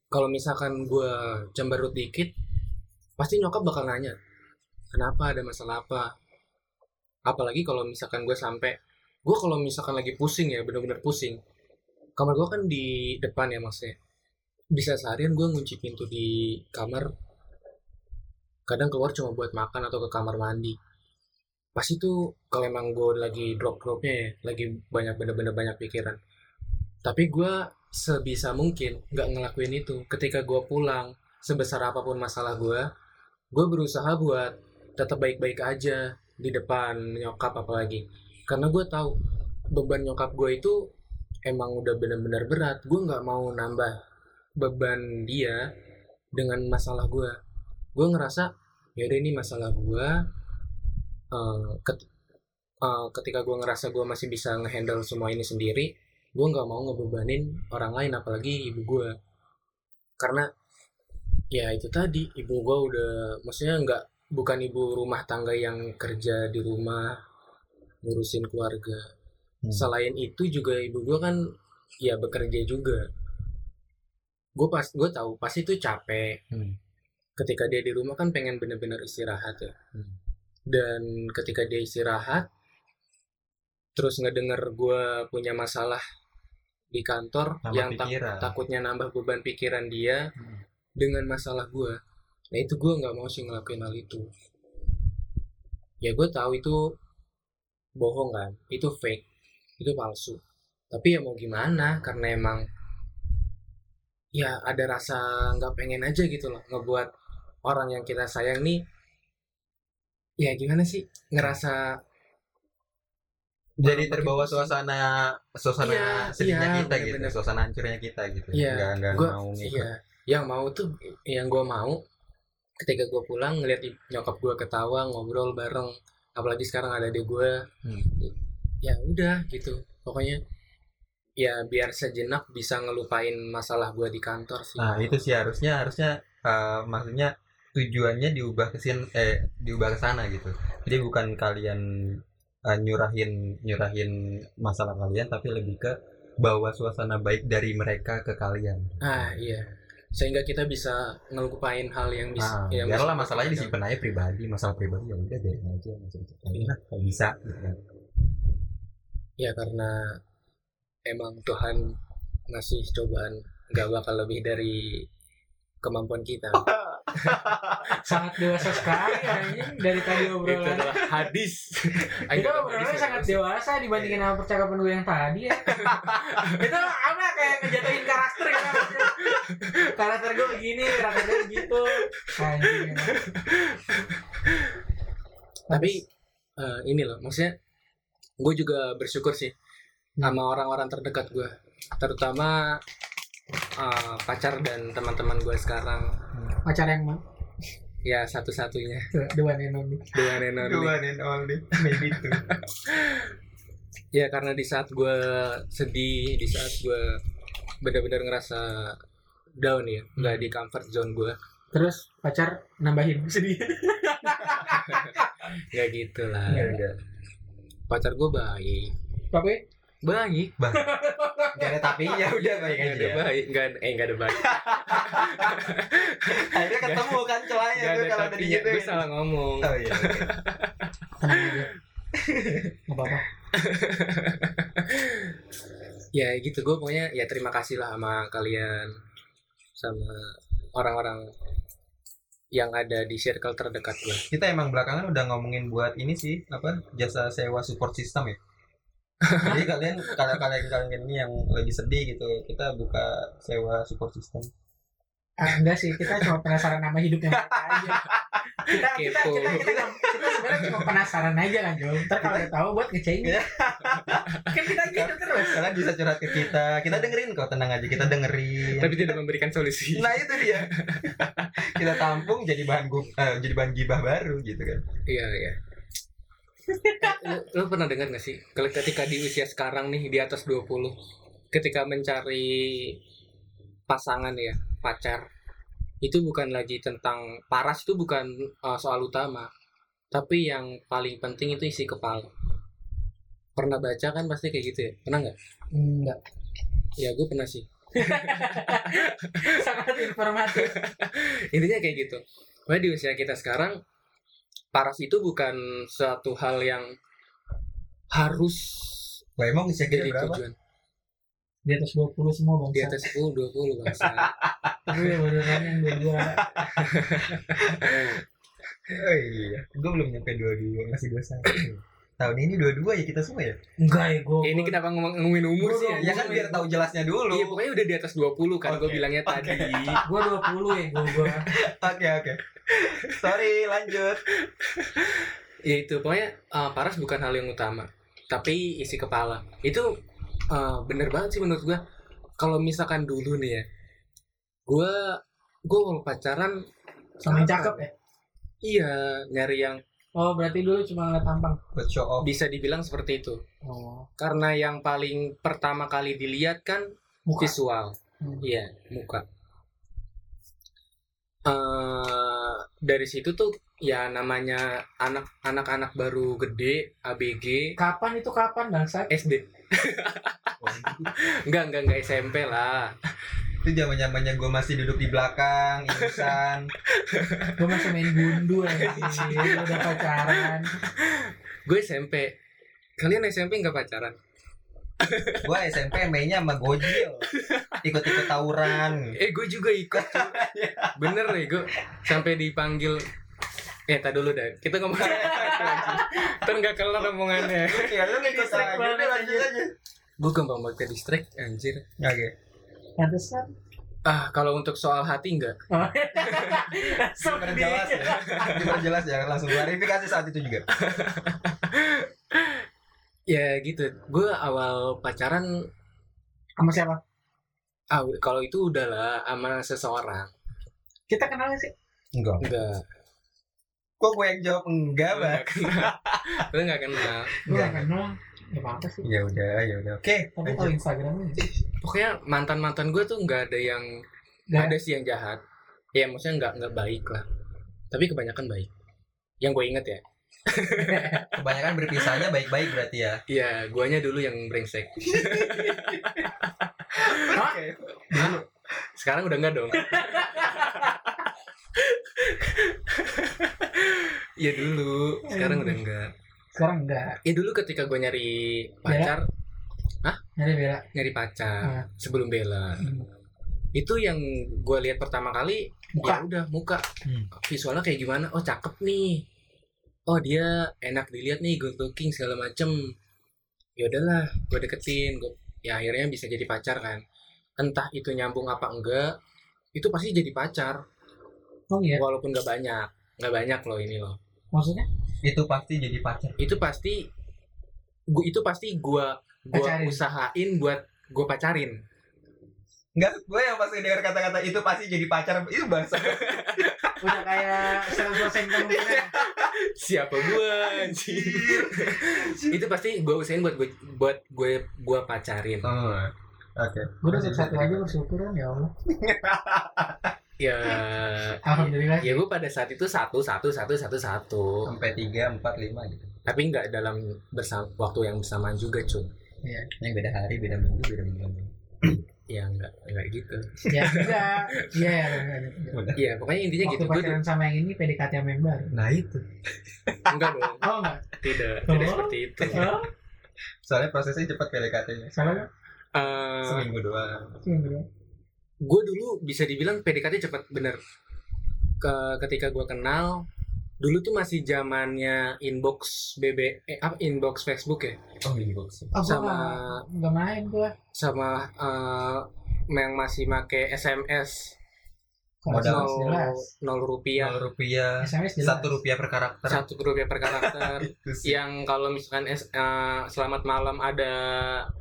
Speaker 2: kalau misalkan gue cemberut dikit pasti nyokap bakal nanya kenapa ada masalah apa apalagi kalau misalkan gue sampai gue kalau misalkan lagi pusing ya bener-bener pusing kamar gue kan di depan ya maksudnya bisa seharian gue ngunci pintu di kamar kadang keluar cuma buat makan atau ke kamar mandi pasti tuh kalau emang gue lagi drop-dropnya ya lagi banyak bener-bener banyak pikiran tapi gue sebisa mungkin nggak ngelakuin itu ketika gue pulang sebesar apapun masalah gue gue berusaha buat tetap baik-baik aja di depan nyokap apalagi karena gue tahu beban nyokap gue itu emang udah benar-benar berat gue nggak mau nambah beban dia dengan masalah gue gue ngerasa ya ini masalah gue Eh, ket- eh, ketika gue ngerasa gue masih bisa ngehandle semua ini sendiri gue nggak mau ngebebanin orang lain apalagi ibu gue karena ya itu tadi ibu gue udah maksudnya nggak bukan ibu rumah tangga yang kerja di rumah ngurusin keluarga
Speaker 4: Hmm.
Speaker 2: selain itu juga ibu gue kan ya bekerja juga gue pas gue tahu pasti itu capek
Speaker 4: Hmm.
Speaker 2: ketika dia di rumah kan pengen bener-bener istirahat ya
Speaker 4: Hmm.
Speaker 2: dan ketika dia istirahat terus ngedenger gue punya masalah di kantor
Speaker 4: Nambah
Speaker 2: yang tak-
Speaker 4: pikiran.
Speaker 2: takutnya nambah beban pikiran dia
Speaker 4: Hmm.
Speaker 2: dengan masalah gue nah itu gue nggak mau sih ngelakuin hal itu ya gue tahu itu bohong kan itu fake itu palsu tapi ya mau gimana karena emang ya ada rasa nggak pengen aja gitu loh ngebuat orang yang kita sayang nih ya gimana sih ngerasa
Speaker 4: jadi
Speaker 2: Makin
Speaker 4: terbawa
Speaker 2: pusing.
Speaker 4: suasana suasana
Speaker 2: gitu Iya,
Speaker 4: sedihnya
Speaker 2: iya,
Speaker 4: kita gitu
Speaker 2: bener-bener.
Speaker 4: suasana hancurnya kita gitu
Speaker 2: Iya,
Speaker 4: nggak nggak
Speaker 2: gua-
Speaker 4: mau gitu. ngikut
Speaker 2: iya yang mau tuh yang gue mau ketika gue pulang ngeliat i- nyokap gue ketawa ngobrol bareng apalagi sekarang ada di gue
Speaker 4: Hmm.
Speaker 2: ya udah gitu pokoknya ya biar sejenak bisa ngelupain masalah gue di kantor sih
Speaker 4: nah itu sih harusnya harusnya eh, maksudnya tujuannya diubah ke sin eh diubah ke sana gitu jadi bukan kalian eh, nyurahin nyurahin masalah kalian tapi lebih ke bawa suasana baik dari mereka ke kalian
Speaker 2: ah iya sehingga kita bisa ngelupain hal yang bisa
Speaker 4: Nah,
Speaker 2: yang
Speaker 4: biarlah
Speaker 2: bisa-
Speaker 4: masalahnya disimpan aja pribadi, masalah pribadi ya udah biarin aja masih lah kalau bisa gitu kan.
Speaker 2: ya karena emang Tuhan ngasih cobaan gak bakal lebih dari kemampuan kita
Speaker 4: Oh,
Speaker 3: sangat dewasa sekali anjing dari tadi
Speaker 2: itu
Speaker 3: obrolan
Speaker 2: adalah hadis
Speaker 3: itu
Speaker 2: Ayo,
Speaker 3: obrolannya
Speaker 2: hadis,
Speaker 3: sangat
Speaker 2: hadis.
Speaker 3: dewasa Iya. dibandingin sama percakapan gue yang tadi ya itu apa kayak ngejatuhin karakter ya maksudnya. karakter gue begini karakter gue begitu anjing emang.
Speaker 2: tapi eh, ini loh maksudnya gue juga bersyukur sih
Speaker 4: Hmm.
Speaker 2: sama orang-orang terdekat gue terutama eh, pacar dan teman-teman gue sekarang
Speaker 3: pacar yang mana
Speaker 2: ya satu-satunya
Speaker 3: the one and only
Speaker 2: dengan and only.
Speaker 4: and only, maybe itu.
Speaker 2: ya karena di saat gue sedih di saat gue benar-benar ngerasa down ya
Speaker 4: Hmm.
Speaker 2: nggak di comfort zone gue
Speaker 3: terus pacar nambahin sedih
Speaker 2: ya gitu lah
Speaker 4: Ya udah.
Speaker 2: pacar gue baik
Speaker 3: tapi
Speaker 2: baik
Speaker 4: Gak ada tapi ya udah baik
Speaker 2: nggak ada
Speaker 4: aja.
Speaker 2: baik nggak ada- eh nggak ada baik
Speaker 4: Iya, Akhirnya ketemu kan celahnya
Speaker 2: nggak ada
Speaker 4: tuh kalau dari
Speaker 2: tapinya
Speaker 4: gitu.
Speaker 2: gue salah ngomong
Speaker 4: Oh iya.
Speaker 3: tenang aja nggak apa-apa
Speaker 2: ya gitu gue pokoknya ya terima kasih lah sama kalian sama orang-orang yang ada di circle terdekat gue
Speaker 4: Kita emang belakangan udah ngomongin buat ini sih apa jasa sewa support system ya. Jadi kalian kalau kalian kalian ini yang lagi sedih gitu, kita buka sewa support system.
Speaker 3: ah, enggak sih kita cuma penasaran sama hidupnya mereka aja kita kita
Speaker 2: Kepo.
Speaker 3: kita kita, nggak- kita sebenarnya cuma penasaran aja kan Jo ntar kalau udah tahu buat ngecengin kan kita gitu terus
Speaker 4: Kalian bisa curhat ke kita, kita dengerin kok tenang aja, kita dengerin.
Speaker 2: tapi tidak memberikan solusi
Speaker 4: nah itu dia kita tampung jadi bahan gu- eh, jadi bahan gibah baru gitu kan
Speaker 2: Iya iya. Eh, lu, lu pernah dengar gak sih kalau ketika di usia sekarang nih di atas 20 ketika mencari pasangan ya pacar itu bukan lagi tentang paras itu bukan uh, soal utama tapi yang paling penting itu isi kepala pernah baca kan pasti kayak gitu ya pernah nggak
Speaker 3: enggak
Speaker 2: ya gue pernah sih
Speaker 3: sangat informatif
Speaker 2: intinya kayak gitu Makanya di usia kita sekarang paras itu bukan suatu hal yang harus
Speaker 4: Lah emang usia kita
Speaker 2: jadi
Speaker 4: berapa?
Speaker 2: tujuan
Speaker 3: di atas 20 semua bang
Speaker 2: di atas 10 20 bangsa
Speaker 3: gue beneran yang dua dua
Speaker 4: Oh iya, gue belum nyampe 22, masih 21 Tahun ini 22 ya kita semua ya?
Speaker 3: enggak ya gue
Speaker 2: ini kenapa ngomong ngomongin umur sih
Speaker 4: Ya kan biar tahu jelasnya dulu
Speaker 2: Iya pokoknya udah di atas 20 kan gue
Speaker 4: Oke.
Speaker 2: bilangnya tadi
Speaker 3: gue 20 ya gue gue
Speaker 4: Oke oke Sorry lanjut
Speaker 2: Ya itu pokoknya eh, paras bukan hal yang utama Tapi isi kepala Itu eh, bener banget sih menurut gue Kalau misalkan dulu nih ya Gue Gue kalau pacaran
Speaker 3: sama yang cakep ya
Speaker 2: Iya nyari yang
Speaker 3: oh berarti dulu cuma ngeliat tampang
Speaker 4: Buat show off
Speaker 2: bisa dibilang seperti itu
Speaker 3: oh
Speaker 2: Karena yang paling pertama kali dilihat kan
Speaker 3: muka
Speaker 2: visual
Speaker 3: Hmm.
Speaker 2: iya muka eh dari situ tuh ya namanya anak anak anak baru gede ABG
Speaker 3: kapan itu kapan bangsa
Speaker 2: SD enggak enggak enggak SMP lah
Speaker 4: Itu zaman zamannya gue masih duduk di belakang Insan
Speaker 3: gue masih main gundu ya udah pacaran
Speaker 2: gue SMP kalian SMP nggak pacaran
Speaker 4: Gue SMP mainnya sama Gojil Ikut-ikut tawuran
Speaker 2: eh gue juga ikut cuy. bener nih gue sampai dipanggil eh tak dulu dah kita ngomong ntar nggak kelar omongannya
Speaker 4: Ya lu ikut
Speaker 3: Distrik
Speaker 4: aja,
Speaker 3: banget,
Speaker 4: udah lanjut aja
Speaker 2: gue gampang banget ke distrik anjir
Speaker 4: Oke
Speaker 3: pantesan
Speaker 2: ah kalau untuk soal hati enggak
Speaker 3: oh.
Speaker 4: Diperjelas ya Diperjelas ya Langsung klarifikasi saat itu juga
Speaker 2: Ya gitu, gue awal pacaran
Speaker 3: sama siapa
Speaker 2: ah, kalau itu udahlah sama seseorang.
Speaker 3: kita kenal nggak sih
Speaker 4: Enggak
Speaker 2: Enggak,
Speaker 4: Kok gue yang jawab enggak
Speaker 2: lu
Speaker 4: Bang?
Speaker 2: enggak kenal. Lu enggak kenal.
Speaker 3: gue
Speaker 4: Enggak.
Speaker 3: kenal ya apa sih
Speaker 4: Ya udah ya udah Oke
Speaker 3: tapi kalau Instagramnya
Speaker 2: Pokoknya mantan-mantan gue tuh enggak ada yang
Speaker 3: Enggak.
Speaker 2: ada sih yang jahat. Ya maksudnya enggak enggak baik lah. Tapi kebanyakan baik. Yang gue inget ya.
Speaker 4: Kebanyakan berpisahnya baik-baik berarti ya
Speaker 2: Iya, guanya dulu yang brengsek. Sekarang udah enggak dong. ya dulu, sekarang udah enggak.
Speaker 3: sekarang enggak
Speaker 2: Ya dulu ketika gue nyari pacar,
Speaker 3: nyari bela
Speaker 2: nyari pacar
Speaker 3: Ah.
Speaker 2: sebelum bela itu yang gue lihat pertama kali
Speaker 3: muka
Speaker 2: ya udah muka
Speaker 4: Hmm.
Speaker 2: visualnya kayak gimana oh cakep nih oh dia enak dilihat nih good looking segala macem ya udahlah gue deketin gua, ya akhirnya bisa jadi pacar kan entah itu nyambung apa enggak itu pasti jadi pacar
Speaker 3: oh iya
Speaker 2: walaupun gak banyak nggak banyak loh ini loh
Speaker 3: maksudnya
Speaker 4: Itu pasti jadi pacar
Speaker 2: itu pasti gua, itu pasti gue gua
Speaker 3: Pacarin.
Speaker 2: usahain buat gue pacarin
Speaker 4: Enggak, gue yang pas dengar kata-kata itu pasti jadi pacar itu bahasa.
Speaker 3: udah kayak seratus persen kemungkinan
Speaker 2: siapa gue anjing itu pasti gue usahain buat gue buat gue gue pacarin
Speaker 4: Oh, Oke.
Speaker 3: gue udah satu aja bersyukuran ya Allah
Speaker 2: ya
Speaker 3: alhamdulillah
Speaker 2: ya gue pada saat itu satu satu satu satu satu
Speaker 4: Sampai tiga, empat, lima gitu.
Speaker 2: tapi nggak dalam bersama, waktu yang bersamaan juga cuy
Speaker 4: Ini beda hari, beda minggu, beda minggu.
Speaker 2: ya nggak nggak gitu
Speaker 3: ya enggak iya ya benar.
Speaker 4: Udah.
Speaker 2: ya pokoknya intinya
Speaker 3: waktu
Speaker 2: gitu gue
Speaker 3: pacaran sama yang ini PDKT sama yang baru
Speaker 4: Nah itu.
Speaker 2: enggak dong
Speaker 3: oh enggak
Speaker 2: tidak tidak
Speaker 3: Oh.
Speaker 2: seperti itu
Speaker 3: oh
Speaker 4: Soalnya prosesnya cepat PDKT-nya.
Speaker 3: salah
Speaker 2: Eh
Speaker 3: kan
Speaker 4: Hmm. Seminggu doang.
Speaker 3: sih bro
Speaker 2: gue dulu bisa dibilang PDKT cepat bener Ke, ketika gue kenal dulu tuh masih zamannya inbox BB eh, apa inbox Facebook ya
Speaker 4: Oh, inbox.
Speaker 3: oh sama
Speaker 2: sama
Speaker 3: enggak main gue
Speaker 2: sama eh, yang masih make SMS
Speaker 4: Modal.
Speaker 3: modal
Speaker 2: nol
Speaker 3: jelas
Speaker 2: nol rupiah
Speaker 4: Nol rupiah.
Speaker 3: SMS jelas
Speaker 4: Satu rupiah per karakter. Iya.
Speaker 2: satu rupiah per karakter
Speaker 4: Itu sih.
Speaker 2: yang kalau misalkan S- eh, selamat malam ada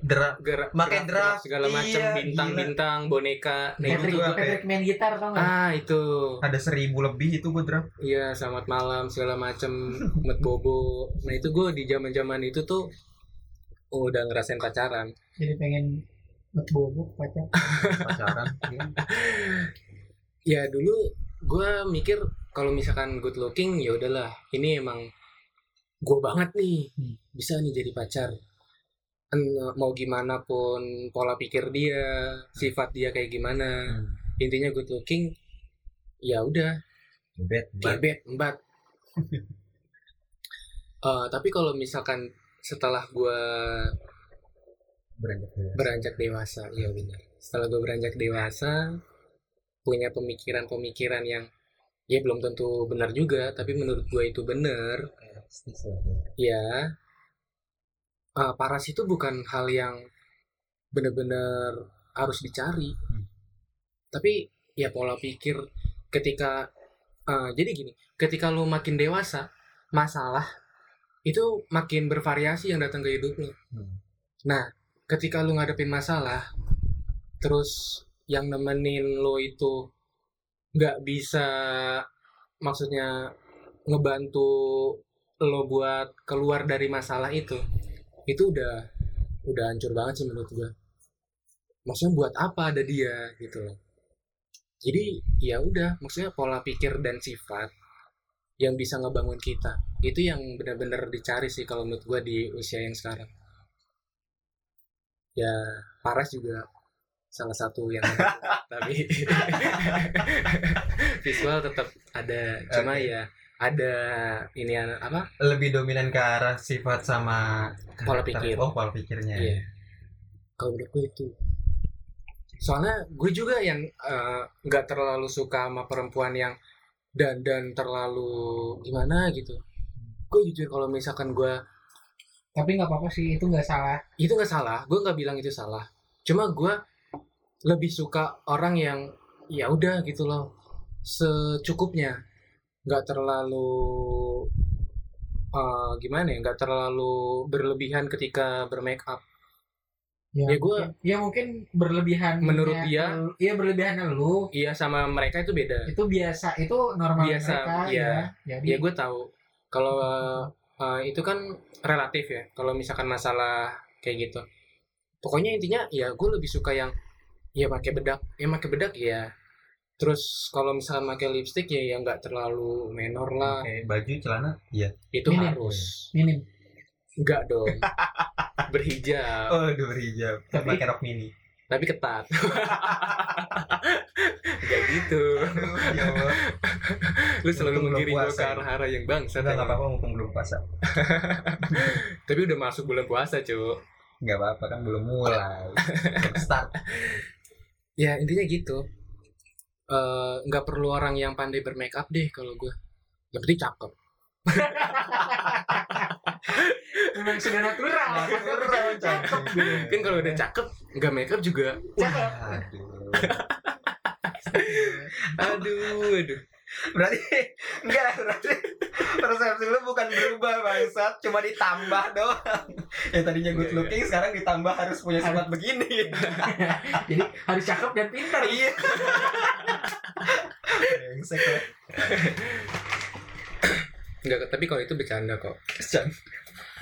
Speaker 4: Dera-
Speaker 2: gerak gerak-
Speaker 4: Pakai draft,
Speaker 2: segala macam
Speaker 4: iya,
Speaker 2: bintang-bintang boneka nah itu
Speaker 3: Patrick,
Speaker 4: gua kayak-
Speaker 3: Patrick main gitar tau nggak?
Speaker 2: ah itu
Speaker 4: Ada seribu lebih itu gue draft.
Speaker 2: iya selamat malam segala macam met bobo nah itu gue di zaman zaman itu tuh udah ngerasain pacaran
Speaker 3: jadi pengen buat bobok pacar
Speaker 4: Pacaran. iya.
Speaker 2: ya dulu gue mikir kalau misalkan good looking ya udahlah ini emang gue banget nih
Speaker 3: Hmm.
Speaker 2: bisa nih jadi pacar en- mau gimana pun pola pikir dia, sifat dia kayak gimana.
Speaker 4: Hmm.
Speaker 2: Intinya good looking ya udah
Speaker 4: Bad, bad.
Speaker 2: gebet embat. Eh, tapi kalau misalkan setelah gua
Speaker 4: Beranjak dewasa.
Speaker 2: beranjak dewasa, iya benar. Setelah gua beranjak dewasa punya pemikiran-pemikiran yang ya belum tentu benar juga, tapi menurut gua itu benar.
Speaker 4: Realistis lah ya.
Speaker 2: ya eh, paras itu bukan hal yang benar-benar harus dicari
Speaker 4: Hmm.
Speaker 2: tapi ya pola pikir ketika eh, jadi gini ketika lu makin dewasa masalah itu makin bervariasi yang datang ke hidup lu
Speaker 4: Hmm.
Speaker 2: nah ketika lu ngadepin masalah terus yang nemenin lo itu nggak bisa maksudnya ngebantu lo buat keluar dari masalah itu itu udah udah hancur banget sih menurut gua maksudnya buat apa ada dia gitu loh jadi ya udah maksudnya pola pikir dan sifat yang bisa ngebangun kita itu yang benar-benar dicari sih kalau menurut gua di usia yang sekarang ya Paras juga salah satu yang ada. tapi visual tetap ada cuma
Speaker 4: Oke.
Speaker 2: ya ada ini apa
Speaker 4: Lebih dominan ke arah sifat sama
Speaker 2: Pola
Speaker 4: karakter.
Speaker 2: pikir.
Speaker 4: Oh, pola pikirnya.
Speaker 2: Iya. Kalau menurut gue itu. Soalnya gue juga yang eh, nggak terlalu suka sama perempuan yang dandan terlalu gimana gitu. Gue jujur kalau misalkan gue
Speaker 3: tapi nggak apa-apa sih itu nggak salah
Speaker 2: itu nggak salah, gue nggak bilang itu salah. Cuma gue lebih suka orang yang ya udah gitu loh secukupnya, nggak terlalu eh, gimana ya, nggak terlalu berlebihan ketika bermake up. Ya, gua-
Speaker 3: mungkin- ya mungkin berlebihan
Speaker 2: Menurut dia-
Speaker 3: iya berlebihannya lu
Speaker 2: Iya sama mereka itu beda.
Speaker 3: itu biasa itu normal
Speaker 2: Biasa,
Speaker 3: mereka
Speaker 2: iya.
Speaker 3: ya
Speaker 2: Ya
Speaker 3: jadi
Speaker 2: gue tahu. Kalau eh, itu kan relatif ya. Kalau misalkan masalah kayak gitu. Pokoknya intinya ya gue lebih suka yang ya pakai bedak, ya pakai bedak ya. Terus kalau misalkan pakai lipstick ya ya nggak terlalu menor lah.
Speaker 4: Pakai baju celana iya
Speaker 2: Itu
Speaker 3: Minim.
Speaker 2: harus.
Speaker 4: ya?
Speaker 3: minim
Speaker 2: Enggak dong. Berhijab,
Speaker 4: oh dua hijab
Speaker 3: Tapi-
Speaker 4: pakai rok mini
Speaker 2: tapi ketat. Enggak gitu.
Speaker 4: Aduh, ya Allah.
Speaker 2: Lu selalu
Speaker 4: Untung belum
Speaker 2: menggiring gue ke
Speaker 4: puasa.
Speaker 2: arah-arah yang bangsa.
Speaker 4: Enggak enggak apa-apa mumpung belum puasa.
Speaker 2: Tapi udah masuk bulan puasa, cuy.
Speaker 4: Enggak apa-apa kan belum mulai. Belum start.
Speaker 2: ya intinya gitu Eh, nggak perlu orang yang pandai bermake up deh kalau gue yang penting cakep
Speaker 3: memang sudah natural
Speaker 4: Natural, cakep.
Speaker 2: kan kalau udah cakep nggak make up juga
Speaker 3: Cakep.
Speaker 4: Aduh.
Speaker 2: aduh aduh
Speaker 4: Berarti enggak berarti persepsi lu bukan berubah bangsat, cuma ditambah doang. Yang tadinya
Speaker 2: Enggak,
Speaker 4: good looking sekarang ditambah harus punya sifat begini.
Speaker 3: jadi harus cakep dan pintar
Speaker 4: Iya. Brengsek ya.
Speaker 2: nggak tapi kalau itu bercanda kok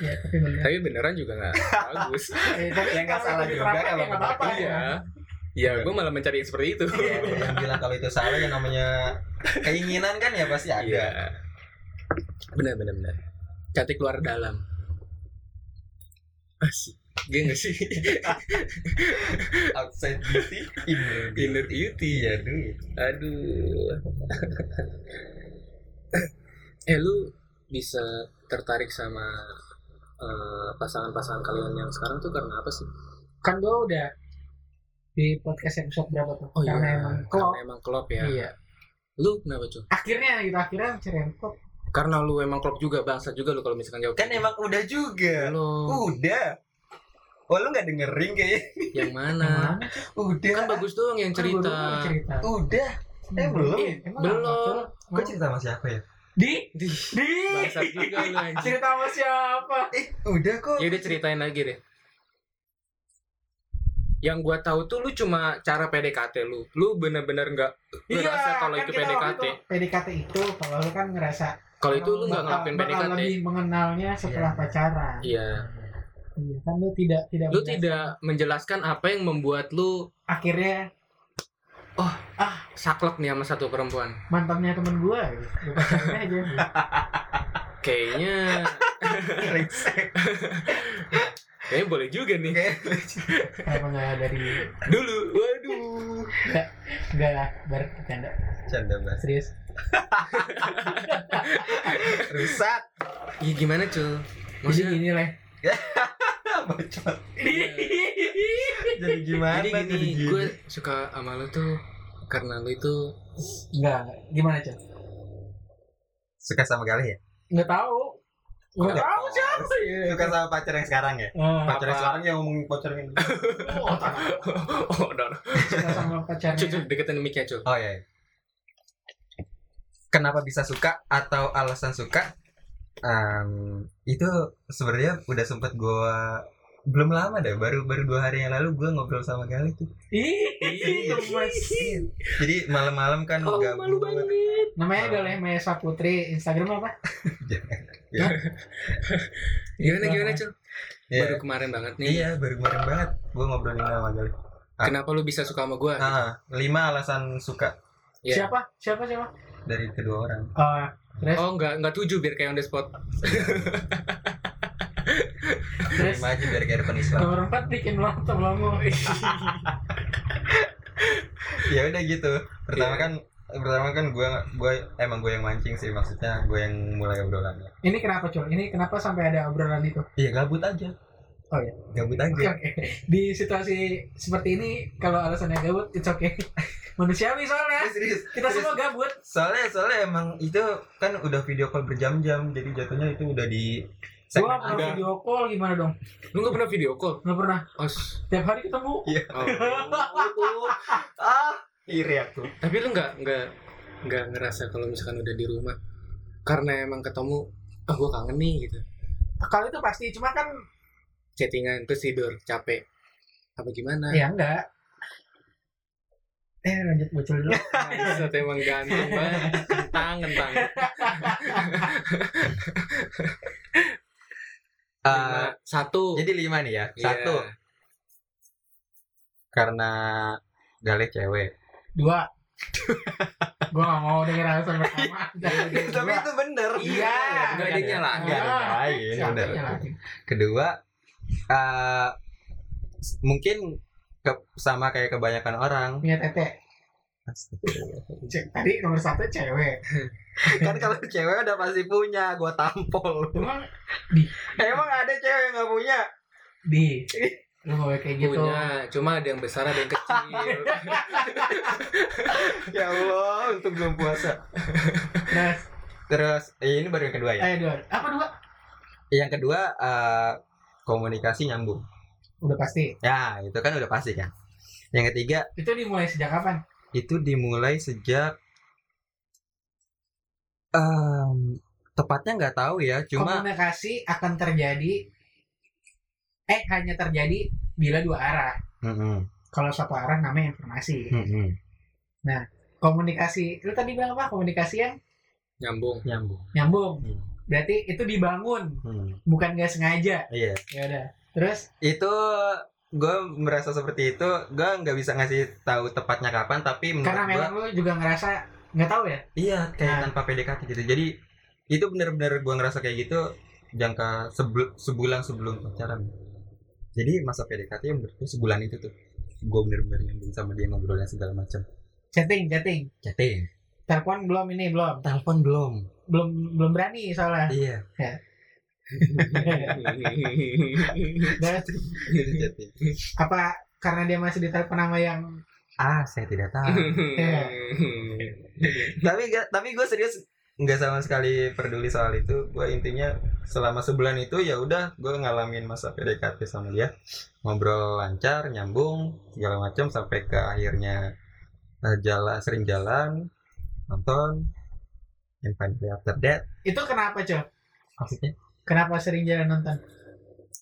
Speaker 3: ya tapi benar
Speaker 2: tapi beneran juga nggak bagus
Speaker 3: Eh, tapi
Speaker 4: Yang nggak
Speaker 3: kalau
Speaker 4: salah
Speaker 3: itu
Speaker 4: juga,
Speaker 3: diterapkan
Speaker 4: nggak
Speaker 3: ya nggak apa-apa
Speaker 4: apa-apa.
Speaker 3: ya
Speaker 2: iya ya gue malah mencari yang seperti itu
Speaker 4: Iya, Yang bilang kalau itu salah yang namanya keinginan kan ya pasti ada.
Speaker 2: iya benar benar benar cantik keluar dalam asik Gak gak sih
Speaker 4: Outside beauty, inner beauty.
Speaker 2: inner beauty ya.
Speaker 4: Iya, duit.
Speaker 2: Aduh. eh lu bisa tertarik sama eh, pasangan-pasangan kalian yang sekarang tuh karena apa sih?
Speaker 3: kan gua udah di podcast episode berapa
Speaker 2: Oh,
Speaker 3: tuh karena emang
Speaker 2: iya.
Speaker 3: kalau
Speaker 2: Karena emang klop ya.
Speaker 3: iya
Speaker 2: Lu kenapa cuy?
Speaker 3: akhirnya gitu akhirnya cerian kok
Speaker 2: Karena lu emang klop juga bangsa juga lu kalau misalkan jawab. gitu.
Speaker 4: Kan emang udah juga.
Speaker 2: lu
Speaker 4: Udah. Oh lu gak dengerin kayaknya
Speaker 2: yang mana?
Speaker 4: Udah
Speaker 2: Nah, Kan bagus doang yang cerita.
Speaker 3: cerita Iya,
Speaker 4: Udah Eh, belum.
Speaker 2: Eh, belum.
Speaker 4: Gue cerita sama siapa ya?
Speaker 3: di
Speaker 2: Di
Speaker 3: di
Speaker 2: bangsa juga lu anjing.
Speaker 3: cerita sama siapa
Speaker 4: Eh udah kok
Speaker 2: Ya udah ceritain lagi deh. Yang gua tahu tuh lu cuma cara PDKT lu. Lu bener-bener nggak Lu rasa kalau itu
Speaker 3: Iya, kan kita waktu
Speaker 2: PDKT?
Speaker 3: itu PDKT itu kalau lu kan ngerasa
Speaker 2: Kalau itu lu nggak
Speaker 3: bakal-
Speaker 2: ngelakuin
Speaker 3: bakal
Speaker 2: PDKT.
Speaker 3: lebih mengenalnya setelah
Speaker 4: Iya.
Speaker 3: pacaran
Speaker 2: Iya.
Speaker 3: Iya, kan lu tidak tidak
Speaker 2: Lu
Speaker 3: menjelaskan.
Speaker 2: tidak menjelaskan apa yang membuat lu
Speaker 3: akhirnya
Speaker 2: saklek nih sama satu perempuan.
Speaker 3: mantannya temen gua gitu. Gua pacarin aja
Speaker 2: Kayaknya
Speaker 4: Brengsek.
Speaker 2: Kayaknya boleh juga nih.
Speaker 3: Kenapa nggak dari
Speaker 2: Dulu, waduh.
Speaker 3: nggak bar bercanda
Speaker 4: Canda banget.
Speaker 3: serius?
Speaker 4: Rusak.
Speaker 2: Iya gimana cul?
Speaker 3: Jadi
Speaker 2: Maksudnya, iya.
Speaker 3: gini lah.
Speaker 4: Bocor. Jadi gimana?
Speaker 2: jadi gini, gue suka sama lo tuh karena lo itu
Speaker 3: Nggak nggak. gimana cah?
Speaker 4: Suka sama Galih ya?
Speaker 3: Nggak tahu. Nggak
Speaker 4: Nggak
Speaker 3: tahu
Speaker 4: tahu.
Speaker 3: cah.
Speaker 4: Suka sama pacar yang sekarang ya?
Speaker 3: Ah,
Speaker 4: Pacar yang sekarang yang ngomongin pacar yang
Speaker 3: Oh, tak.
Speaker 2: oh, udah, udah.
Speaker 3: Suka sama pacarnya.
Speaker 2: Cul, cul, deketin mic-nya cul.
Speaker 4: Oh iya. iya. Kenapa bisa suka atau alasan suka? Em, itu sebenarnya udah sempet gua belum lama deh, baru baru dua hari yang lalu gua ngobrol sama Galih tuh.
Speaker 3: Ih, gemes.
Speaker 4: Jadi malam-malam kan
Speaker 2: Oh, malu
Speaker 4: gabut.
Speaker 2: banget.
Speaker 3: Namanya Galih Maya Saputri, Instagram apa?
Speaker 2: Gimana gimana cul?
Speaker 4: Iya.
Speaker 2: Baru kemarin banget nih.
Speaker 4: Iya, baru kemarin banget gua ngobrolin sama Galih. Ah.
Speaker 2: Kenapa lo bisa suka sama gue?
Speaker 4: Ah, lima alasan suka
Speaker 2: Iya.
Speaker 3: Siapa? Siapa siapa?
Speaker 4: dari kedua orang.
Speaker 3: Ah, terus
Speaker 2: Oh enggak, enggak tujuh biar kayak on the spot
Speaker 3: terus
Speaker 4: Lima aja biar kayak depan
Speaker 2: Oh.
Speaker 4: Islam.
Speaker 3: nomor empat bikin lo tolong
Speaker 4: ya udah gitu pertama
Speaker 2: Iya.
Speaker 4: kan pertama kan gue gue emang gue yang mancing sih maksudnya gue yang mulai obrolannya
Speaker 3: Ini kenapa cul? Ini kenapa sampai ada obrolan itu?
Speaker 4: iya gabut aja
Speaker 3: Oh, iya.
Speaker 4: gabut
Speaker 3: Oke,
Speaker 4: aja
Speaker 3: oke. Di situasi seperti ini, kalau alasannya gabut, it's okay. Manusiawi
Speaker 4: Eh,
Speaker 3: soalnya.
Speaker 4: serius
Speaker 3: Kita
Speaker 4: serius.
Speaker 3: semua gabut.
Speaker 4: soalnya soalnya emang itu kan udah video call berjam-jam jadi jatuhnya itu udah di
Speaker 3: Gua
Speaker 4: segmen
Speaker 3: pernah
Speaker 4: ada.
Speaker 3: video call gimana dong?
Speaker 2: Lu gak pernah video call?
Speaker 3: Nggak pernah.
Speaker 2: Os
Speaker 3: Tiap hari ketemu.
Speaker 2: oh.
Speaker 4: ah iri aku
Speaker 2: Tapi lu gak, nggak nggak ngerasa kalau misalkan udah di rumah Karena emang ketemu Ah gue kangen nih gitu
Speaker 3: Kalau itu pasti, cuma kan
Speaker 2: Chattingan, terus tidur, capek Apa gimana?
Speaker 3: ya enggak. Eh lanjut bocil dulu.
Speaker 2: Buset, emang ganteng banget Kentang, kentang Lima, Satu
Speaker 4: Ah. jadi lima nih ya
Speaker 2: Iya.
Speaker 4: satu karena gale cewek
Speaker 3: Dua. Gua nggak mau denger alasan pertama.
Speaker 4: tapi itu bener
Speaker 3: Iya.
Speaker 2: Nggak ada yang nyalahin.
Speaker 4: Nggak ada yang
Speaker 3: Siapa
Speaker 4: nyalahin, Iya, bener.
Speaker 3: yang nyalahin?
Speaker 4: kedua eh, s- mungkin ke- sama kayak kebanyakan orang
Speaker 3: Punya tete. Cek, Tadi nomor satu cewek.
Speaker 4: kan kalau cewek udah pasti punya gua tampol
Speaker 3: Emang
Speaker 4: emang ada cewek yang nggak punya
Speaker 3: di lu mau kayak gitu.
Speaker 2: Punya, cuma ada yang besar, ada yang kecil
Speaker 4: ya allah untuk belum puasa
Speaker 3: Terus,
Speaker 4: terus eh, ini baru yang kedua ya
Speaker 3: eh dua. Apa dua?
Speaker 4: yang kedua eh, komunikasi nyambung
Speaker 3: Udah pasti.
Speaker 4: ya itu kan udah pasti kan yang ketiga
Speaker 3: Itu dimulai sejak kapan?
Speaker 4: itu dimulai sejak em, tepatnya nggak tahu ya cuma
Speaker 3: Komunikasi akan terjadi eh hanya terjadi bila dua arah.
Speaker 4: Mm-mm,
Speaker 3: Kalau satu arah namanya informasi.
Speaker 4: mm-mm,
Speaker 3: Komunikasi, lu tadi bilang apa? Komunikasi yang
Speaker 2: Nyambung
Speaker 4: nyambung
Speaker 3: nyambung.
Speaker 4: Hmm.
Speaker 3: Berarti itu dibangun,
Speaker 4: Hmm,
Speaker 3: bukan nggak sengaja.
Speaker 4: iya
Speaker 3: Ya udah. Terus
Speaker 4: itu gue merasa seperti itu gue nggak bisa ngasih tahu tepatnya kapan tapi menurut
Speaker 3: karena
Speaker 4: gue
Speaker 3: memang lu juga ngerasa nggak tahu ya?
Speaker 4: iya kayak
Speaker 3: Nah.
Speaker 4: tanpa PDKT gitu jadi itu bener-bener gue ngerasa kayak gitu jangka sebel- sebulan sebelum pacaran jadi masa PDKT yang menurut gue sebulan itu tuh gue bener-bener nyambung sama dia ngobrolnya segala macam
Speaker 3: Chatting, chatting.
Speaker 4: chatting
Speaker 3: Telepon belum ini belum.
Speaker 4: telepon belum
Speaker 3: Belum belum berani soalnya.
Speaker 4: iya
Speaker 3: Terus
Speaker 4: itu chatting
Speaker 3: apa karena dia masih ditelepon sama yang
Speaker 4: ah saya tidak tahu tapi gak, tapi gue serius nggak sama sekali peduli soal itu gue intinya selama sebulan itu ya udah gue ngalamin masa PDKT sama dia ngobrol lancar nyambung segala macam sampai ke akhirnya eh, jalan sering jalan nonton and finally after that
Speaker 3: itu kenapa cow
Speaker 4: maksudnya
Speaker 3: kenapa sering jalan nonton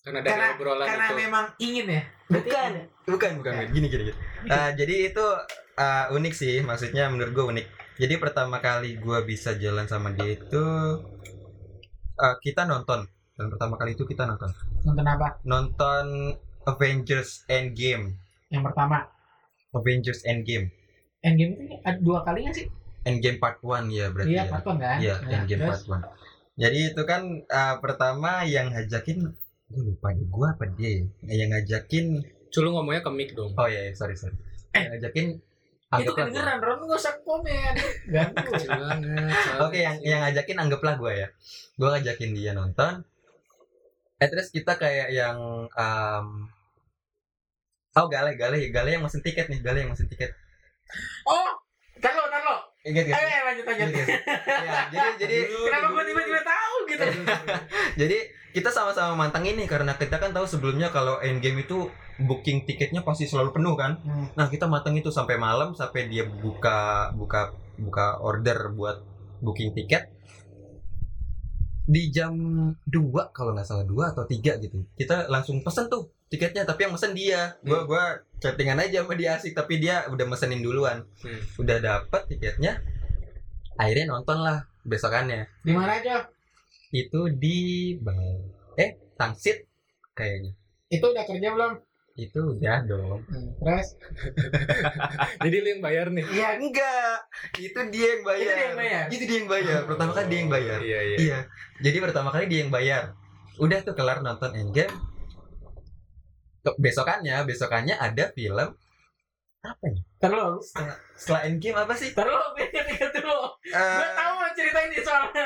Speaker 2: Karena dari
Speaker 3: Karena-
Speaker 2: obrolan
Speaker 3: karena
Speaker 2: itu
Speaker 3: memang ingin ya Berarti
Speaker 4: Bukan.
Speaker 3: ada.
Speaker 4: bukan bukan bukan. gini gini, gini. Eh, jadi itu eh, unik sih maksudnya menurut gue unik jadi pertama kali gue bisa jalan sama dia itu eh, kita nonton dan pertama kali itu kita nonton
Speaker 3: nonton apa
Speaker 4: nonton Avengers Endgame
Speaker 3: yang pertama
Speaker 4: Avengers Endgame
Speaker 3: endgame itu ada dua kalinya sih
Speaker 4: Endgame Part 1 ya berarti
Speaker 3: iya
Speaker 4: ya
Speaker 3: kartun kan
Speaker 4: Iya,
Speaker 3: Nah,
Speaker 4: Endgame
Speaker 3: terus
Speaker 4: Part 1 jadi itu kan eh, pertama yang ngajakin gue lupa nih gue apa dia ya? Nah, yang ngajakin
Speaker 2: Culu ngomongnya ke mic dong.
Speaker 4: oh ya ya, sorry sorry
Speaker 3: Eh,
Speaker 4: yang ngajakin
Speaker 3: itu
Speaker 4: anggaplah gua.
Speaker 3: kedengeran Ron gak usah komen ganggu
Speaker 2: Kecil banget.
Speaker 4: oke yang yang ngajakin anggaplah gue ya gue ngajakin dia nonton eh terus kita kayak yang em, oh gale gale gale yang mesin tiket nih gale yang mesin tiket
Speaker 3: oh tar lo tar lo eh
Speaker 4: ingat gak sih?
Speaker 3: eh, lanjut lanjut
Speaker 4: Ingat gak sih? Ya, Iya. jadi jadi Iya,
Speaker 3: kenapa gue tiba-tiba tahu gitu
Speaker 4: jadi kita sama-sama mantengin nih karena kita kan tahu sebelumnya kalau endgame itu booking tiketnya pasti selalu penuh kan
Speaker 3: Hmm.
Speaker 4: Nah kita mateng itu sampai malam sampai dia buka buka buka order buat booking tiket di jam 2 kalau nggak salah 2 atau 3 gitu kita langsung pesen tuh tiketnya tapi yang mesen dia gua gua chattingan aja sama dia asik tapi dia udah mesenin duluan
Speaker 2: Hmm.
Speaker 4: udah dapet tiketnya akhirnya nonton lah besokannya
Speaker 3: di mana aja
Speaker 4: itu di Bang- eh Tangsit kayaknya
Speaker 3: itu udah kerja belum
Speaker 4: itu udah dong
Speaker 3: Hmm, terus
Speaker 2: Jadi lu yang bayar nih.
Speaker 3: Iya.
Speaker 4: Ya enggak, itu dia yang bayar.
Speaker 3: Itu dia yang bayar?
Speaker 4: Itu dia yang bayar. Pertama kali dia yang bayar.
Speaker 2: Iya iya.
Speaker 4: Iya. Jadi pertama kali dia yang bayar. Udah tuh kelar nonton Endgame. Ke- Besokannya, besokannya ada film apa ya?
Speaker 3: tar lo
Speaker 4: Setelah, setelah Endgame apa sih?
Speaker 3: tar lo beda tiga dulu gue
Speaker 4: Eh,
Speaker 3: tahu lo ceritain ini soalnya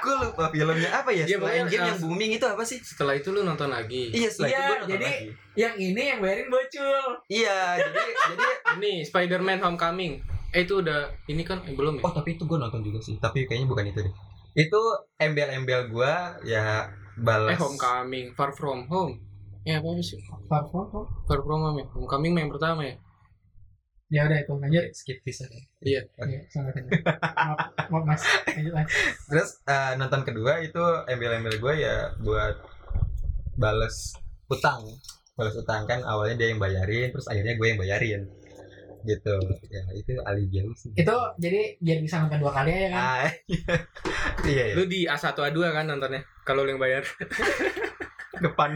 Speaker 4: aku lupa filmnya apa ya?
Speaker 2: Iya,
Speaker 4: Setelah
Speaker 2: pokoknya
Speaker 4: Endgame yang
Speaker 2: langsung-
Speaker 4: booming itu apa sih?
Speaker 2: Setelah itu lu nonton lagi.
Speaker 4: Iya, setelah itu
Speaker 3: Iya,
Speaker 4: gua nonton
Speaker 3: jadi-
Speaker 4: lagi.
Speaker 3: yang ini yang bayarin bocul
Speaker 4: Iya, jadi jadi
Speaker 2: Ini Spider-Man Homecoming. Eh itu udah ini kan eh, belum ya?
Speaker 4: Oh tapi itu gue nonton juga sih Tapi kayaknya bukan itu deh Itu embel-embel gua Ya balas
Speaker 2: eh Homecoming, Far From Home. Ya apa sih?
Speaker 3: Parfum
Speaker 2: Far From Home ya. Homecoming yang pertama ya.
Speaker 3: ya udah itu lanjut
Speaker 4: Skip bisa deh.
Speaker 3: Iya, sangat enak. maaf, maaf mas lanjut mas
Speaker 4: Terus eh, nonton kedua itu embel-embel gue ya buat bales utang, bales utang kan awalnya dia yang bayarin, terus akhirnya gue yang bayarin, gitu. Ya itu alibi aja sih.
Speaker 3: itu jadi biar bisa nonton dua kali aja kan
Speaker 4: Ah, iya, iya.
Speaker 2: Lu di A1 A2 kan nontonnya. Kalau lu yang bayar
Speaker 4: depan.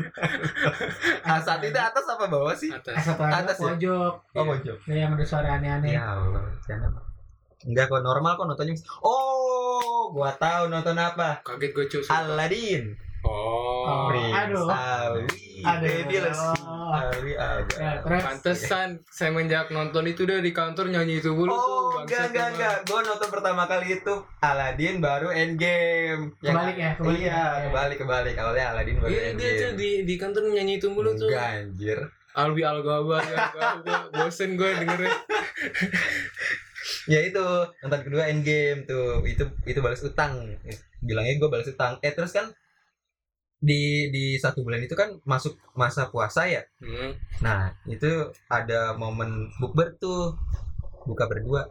Speaker 4: ah, saat itu atas apa bawah sih?
Speaker 2: atas.
Speaker 3: satu ada
Speaker 4: Atas ya?
Speaker 3: pojok
Speaker 4: Oh pojok.
Speaker 3: ya, yang ada suara aneh-aneh
Speaker 4: Ya Allah, jangan. Enggak kok normal kok nontonnya. Oh, gua tahu nonton apa.
Speaker 2: Kaget gue cuy. sumpah.
Speaker 4: Aladdin.
Speaker 2: Oh.
Speaker 3: Oh. Aduh.
Speaker 4: Ali.
Speaker 3: Aduh. oh.
Speaker 4: Baby Leslie. Ali ada.
Speaker 3: ya, terus
Speaker 2: Pantesan saya menjak nonton itu udah di kantor nyanyi itu mulu tuh.
Speaker 4: Oh,
Speaker 2: bangsat
Speaker 4: enggak, enggak,
Speaker 2: emang.
Speaker 4: enggak. Gue nonton pertama kali itu Aladdin baru Endgame. Yang-
Speaker 3: Kebalik ya, kebalik
Speaker 4: iya,
Speaker 3: ya.
Speaker 4: kebalik, kebalik. Awalnya Aladdin baru
Speaker 2: Iya dia
Speaker 4: Endgame.
Speaker 2: tuh di di kantor nyanyi itu mulu tuh.
Speaker 4: Enggak, anjir.
Speaker 2: Albi Algaba ya, gua- bosen gue dengerin.
Speaker 4: Ya itu, nonton kedua Endgame tuh. Itu itu balas utang. Bilangnya gue balas utang. Eh, terus kan di di satu bulan itu kan masuk masa puasa ya.
Speaker 2: Hmm.
Speaker 4: Nah, itu ada momen bukber tuh. Buka berdua.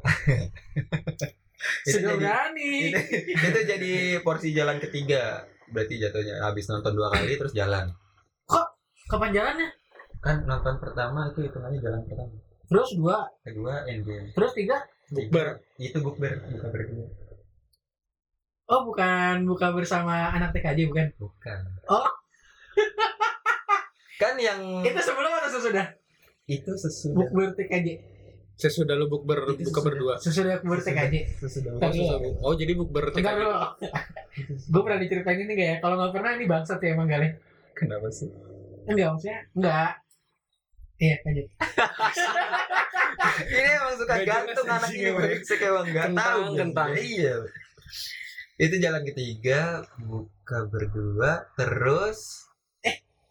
Speaker 4: Itu
Speaker 3: sudah
Speaker 4: jadi-
Speaker 3: berani
Speaker 4: itu, itu jadi porsi jalan ketiga berarti jatuhnya habis nonton dua kali terus jalan
Speaker 3: kapan jalannya
Speaker 4: kan nonton pertama itu hitungannya jalan pertama
Speaker 3: terus dua
Speaker 4: kedua endgame
Speaker 3: terus tiga
Speaker 2: Bukber.
Speaker 4: itu bukber buka berdua
Speaker 3: oh bukan buka bersama anak TKJ bukan
Speaker 4: bukan
Speaker 3: Oh.
Speaker 4: kan yang
Speaker 3: itu sebelum atau sesudah
Speaker 4: itu sesudah
Speaker 3: bukber TKJ
Speaker 2: Sesudah lu bukber buka
Speaker 4: Itu sesudah.
Speaker 2: berdua.
Speaker 3: sesudah bukber
Speaker 4: Sesudah.
Speaker 3: TKJ
Speaker 4: sesudah
Speaker 3: Ntar dulu.
Speaker 2: Oh jadi bukber
Speaker 3: Bentar
Speaker 2: TKJ.
Speaker 3: dulu gue pernah diceritain ini gak ya kalau nggak pernah ini bangsat ya emang galih
Speaker 4: kenapa sih
Speaker 3: enggak maksudnya enggak iya lanjut
Speaker 4: ini emang suka
Speaker 2: Gak jelas
Speaker 4: gantung anak
Speaker 2: anjing
Speaker 4: ini
Speaker 2: emang.
Speaker 4: brengsek emang nggak
Speaker 2: Kentang,
Speaker 4: tahu
Speaker 2: kentang.
Speaker 4: iya itu jalan ketiga buka berdua terus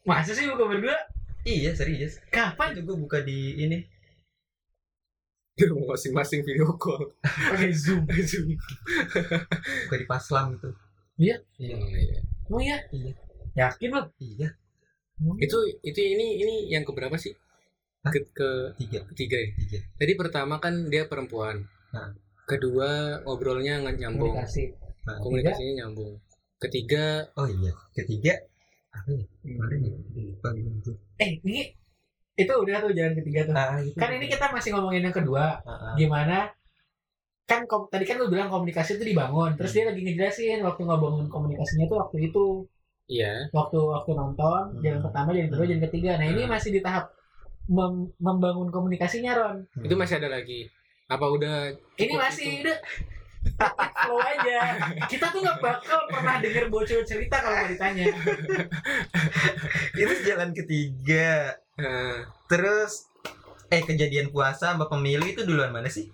Speaker 3: masa sih buka berdua
Speaker 4: iya serius
Speaker 3: kapan
Speaker 4: itu gue buka di ini
Speaker 2: Dia mau masing-masing video call.
Speaker 3: pakai zoom
Speaker 2: Zoom.
Speaker 4: buka di paslam gitu
Speaker 2: Iya.
Speaker 3: Oh iya?
Speaker 4: Iya.
Speaker 3: Yakin lo?
Speaker 4: iya
Speaker 2: Itu itu ini ini yang keberapa sih?
Speaker 4: Hah?
Speaker 2: Ke, ke-
Speaker 4: tiga
Speaker 2: ketiga ya.
Speaker 4: tiga
Speaker 2: Tadi pertama kan dia perempuan.
Speaker 4: Nah.
Speaker 2: Kedua ngobrolnya nggak nyambung.
Speaker 3: Komunikasi.
Speaker 2: Komunikasinya nyambung. Ketiga
Speaker 4: oh iya ketiga apa ya kemarin ya Gue lupa gimana tuh
Speaker 3: Eh, ini itu udah tuh jalan ketiga tuh.
Speaker 4: ah itu
Speaker 3: Kan ini kita masih ngomongin yang kedua,
Speaker 4: Ah, ah.
Speaker 3: gimana kan kom- tadi kan lu bilang komunikasi itu dibangun. Terus dia lagi ngejelasin waktu ngebangun komunikasinya tuh waktu itu,
Speaker 2: iya.
Speaker 3: waktu waktu nonton,
Speaker 4: Hmm.
Speaker 3: jalan pertama, jalan kedua,
Speaker 4: Hmm.
Speaker 3: jalan ketiga. Nah, ini
Speaker 2: Hmm.
Speaker 3: masih di tahap mem- membangun komunikasinya Ron.
Speaker 4: Hmm.
Speaker 2: Itu masih ada lagi. Apa udah
Speaker 3: Ini
Speaker 2: Cukup
Speaker 3: masih
Speaker 2: itu.
Speaker 3: udah Flow aja. Kita tuh nggak bakal pernah denger bocor cerita kalau nggak ditanya.
Speaker 4: itu jalan ketiga
Speaker 2: Eh,
Speaker 4: terus eh kejadian puasa sama pemilu itu duluan mana sih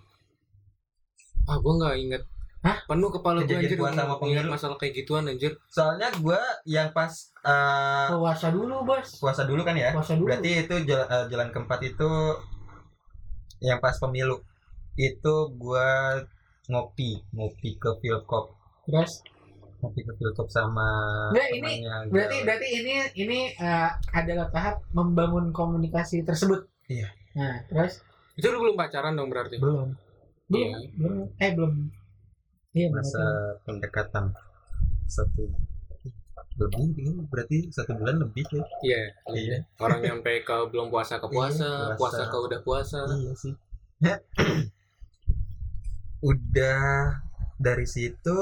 Speaker 2: ah gue nggak inget
Speaker 3: Hah?
Speaker 2: penuh kepala gue
Speaker 4: Kejadian
Speaker 2: anjir
Speaker 4: puasa sama
Speaker 2: ingat
Speaker 4: pemilu.
Speaker 2: masalah kayak gituan anjir
Speaker 4: soalnya gua yang pas eh,
Speaker 3: Puasa dulu, Bos.
Speaker 4: puasa dulu kan ya
Speaker 3: Puasa dulu.
Speaker 4: berarti itu jalan, eh, jalan keempat itu yang pas pemilu itu gua ngopi ngopi ke Philcop
Speaker 3: Terus
Speaker 4: ngopi ke Philcop sama
Speaker 3: Nggak, ini
Speaker 4: temannya
Speaker 3: berarti
Speaker 4: Gaul.
Speaker 3: berarti ini ini eh, adalah tahap membangun komunikasi tersebut.
Speaker 4: Iya.
Speaker 3: Nah, terus
Speaker 2: itu lu belum pacaran dong berarti Iya.
Speaker 4: belum
Speaker 3: belum belum eh belum Iya, belum
Speaker 4: masa
Speaker 3: ada.
Speaker 4: pendekatan satu eh, lebih ini berarti satu bulan lebih ya
Speaker 2: iya
Speaker 4: iya
Speaker 2: orang nyampe ke belum puasa ke puasa
Speaker 4: Iya,
Speaker 2: puasa
Speaker 4: puasa.
Speaker 2: ke udah puasa
Speaker 4: iya sih udah dari situ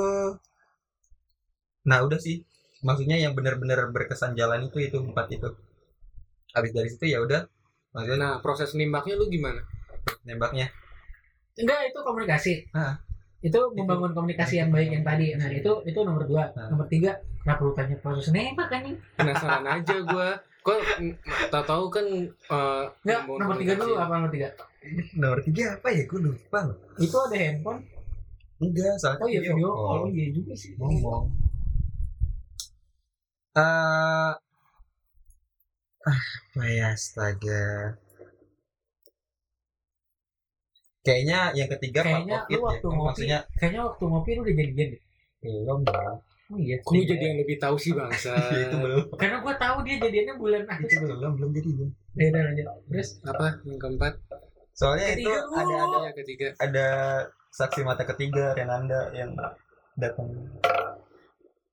Speaker 4: nah udah sih maksudnya yang benar-benar berkesan jalan itu itu empat itu habis dari situ ya udah maksudnya
Speaker 2: nah proses nimbaknya lu gimana
Speaker 4: nembaknya
Speaker 3: Enggak, itu komunikasi.
Speaker 4: Ah.
Speaker 3: Itu membangun komunikasi yang baik yang tadi. Nah, itu itu nomor dua.
Speaker 4: Ah.
Speaker 3: Nomor tiga, nggak perlu tanya proses nembak kan?
Speaker 2: penasaran aja gue kok mm, tak tahu kan eh,
Speaker 3: Enggak,
Speaker 2: membangun
Speaker 3: nomor tiga dulu
Speaker 2: komunikasi.
Speaker 3: apa nomor tiga?
Speaker 4: nomor tiga apa ya gue lupa loh
Speaker 3: Itu ada handphone.
Speaker 4: enggak soalnya
Speaker 3: Oh iya
Speaker 4: video
Speaker 3: video
Speaker 4: call.
Speaker 3: call. Oh iya juga sih.
Speaker 4: ngomong eh apa ya astaga kayaknya yang ketiga part
Speaker 3: Kayaknya
Speaker 4: of
Speaker 3: lu
Speaker 4: it
Speaker 3: waktu
Speaker 4: ya.
Speaker 3: ngopi-
Speaker 4: maksudnya
Speaker 3: Kayaknya waktu ngopi lu udah jadian deh.
Speaker 4: belum dong
Speaker 3: Oh iya.
Speaker 2: Kok lu jadi yang lebih tahu sih bangsa
Speaker 4: Iya, itu belum
Speaker 3: Karena gua tahu dia jadiannya bulan
Speaker 4: itu
Speaker 3: akhir.
Speaker 4: belum belum jadi belum.
Speaker 3: Ya udah lanjut. Terus
Speaker 2: apa yang keempat Iya,
Speaker 4: soalnya itu
Speaker 3: Ketiga dulu.
Speaker 4: ada ada
Speaker 2: yang ketiga
Speaker 4: ada saksi mata ketiga Renanda yang datang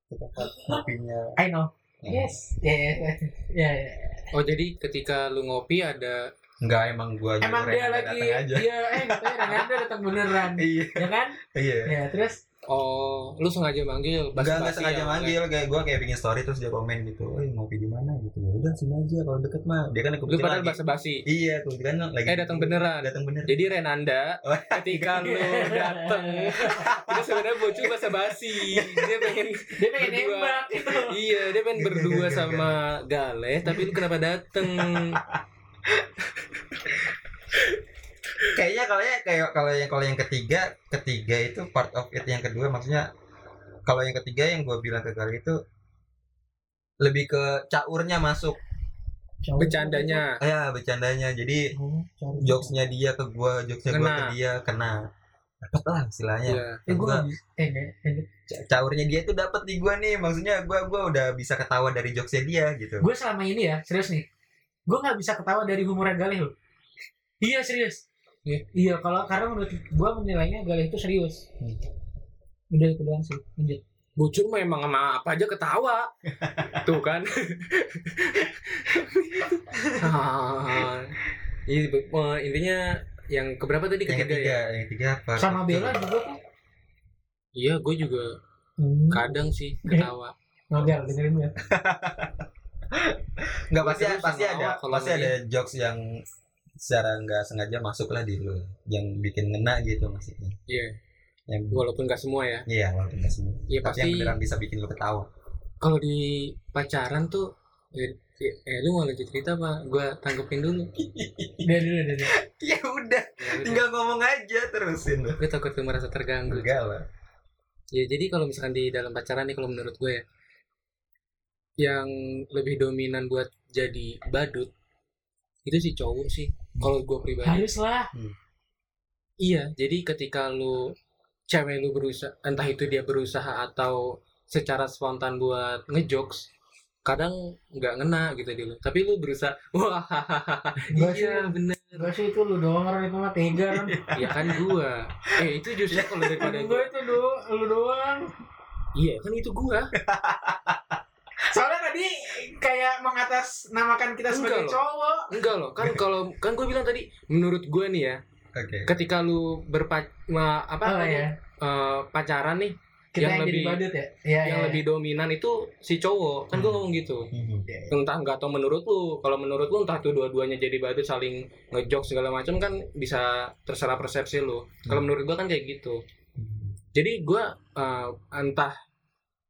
Speaker 4: ke tempat kopinya
Speaker 3: I know.
Speaker 4: Iya.
Speaker 3: Yes. Ya ya ya. ya. ya.
Speaker 2: oh jadi ketika lu ngopi ada
Speaker 4: enggak emang gua
Speaker 3: Emang
Speaker 4: nyuruh
Speaker 3: dia
Speaker 4: Renanda
Speaker 3: lagi
Speaker 4: datang aja
Speaker 3: Iya, eh katanya Renanda datang beneran.
Speaker 4: iya
Speaker 3: Ya kan?
Speaker 4: iya
Speaker 3: Ya, terus
Speaker 2: oh lu sengaja manggil
Speaker 4: Enggak, enggak
Speaker 2: basa-basi
Speaker 4: sengaja
Speaker 2: ya,
Speaker 4: manggil kayak gue kayak bikin story terus dia komen gitu, "Oi, ngopi di mana?" gitu. Ya udah sini aja kalau deket mah. Dia kan
Speaker 2: lu
Speaker 4: kebetulan
Speaker 2: padahal
Speaker 4: lagi.
Speaker 2: basa-basi
Speaker 4: Iya, kebetulan lagi.
Speaker 2: eh datang beneran
Speaker 4: Datang bener.
Speaker 2: Jadi Renanda
Speaker 4: Oh.
Speaker 2: ketika lu dateng itu sebenarnya bocil basa basi. Dia pengen
Speaker 3: dia pengen
Speaker 2: Berdua.
Speaker 3: nembak gitu.
Speaker 2: iya, dia pengen
Speaker 4: Gak, gak,
Speaker 2: berdua
Speaker 4: gak, gak,
Speaker 2: sama Galeh, tapi lu kenapa dateng?
Speaker 4: Kayaknya kalau ya kayak kalau yang kalau yang ketiga, ketiga itu part of it yang kedua maksudnya kalau yang ketiga yang gue bilang ke Gali itu lebih ke caurnya masuk.
Speaker 2: Bercandanya.
Speaker 4: Ya, bercandanya. Jadi
Speaker 3: Oh, cari.
Speaker 4: jokesnya dia ke gua, jokesnya gua
Speaker 2: Kena.
Speaker 4: ke dia kena. Dapat lah istilahnya.
Speaker 2: Iya.
Speaker 3: Eh,
Speaker 4: Gua-
Speaker 3: gua habis. Eh, enggak. lanjut.
Speaker 4: ca- caurnya dia tuh dapat di gua nih maksudnya gua gua udah bisa ketawa dari jokesnya dia gitu
Speaker 3: Gue selama ini ya, serius nih. Gue nggak bisa ketawa dari humornya Galih loh. Iya serius.
Speaker 2: Iya.
Speaker 3: Iya, kalau karena menurut gue menilainya Galih itu serius.
Speaker 4: Hmm.
Speaker 3: Udah itu doang sih. Lanjut.
Speaker 2: Bocil mah emang sama apa aja ketawa. Tuh kan. Ah. Iya, be- eh, intinya yang keberapa tadi
Speaker 4: yang
Speaker 2: ketiga,
Speaker 4: ketiga
Speaker 2: ya?
Speaker 4: yang ketiga apa Gitu.
Speaker 3: Sama Bella juga tuh.
Speaker 2: Iya, gue juga
Speaker 3: Hmm.
Speaker 2: kadang sih ketawa.
Speaker 3: Ngobrol dengerin gue.
Speaker 2: Iya.
Speaker 4: nggak pasti
Speaker 2: Terus
Speaker 4: pasti
Speaker 2: sama
Speaker 4: ada
Speaker 2: awak kalau
Speaker 4: pasti
Speaker 2: sama
Speaker 4: ada jokes yang secara nggak sengaja masuk lah di lu yang bikin ngena gitu maksudnya
Speaker 2: Iya,
Speaker 4: yang
Speaker 2: walaupun gak semua ya.
Speaker 4: iya walaupun nggak semua
Speaker 2: Iya,
Speaker 4: tapi yang
Speaker 2: pasti-
Speaker 4: beneran bisa bikin lu ketawa
Speaker 2: kalau di pacaran tuh eh, eh lu mau lanjut cerita apa gua tanggepin dulu
Speaker 3: Udah dulu, udah dulu.
Speaker 4: ya udah
Speaker 2: ya,
Speaker 4: tinggal ngomong aja terusin lu
Speaker 2: gue takut lu merasa terganggu
Speaker 4: enggak lah
Speaker 2: ya jadi kalau misalkan di dalam pacaran nih kalau menurut gue ya yang lebih dominan buat jadi badut itu si cowok sih kalau gue pribadi
Speaker 3: Harus lah.
Speaker 2: iya jadi ketika lu cewek lu berusaha entah itu dia berusaha atau secara spontan buat ngejokes kadang nggak ngena gitu di lu tapi lu berusaha wah
Speaker 3: Gua sih-
Speaker 2: iya bener
Speaker 3: Gak sih itu lu doang orang itu mah tega kan.
Speaker 2: ya kan gua eh itu justru
Speaker 3: Iya,
Speaker 2: kalau daripada
Speaker 3: Gue
Speaker 2: gua
Speaker 3: itu do, lu doang.
Speaker 2: iya kan itu gua
Speaker 3: Soalnya tadi kayak mengatasnamakan kita
Speaker 2: Enggak
Speaker 3: sebagai
Speaker 2: loh.
Speaker 3: cowok.
Speaker 2: enggak loh kan kalau kan gua bilang tadi menurut gua nih ya
Speaker 4: oke
Speaker 2: ketika lu berpac ma- apa
Speaker 3: Oh
Speaker 2: tadi,
Speaker 3: ya,
Speaker 2: eh, pacaran nih
Speaker 3: kita
Speaker 2: Yang
Speaker 3: yang,
Speaker 2: lebih-
Speaker 3: jadi badut ya. Iya,
Speaker 2: yang
Speaker 3: iya. Hmm.
Speaker 2: lebih dominan itu si cowok kan gua ngomong gitu
Speaker 4: Mhm.
Speaker 2: entah nggak tau menurut lu kalau menurut lu entah itu dua-duanya jadi badut saling
Speaker 3: Hmm.
Speaker 2: ngejok segala macam kan bisa terserah persepsi lu kalau menurut gua kan kayak gitu jadi gue eh, entah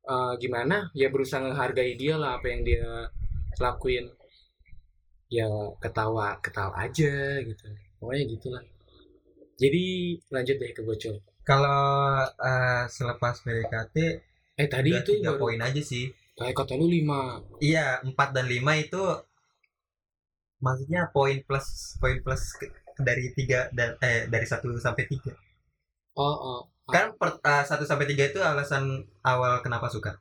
Speaker 2: eh, gimana ya berusaha menghargai dia lah apa yang dia lakuin ya ketawa ketawa aja gitu pokoknya gitulah jadi lanjut deh ke bocor
Speaker 4: Kalau eh, selepas PDKT
Speaker 2: eh tadi
Speaker 4: udah
Speaker 2: itu
Speaker 4: tiga
Speaker 2: baru
Speaker 4: poin aja sih.
Speaker 2: kayak kata lu lima
Speaker 4: Iya, 4 dan 5 itu maksudnya poin plus poin plus ke- dari 3 dan eh dari 1 sampai 3.
Speaker 2: oh, oh.
Speaker 4: Kan per, 1 sampai 3 itu alasan awal kenapa suka.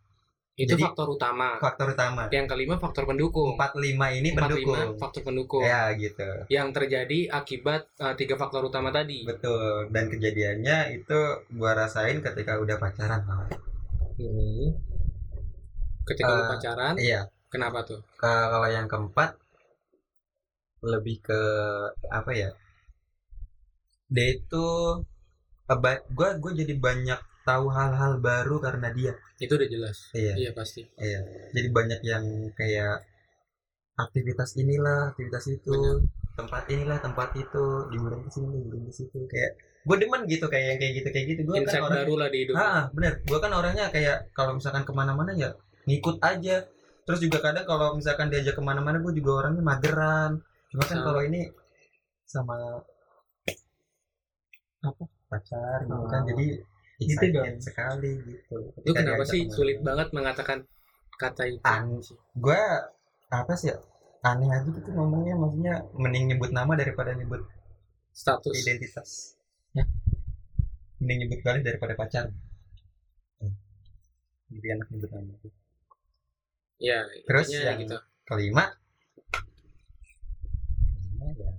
Speaker 2: itu
Speaker 4: Jadi-
Speaker 2: faktor utama
Speaker 4: Faktor utama.
Speaker 2: yang kelima faktor pendukung
Speaker 4: 4 5 ini
Speaker 2: 45
Speaker 4: pendukung.
Speaker 2: faktor pendukung
Speaker 4: Ya gitu.
Speaker 2: yang terjadi akibat eh, tiga faktor utama tadi
Speaker 4: Betul. Dan kejadiannya itu gua rasain ketika udah pacaran. malah.
Speaker 2: Hmm. ketika lu
Speaker 4: Eh,
Speaker 2: pacaran
Speaker 4: Iya,
Speaker 2: kenapa tuh
Speaker 4: Ke- kalau yang keempat lebih ke apa ya dia itu gue gue jadi banyak tahu hal-hal baru karena dia
Speaker 2: itu udah jelas
Speaker 4: iya
Speaker 2: iya pasti
Speaker 4: jadi banyak yang kayak aktivitas inilah aktivitas itu tempat inilah tempat itu liburan ke sini liburan ke situ kayak gue demen gitu kayak yang kayak gitu kayak gitu gue kan
Speaker 2: insight
Speaker 4: orang
Speaker 2: baru lah di hidup
Speaker 4: Ah, bener. Gue kan orangnya kayak kalau misalkan kemana-mana ya ngikut aja. Terus juga kadang kalau misalkan diajak kemana-mana gue juga orangnya mageran. Cuma kan
Speaker 2: Sama.
Speaker 4: kalau ini sama apa pacar gitu kan
Speaker 3: Oh.
Speaker 4: jadi
Speaker 3: Gitu
Speaker 4: excited
Speaker 3: dong.
Speaker 4: sekali gitu.
Speaker 2: lu kenapa sih sulit banget mengatakan kata itu
Speaker 4: An- Gue apa sih ya, aneh aja gitu ngomongnya maksudnya mending nyebut nama daripada nyebut
Speaker 2: status
Speaker 4: identitas. Ya. Mending nyebut kali daripada pacar. Hmm. Lebih enak nyebut nama.
Speaker 2: ya
Speaker 4: Terus
Speaker 2: intinya
Speaker 4: yang-
Speaker 2: gitu
Speaker 4: kelima kelima ya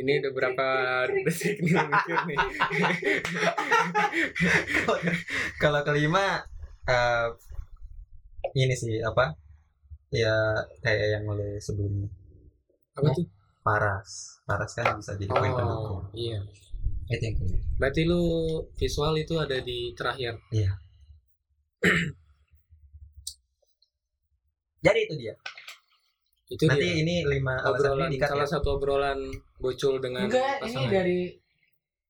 Speaker 2: ini udah berapa detik nih mikir nih
Speaker 4: kalau kelima eh, ini sih apa ya kayak yang mulai sebelumnya
Speaker 2: apa tuh
Speaker 4: paras paras kan bisa jadi poin pendukung
Speaker 2: oh iya
Speaker 4: itu yang kelima
Speaker 2: berarti lu visual itu ada di terakhir
Speaker 4: jadi itu dia
Speaker 2: itu
Speaker 4: nanti
Speaker 2: dia
Speaker 4: ini lima alasan
Speaker 2: obrolan
Speaker 4: ini dikat ya.
Speaker 2: salah satu obrolan bocul dengan
Speaker 3: Enggak, ini
Speaker 2: pasangan
Speaker 3: dari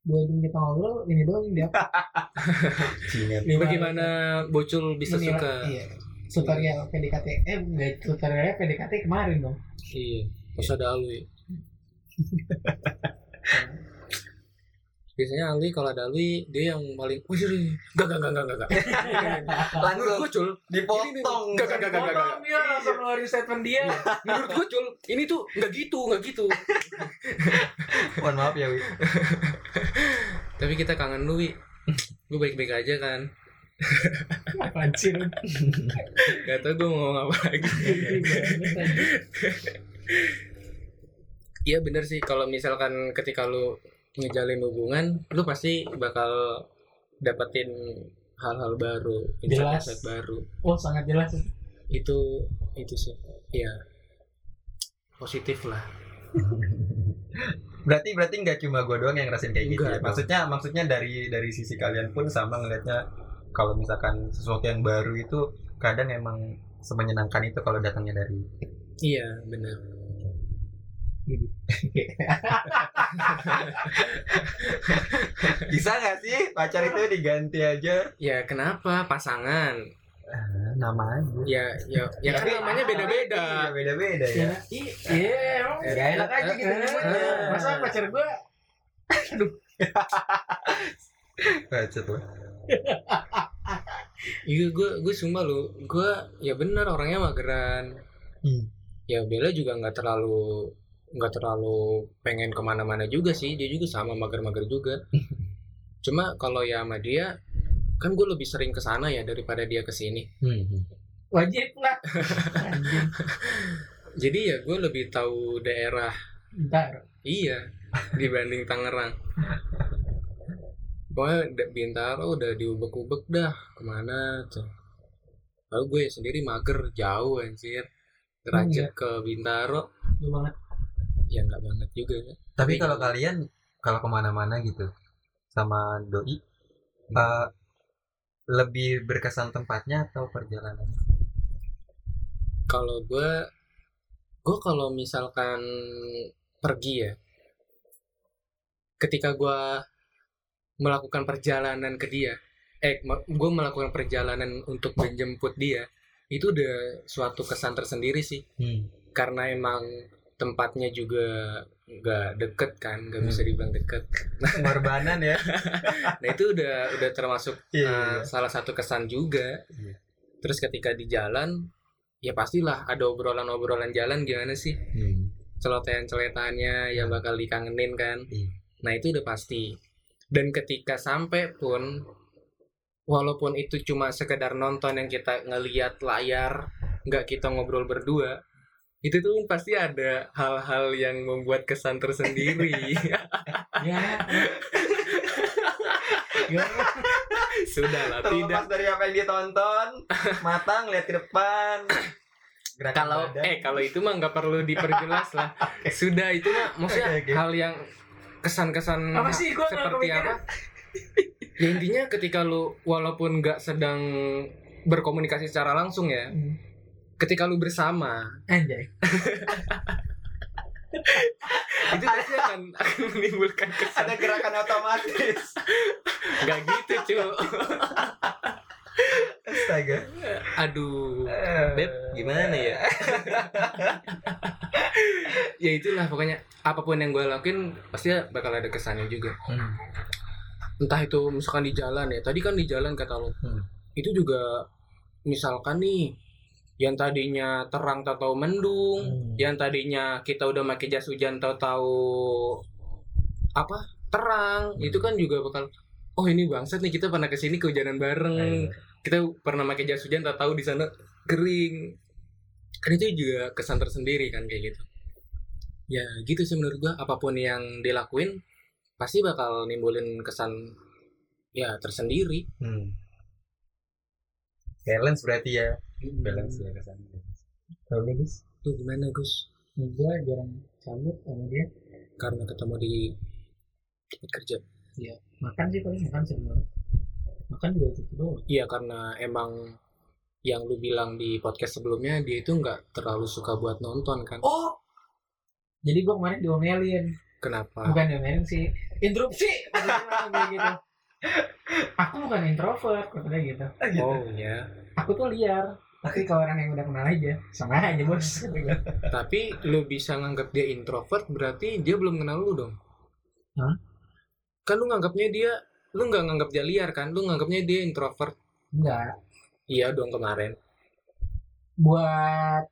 Speaker 3: dua jam kita ngobrol, ini doang yang dia
Speaker 4: Jingan.
Speaker 3: lima-
Speaker 2: bagaimana bocul bisa
Speaker 3: menilai-
Speaker 2: suka
Speaker 3: Iya. Tutorial PDKT, eh enggak, tutorialnya PDKT kemarin dong.
Speaker 2: Iya, masa ada Alwi. Biasanya Alwi kalau ada Alwi dia yang paling wih sih, gak gak gak gak gak gak. Menurut
Speaker 4: langsung
Speaker 2: gue cul,
Speaker 4: dipotong
Speaker 2: Enggak, enggak, enggak, enggak, enggak.
Speaker 3: Potong dia langsung ngeluarin statement dia.
Speaker 2: menurut gue cul, ini tuh nggak gitu nggak gitu.
Speaker 4: mohon maaf ya Wi
Speaker 2: Tapi kita kangen lu, Wi. Gue baik-baik aja kan.
Speaker 3: Apaan sih lu?
Speaker 2: Gak tau gue mau ngomong apa lagi. Iya bener sih, kalau misalkan ketika lu ngejalin hubungan, lu pasti bakal dapetin hal-hal baru,
Speaker 3: Jelas.
Speaker 2: insight-insight baru.
Speaker 3: Oh, sangat jelas.
Speaker 2: itu itu sih ya positif lah
Speaker 4: berarti berarti nggak cuma gue doang yang ngerasain kayak gitu
Speaker 2: Enggak
Speaker 4: ya
Speaker 2: dong.
Speaker 4: maksudnya maksudnya dari dari sisi kalian pun sama ngelihatnya kalau misalkan sesuatu yang baru itu kadang emang semenyenangkan itu kalau datangnya dari
Speaker 2: iya benar
Speaker 4: bisa nggak sih pacar itu diganti aja
Speaker 2: ya kenapa pasangan
Speaker 4: Eh, nama aja
Speaker 2: ya ya ya kan
Speaker 4: Tapi-
Speaker 2: namanya beda beda
Speaker 4: beda beda ya
Speaker 3: Ya, i- Iya, emang
Speaker 4: Eh, nggak enak aja
Speaker 2: iya.
Speaker 4: gitu
Speaker 3: Eh,
Speaker 4: nyebutnya.
Speaker 3: Masa pacar gue
Speaker 4: Bacot lu.
Speaker 2: iya gue gue sumpah lo gue ya benar orangnya mageran
Speaker 4: Hmm.
Speaker 2: ya Bella juga nggak terlalu nggak terlalu pengen kemana-mana juga sih dia juga sama mager-mager juga cuma kalau ya sama dia kan gue lebih sering ke sana ya daripada dia ke sini
Speaker 4: Hmm,
Speaker 3: wajib lah.
Speaker 2: jadi ya gue lebih tahu daerah
Speaker 3: Bentar.
Speaker 2: Iya, dibanding Tangerang. Pokoknya da- Bintaro udah diubek-ubek dah kemana tuh. Lalu gue sendiri mager jauh anjir. Derajat ke Bintaro
Speaker 3: Gue banget.
Speaker 2: ya nggak banget juga. ya.
Speaker 4: tapi kalau kalian kalau kemana-mana gitu sama doi eh, lebih berkesan tempatnya atau perjalanan
Speaker 2: Kalau gue, gue kalau misalkan pergi ya, ketika gua melakukan perjalanan ke dia eh gue melakukan perjalanan untuk menjemput dia itu udah suatu kesan tersendiri sih
Speaker 4: Hmm.
Speaker 2: karena emang tempatnya juga nggak deket kan nggak bisa
Speaker 4: Hmm.
Speaker 2: dibilang deket
Speaker 4: Pengorbanan ya.
Speaker 2: nah itu udah udah termasuk eh,
Speaker 4: Iya, iya.
Speaker 2: salah satu kesan juga
Speaker 4: Iya.
Speaker 2: terus ketika di jalan ya pastilah ada obrolan-obrolan jalan gimana sih
Speaker 4: Hmm,
Speaker 2: celotehan-celotehannya yang bakal dikangenin kan.
Speaker 4: Iya.
Speaker 2: Nah itu udah pasti. Dan ketika sampai pun, walaupun itu cuma sekedar nonton yang kita ngeliat layar, nggak kita ngobrol berdua, itu tuh pasti ada hal-hal yang membuat kesan tersendiri.
Speaker 3: ya ya
Speaker 2: Sudahlah, tidak.
Speaker 4: Terlepas dari apa yang ditonton, mata ngeliat ke depan. Gerakan
Speaker 2: Kalau
Speaker 4: badan.
Speaker 2: eh kalau itu mah nggak perlu diperjelas lah.
Speaker 4: Oke.
Speaker 2: Sudah itu mah maksudnya
Speaker 4: Oke, oke.
Speaker 2: hal yang kesan-kesan
Speaker 3: apa sih gue nggak
Speaker 2: seperti
Speaker 3: kepikiran
Speaker 2: apa? Ya intinya ketika lu walaupun nggak sedang berkomunikasi secara langsung ya,
Speaker 3: Hmm.
Speaker 2: ketika lu bersama
Speaker 3: anjay
Speaker 2: itu pasti akan, akan menimbulkan kesan
Speaker 4: ada gerakan otomatis.
Speaker 2: nggak gitu cuy.
Speaker 4: Astaga.
Speaker 2: Aduh,
Speaker 4: Eh,
Speaker 2: Beb, gimana ya? ya itulah pokoknya apapun yang gue lakuin pasti bakal ada kesannya juga.
Speaker 4: Hmm.
Speaker 2: Entah itu misalkan di jalan ya, tadi kan di jalan kata lu,
Speaker 4: Hmm.
Speaker 2: itu juga misalkan nih yang tadinya terang atau mendung, yang tadinya kita udah pakai jas hujan tahu-tahu apa terang
Speaker 4: Hmm.
Speaker 2: itu kan juga bakal oh ini bangsat nih kita pernah kesini kehujanan bareng
Speaker 4: Ayo.
Speaker 2: kita pernah pakai jas hujan tahu-tahu di sana kering kan itu juga kesan tersendiri kan kayak gitu ya gitu sih menurut gua apapun yang dilakuin pasti bakal nimbulin kesan ya tersendiri
Speaker 4: Hmm. Balance berarti ya.
Speaker 2: Hmm,
Speaker 4: ya kesan. Kalau lu, Gus?
Speaker 2: tuh gimana Gus
Speaker 3: gue jarang cabut sama dia
Speaker 2: karena ketemu di tempat kerja
Speaker 3: makan sih paling makan sering banget makan juga itu doang
Speaker 2: Iya karena emang yang lu bilang di podcast sebelumnya dia itu nggak terlalu suka buat nonton kan?
Speaker 3: oh jadi gue kemarin diomelin
Speaker 2: Kenapa?
Speaker 3: bukan diomelin sih interupsi kayak gitu aku bukan introvert katanya gitu
Speaker 2: Oh ya.
Speaker 3: aku tuh liar tapi ke orang yang udah kenal aja sama aja bos
Speaker 2: Tapi lu bisa nganggap dia introvert berarti dia belum kenal lu dong.
Speaker 3: Hah?
Speaker 2: Kan lu nganggapnya dia, lu nggak nganggap dia liar kan? Lu nganggapnya dia introvert.
Speaker 3: enggak
Speaker 2: Iya dong kemarin.
Speaker 3: buat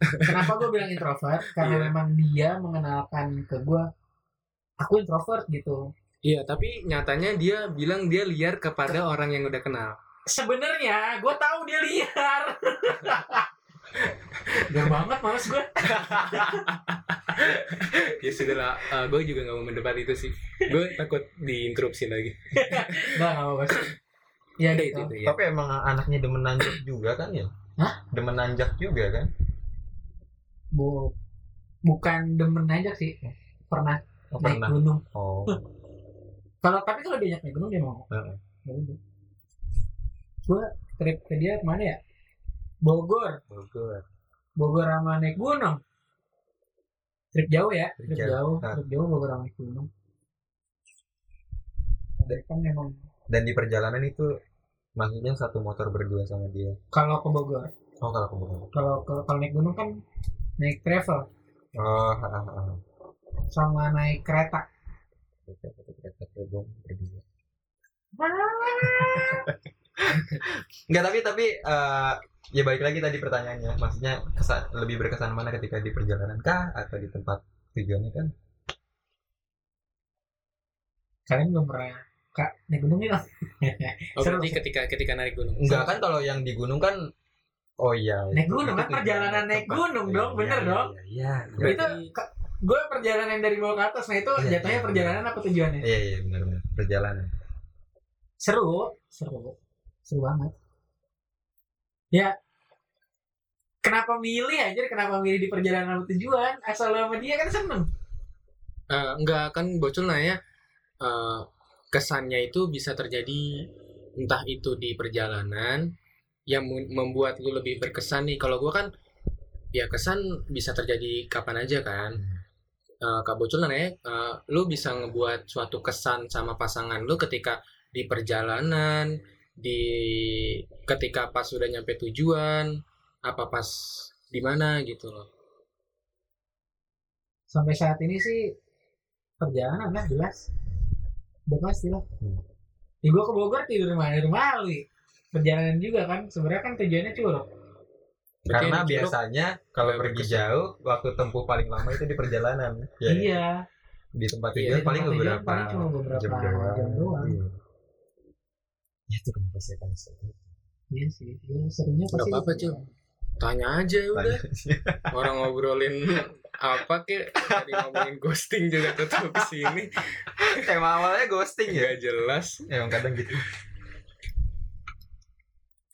Speaker 3: kenapa gue bilang introvert karena
Speaker 2: Iya.
Speaker 3: memang dia mengenalkan ke gue aku introvert gitu
Speaker 2: Iya tapi nyatanya dia bilang dia liar kepada orang yang udah kenal.
Speaker 3: sebenarnya gue tahu dia liar Gak banget males gue
Speaker 2: Ya sudah lah, gue juga nggak mau mendebat itu sih. Gue takut diinterupsi lagi.
Speaker 3: Gak gak apa-apa sih. Ya
Speaker 2: Ada itu,
Speaker 3: gitu
Speaker 2: itu ya.
Speaker 4: Tapi emang anaknya demen nanjak juga kan ya?
Speaker 3: Hah?
Speaker 4: Demen nanjak juga kan?
Speaker 3: Bu, Bukan demen aja sih Pernah
Speaker 4: Hmm. Oh,
Speaker 3: naik
Speaker 4: pernah.
Speaker 3: gunung
Speaker 4: Oh.
Speaker 3: kalau Tapi kalau diajak naik gunung dia mau
Speaker 4: Heeh.
Speaker 3: Gue trip ke dia kemana ya Bogor
Speaker 4: Bogor.
Speaker 3: Bogor sama naik gunung Trip jauh ya Trip
Speaker 4: Trip
Speaker 3: jauh
Speaker 4: Ah.
Speaker 3: Trip jauh Bogor sama naik gunung Ada kan memang
Speaker 4: Dan di perjalanan itu maksudnya satu motor berdua sama dia.
Speaker 3: Kalau ke Bogor
Speaker 4: Oh kalau ke Bogor.
Speaker 3: Kalau ke kalau naik gunung kan Naik travel
Speaker 4: Oh, ha, ha, ha.
Speaker 3: sama naik kereta.
Speaker 4: Kita satu kereta terbang berdua. Enggak tapi tapi eh, ya balik lagi tadi pertanyaannya. Maksudnya kesan, lebih berkesan mana ketika di perjalanan kah atau di tempat tujuannya kan?
Speaker 3: Kalian belum pernah kak naik gunung yuk.
Speaker 2: Oh,
Speaker 3: Seru,
Speaker 2: berarti
Speaker 3: seru.
Speaker 2: ketika ketika narik gunung.
Speaker 4: Enggak kan kalau yang di gunung kan Oh iya.
Speaker 3: Naik
Speaker 4: itu-
Speaker 3: gunung
Speaker 4: itu
Speaker 3: kan perjalanan
Speaker 4: tujuan
Speaker 3: naik
Speaker 4: tempat.
Speaker 3: gunung
Speaker 4: Iya,
Speaker 3: dong,
Speaker 4: iya,
Speaker 3: bener
Speaker 4: iya,
Speaker 3: dong.
Speaker 4: Iya. iya.
Speaker 2: Berarti-
Speaker 3: itu gue perjalanan dari bawah ke atas nah itu
Speaker 4: Iya,
Speaker 3: jatuhnya
Speaker 4: iya.
Speaker 3: perjalanan apa tujuannya?
Speaker 4: Iya iya benar benar perjalanan.
Speaker 3: Seru, seru, seru banget. Ya kenapa milih aja kenapa milih di perjalanan apa tujuan asal lo sama dia kan seneng
Speaker 2: Eh, enggak kan bocil nanya eh, kesannya itu bisa terjadi entah itu di perjalanan yang mu- membuat lu lebih berkesan nih kalau gua kan ya kesan bisa terjadi kapan aja kan eh, Kak Bocul nanya, eh, lu bisa ngebuat suatu kesan sama pasangan lu ketika di perjalanan, di ketika pas sudah nyampe tujuan, apa pas di mana gitu loh.
Speaker 3: sampai saat ini sih perjalanan lah jelas udah pasti lah
Speaker 4: Hmm.
Speaker 3: ya gue ke Bogor tidur di mana di rumah lu perjalanan juga kan sebenarnya kan tujuannya curug
Speaker 2: Berarti
Speaker 4: Karena
Speaker 2: yang diceruk-
Speaker 4: biasanya kalau
Speaker 2: Nggak
Speaker 4: pergi
Speaker 2: berkesan.
Speaker 4: jauh, waktu tempuh paling lama itu di perjalanan. Ya,
Speaker 3: iya
Speaker 4: Di tempat
Speaker 2: Iya,
Speaker 4: tujuan
Speaker 3: di tempat
Speaker 4: paling
Speaker 3: tujuan
Speaker 4: beberapa
Speaker 3: paling cuma beberapa jam doang.
Speaker 4: Iya. Ya, itu kenapa saya tanya seperti itu.
Speaker 3: iya sih iya, serunya
Speaker 2: Nggak
Speaker 3: pasti
Speaker 2: apa-apa,
Speaker 3: gitu.
Speaker 2: Cil. Tanya aja ya udah.
Speaker 4: Tanya.
Speaker 2: Orang ngobrolin apa kek tadi ngomongin ghosting juga tetap ke sini.
Speaker 4: Tema awalnya ghosting
Speaker 2: Enggak
Speaker 4: ya.
Speaker 2: jelas.
Speaker 4: Emang kadang gitu.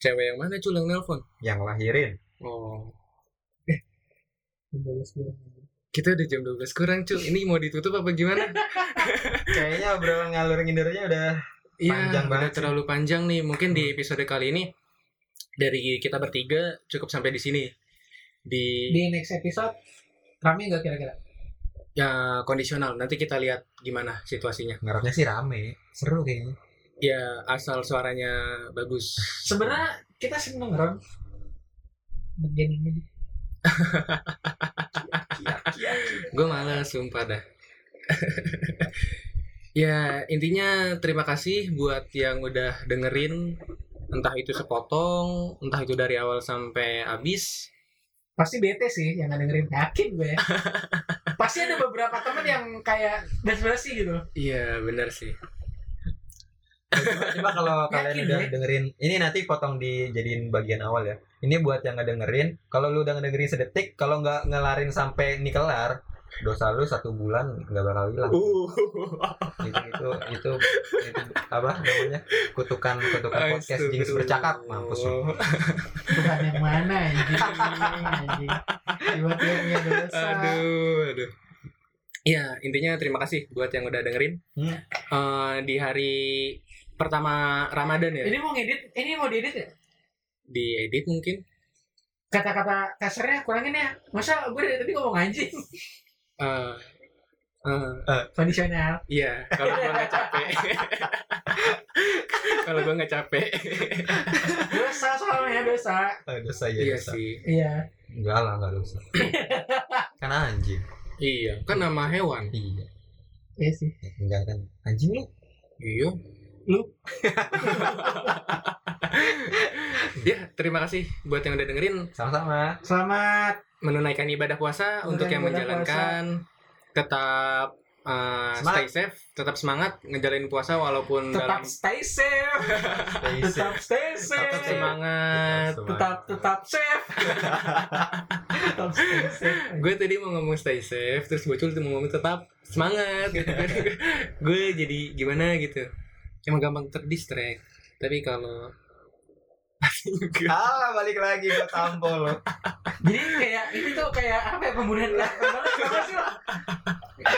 Speaker 2: Cewek yang mana Cul yang nelpon?
Speaker 4: Yang lahirin.
Speaker 2: Oh,
Speaker 3: Tinggal sekian.
Speaker 2: kita udah jam 12 kurang Cul. Ini mau ditutup apa gimana?
Speaker 4: Kayaknya obrolan ngalur ngidurnya udah Panjang
Speaker 2: Iya, udah
Speaker 4: banget sih.
Speaker 2: terlalu panjang nih. Mungkin di
Speaker 4: Hmm.
Speaker 2: episode kali ini dari kita bertiga cukup sampai di sini. Di,
Speaker 3: di next episode rame nggak kira-kira
Speaker 2: ya, kondisional. Nanti kita lihat gimana situasinya.
Speaker 4: ngarapnya sih rame. Seru kayaknya.
Speaker 2: Ya asal suaranya bagus.
Speaker 3: sebenarnya kita seneng Ron bagian ini
Speaker 2: Iya. Gue malah sumpah dah. ya intinya terima kasih buat yang udah dengerin entah itu sepotong, entah itu dari awal sampai habis.
Speaker 3: pasti bete sih yang nggak dengerin yakin gue ya. pasti ada beberapa temen yang kayak basi-basi gitu
Speaker 2: Iya bener sih.
Speaker 4: Coba kalau kalian
Speaker 3: Yakin,
Speaker 4: udah
Speaker 3: ya?
Speaker 4: dengerin, ini nanti potong dijadiin bagian awal ya. Ini buat yang ngedengerin, kalau lu udah ngedengerin sedetik, kalau nggak ngelarin sampai ini kelar, dosa lu satu bulan nggak bakal hilang.
Speaker 2: Uh.
Speaker 4: Itu itu itu, itu apa namanya kutukan kutukan podcast
Speaker 2: Astagfirullah.
Speaker 4: jings bercakap mampus
Speaker 2: Oh.
Speaker 4: lu.
Speaker 3: bukan yang mana anjing anjing tiba-tiba punya dosa
Speaker 2: Aduh, aduh. Ya, intinya terima kasih buat yang udah dengerin.
Speaker 4: Hmm.
Speaker 2: Eh, di hari pertama Ramadan ya,
Speaker 3: ini mau ngedit ini mau diedit ya
Speaker 2: diedit mungkin.
Speaker 3: kata-kata kasarnya kurangin ya masa gue dari tadi ngomong anjing
Speaker 2: Eh, eh,
Speaker 3: kondisional
Speaker 2: Iya, kalau gua nggak capek. kalau gua nggak capek.
Speaker 3: dosa soalnya dosa
Speaker 4: Eh, dosa ya
Speaker 2: iya
Speaker 4: dosa.
Speaker 2: sih.
Speaker 3: iya
Speaker 4: Enggak lah enggak dosa. kan anjing.
Speaker 2: Iya, kan nama hewan.
Speaker 4: Iya.
Speaker 3: iya sih
Speaker 4: Enggak kan anjing lu.
Speaker 2: Iya. Lu. ya, terima kasih buat yang udah dengerin
Speaker 4: Sama-sama.
Speaker 3: selamat
Speaker 2: menunaikan ibadah puasa
Speaker 3: Menunaikan
Speaker 2: untuk yang
Speaker 3: ibadah
Speaker 2: menjalankan tetap uh,
Speaker 4: Semangat.
Speaker 2: stay safe, tetap semangat ngejalanin puasa walaupun dalam
Speaker 3: tetap stay safe
Speaker 4: Stay
Speaker 3: tetap
Speaker 4: safe.
Speaker 3: stay
Speaker 2: tetap
Speaker 3: safe
Speaker 2: semangat.
Speaker 3: tetap tetap safe tetap stay safe
Speaker 2: Gue tadi mau ngomong stay safe, terus bocul tuh mau ngomong tetap semangat gitu kan. gue jadi gimana gitu. Emang gampang terdistract. Tapi kalau
Speaker 4: Ah, balik lagi ke tampol lo.
Speaker 3: Jadi kayak ini tuh kayak apa ya pembunuhan apa sih lah?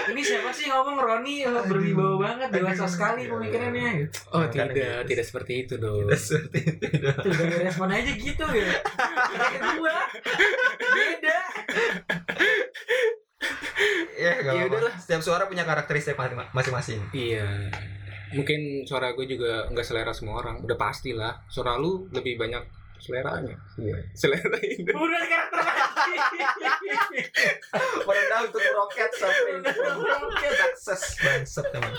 Speaker 3: Ini siapa sih ngomong Roni oh, berwibawa banget dewasa sekali
Speaker 2: Iya.
Speaker 3: pemikirannya gitu.
Speaker 2: oh tidak,
Speaker 4: Kan gitu.
Speaker 2: tidak seperti itu dong.
Speaker 4: Seperti itu. dong.
Speaker 3: Tuh dari respon aja gitu ya. Kita kedua beda.
Speaker 4: Ya, nggak
Speaker 2: Ya
Speaker 4: apa-apa.
Speaker 2: udahlah.
Speaker 4: Setiap suara punya karakteristik ma- masing-masing.
Speaker 2: Iya. Mungkin suara gue juga nggak selera semua orang. Udah pastilah. Suara lu lebih banyak seleranya.
Speaker 4: Iya.
Speaker 2: Selera Indo.
Speaker 3: Pembunuhan karakter lagi.
Speaker 4: Merendah untuk roket sampai sukses bangset teman.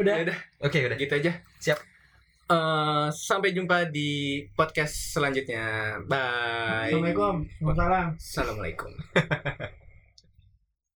Speaker 3: Udah.
Speaker 2: Ya udah,
Speaker 4: Oke, udah.
Speaker 2: gitu aja.
Speaker 4: Siap.
Speaker 2: Eh, sampai jumpa di podcast selanjutnya. Bye.
Speaker 3: Assalamualaikum. Waalaikumsalam.
Speaker 2: Assalamualaikum.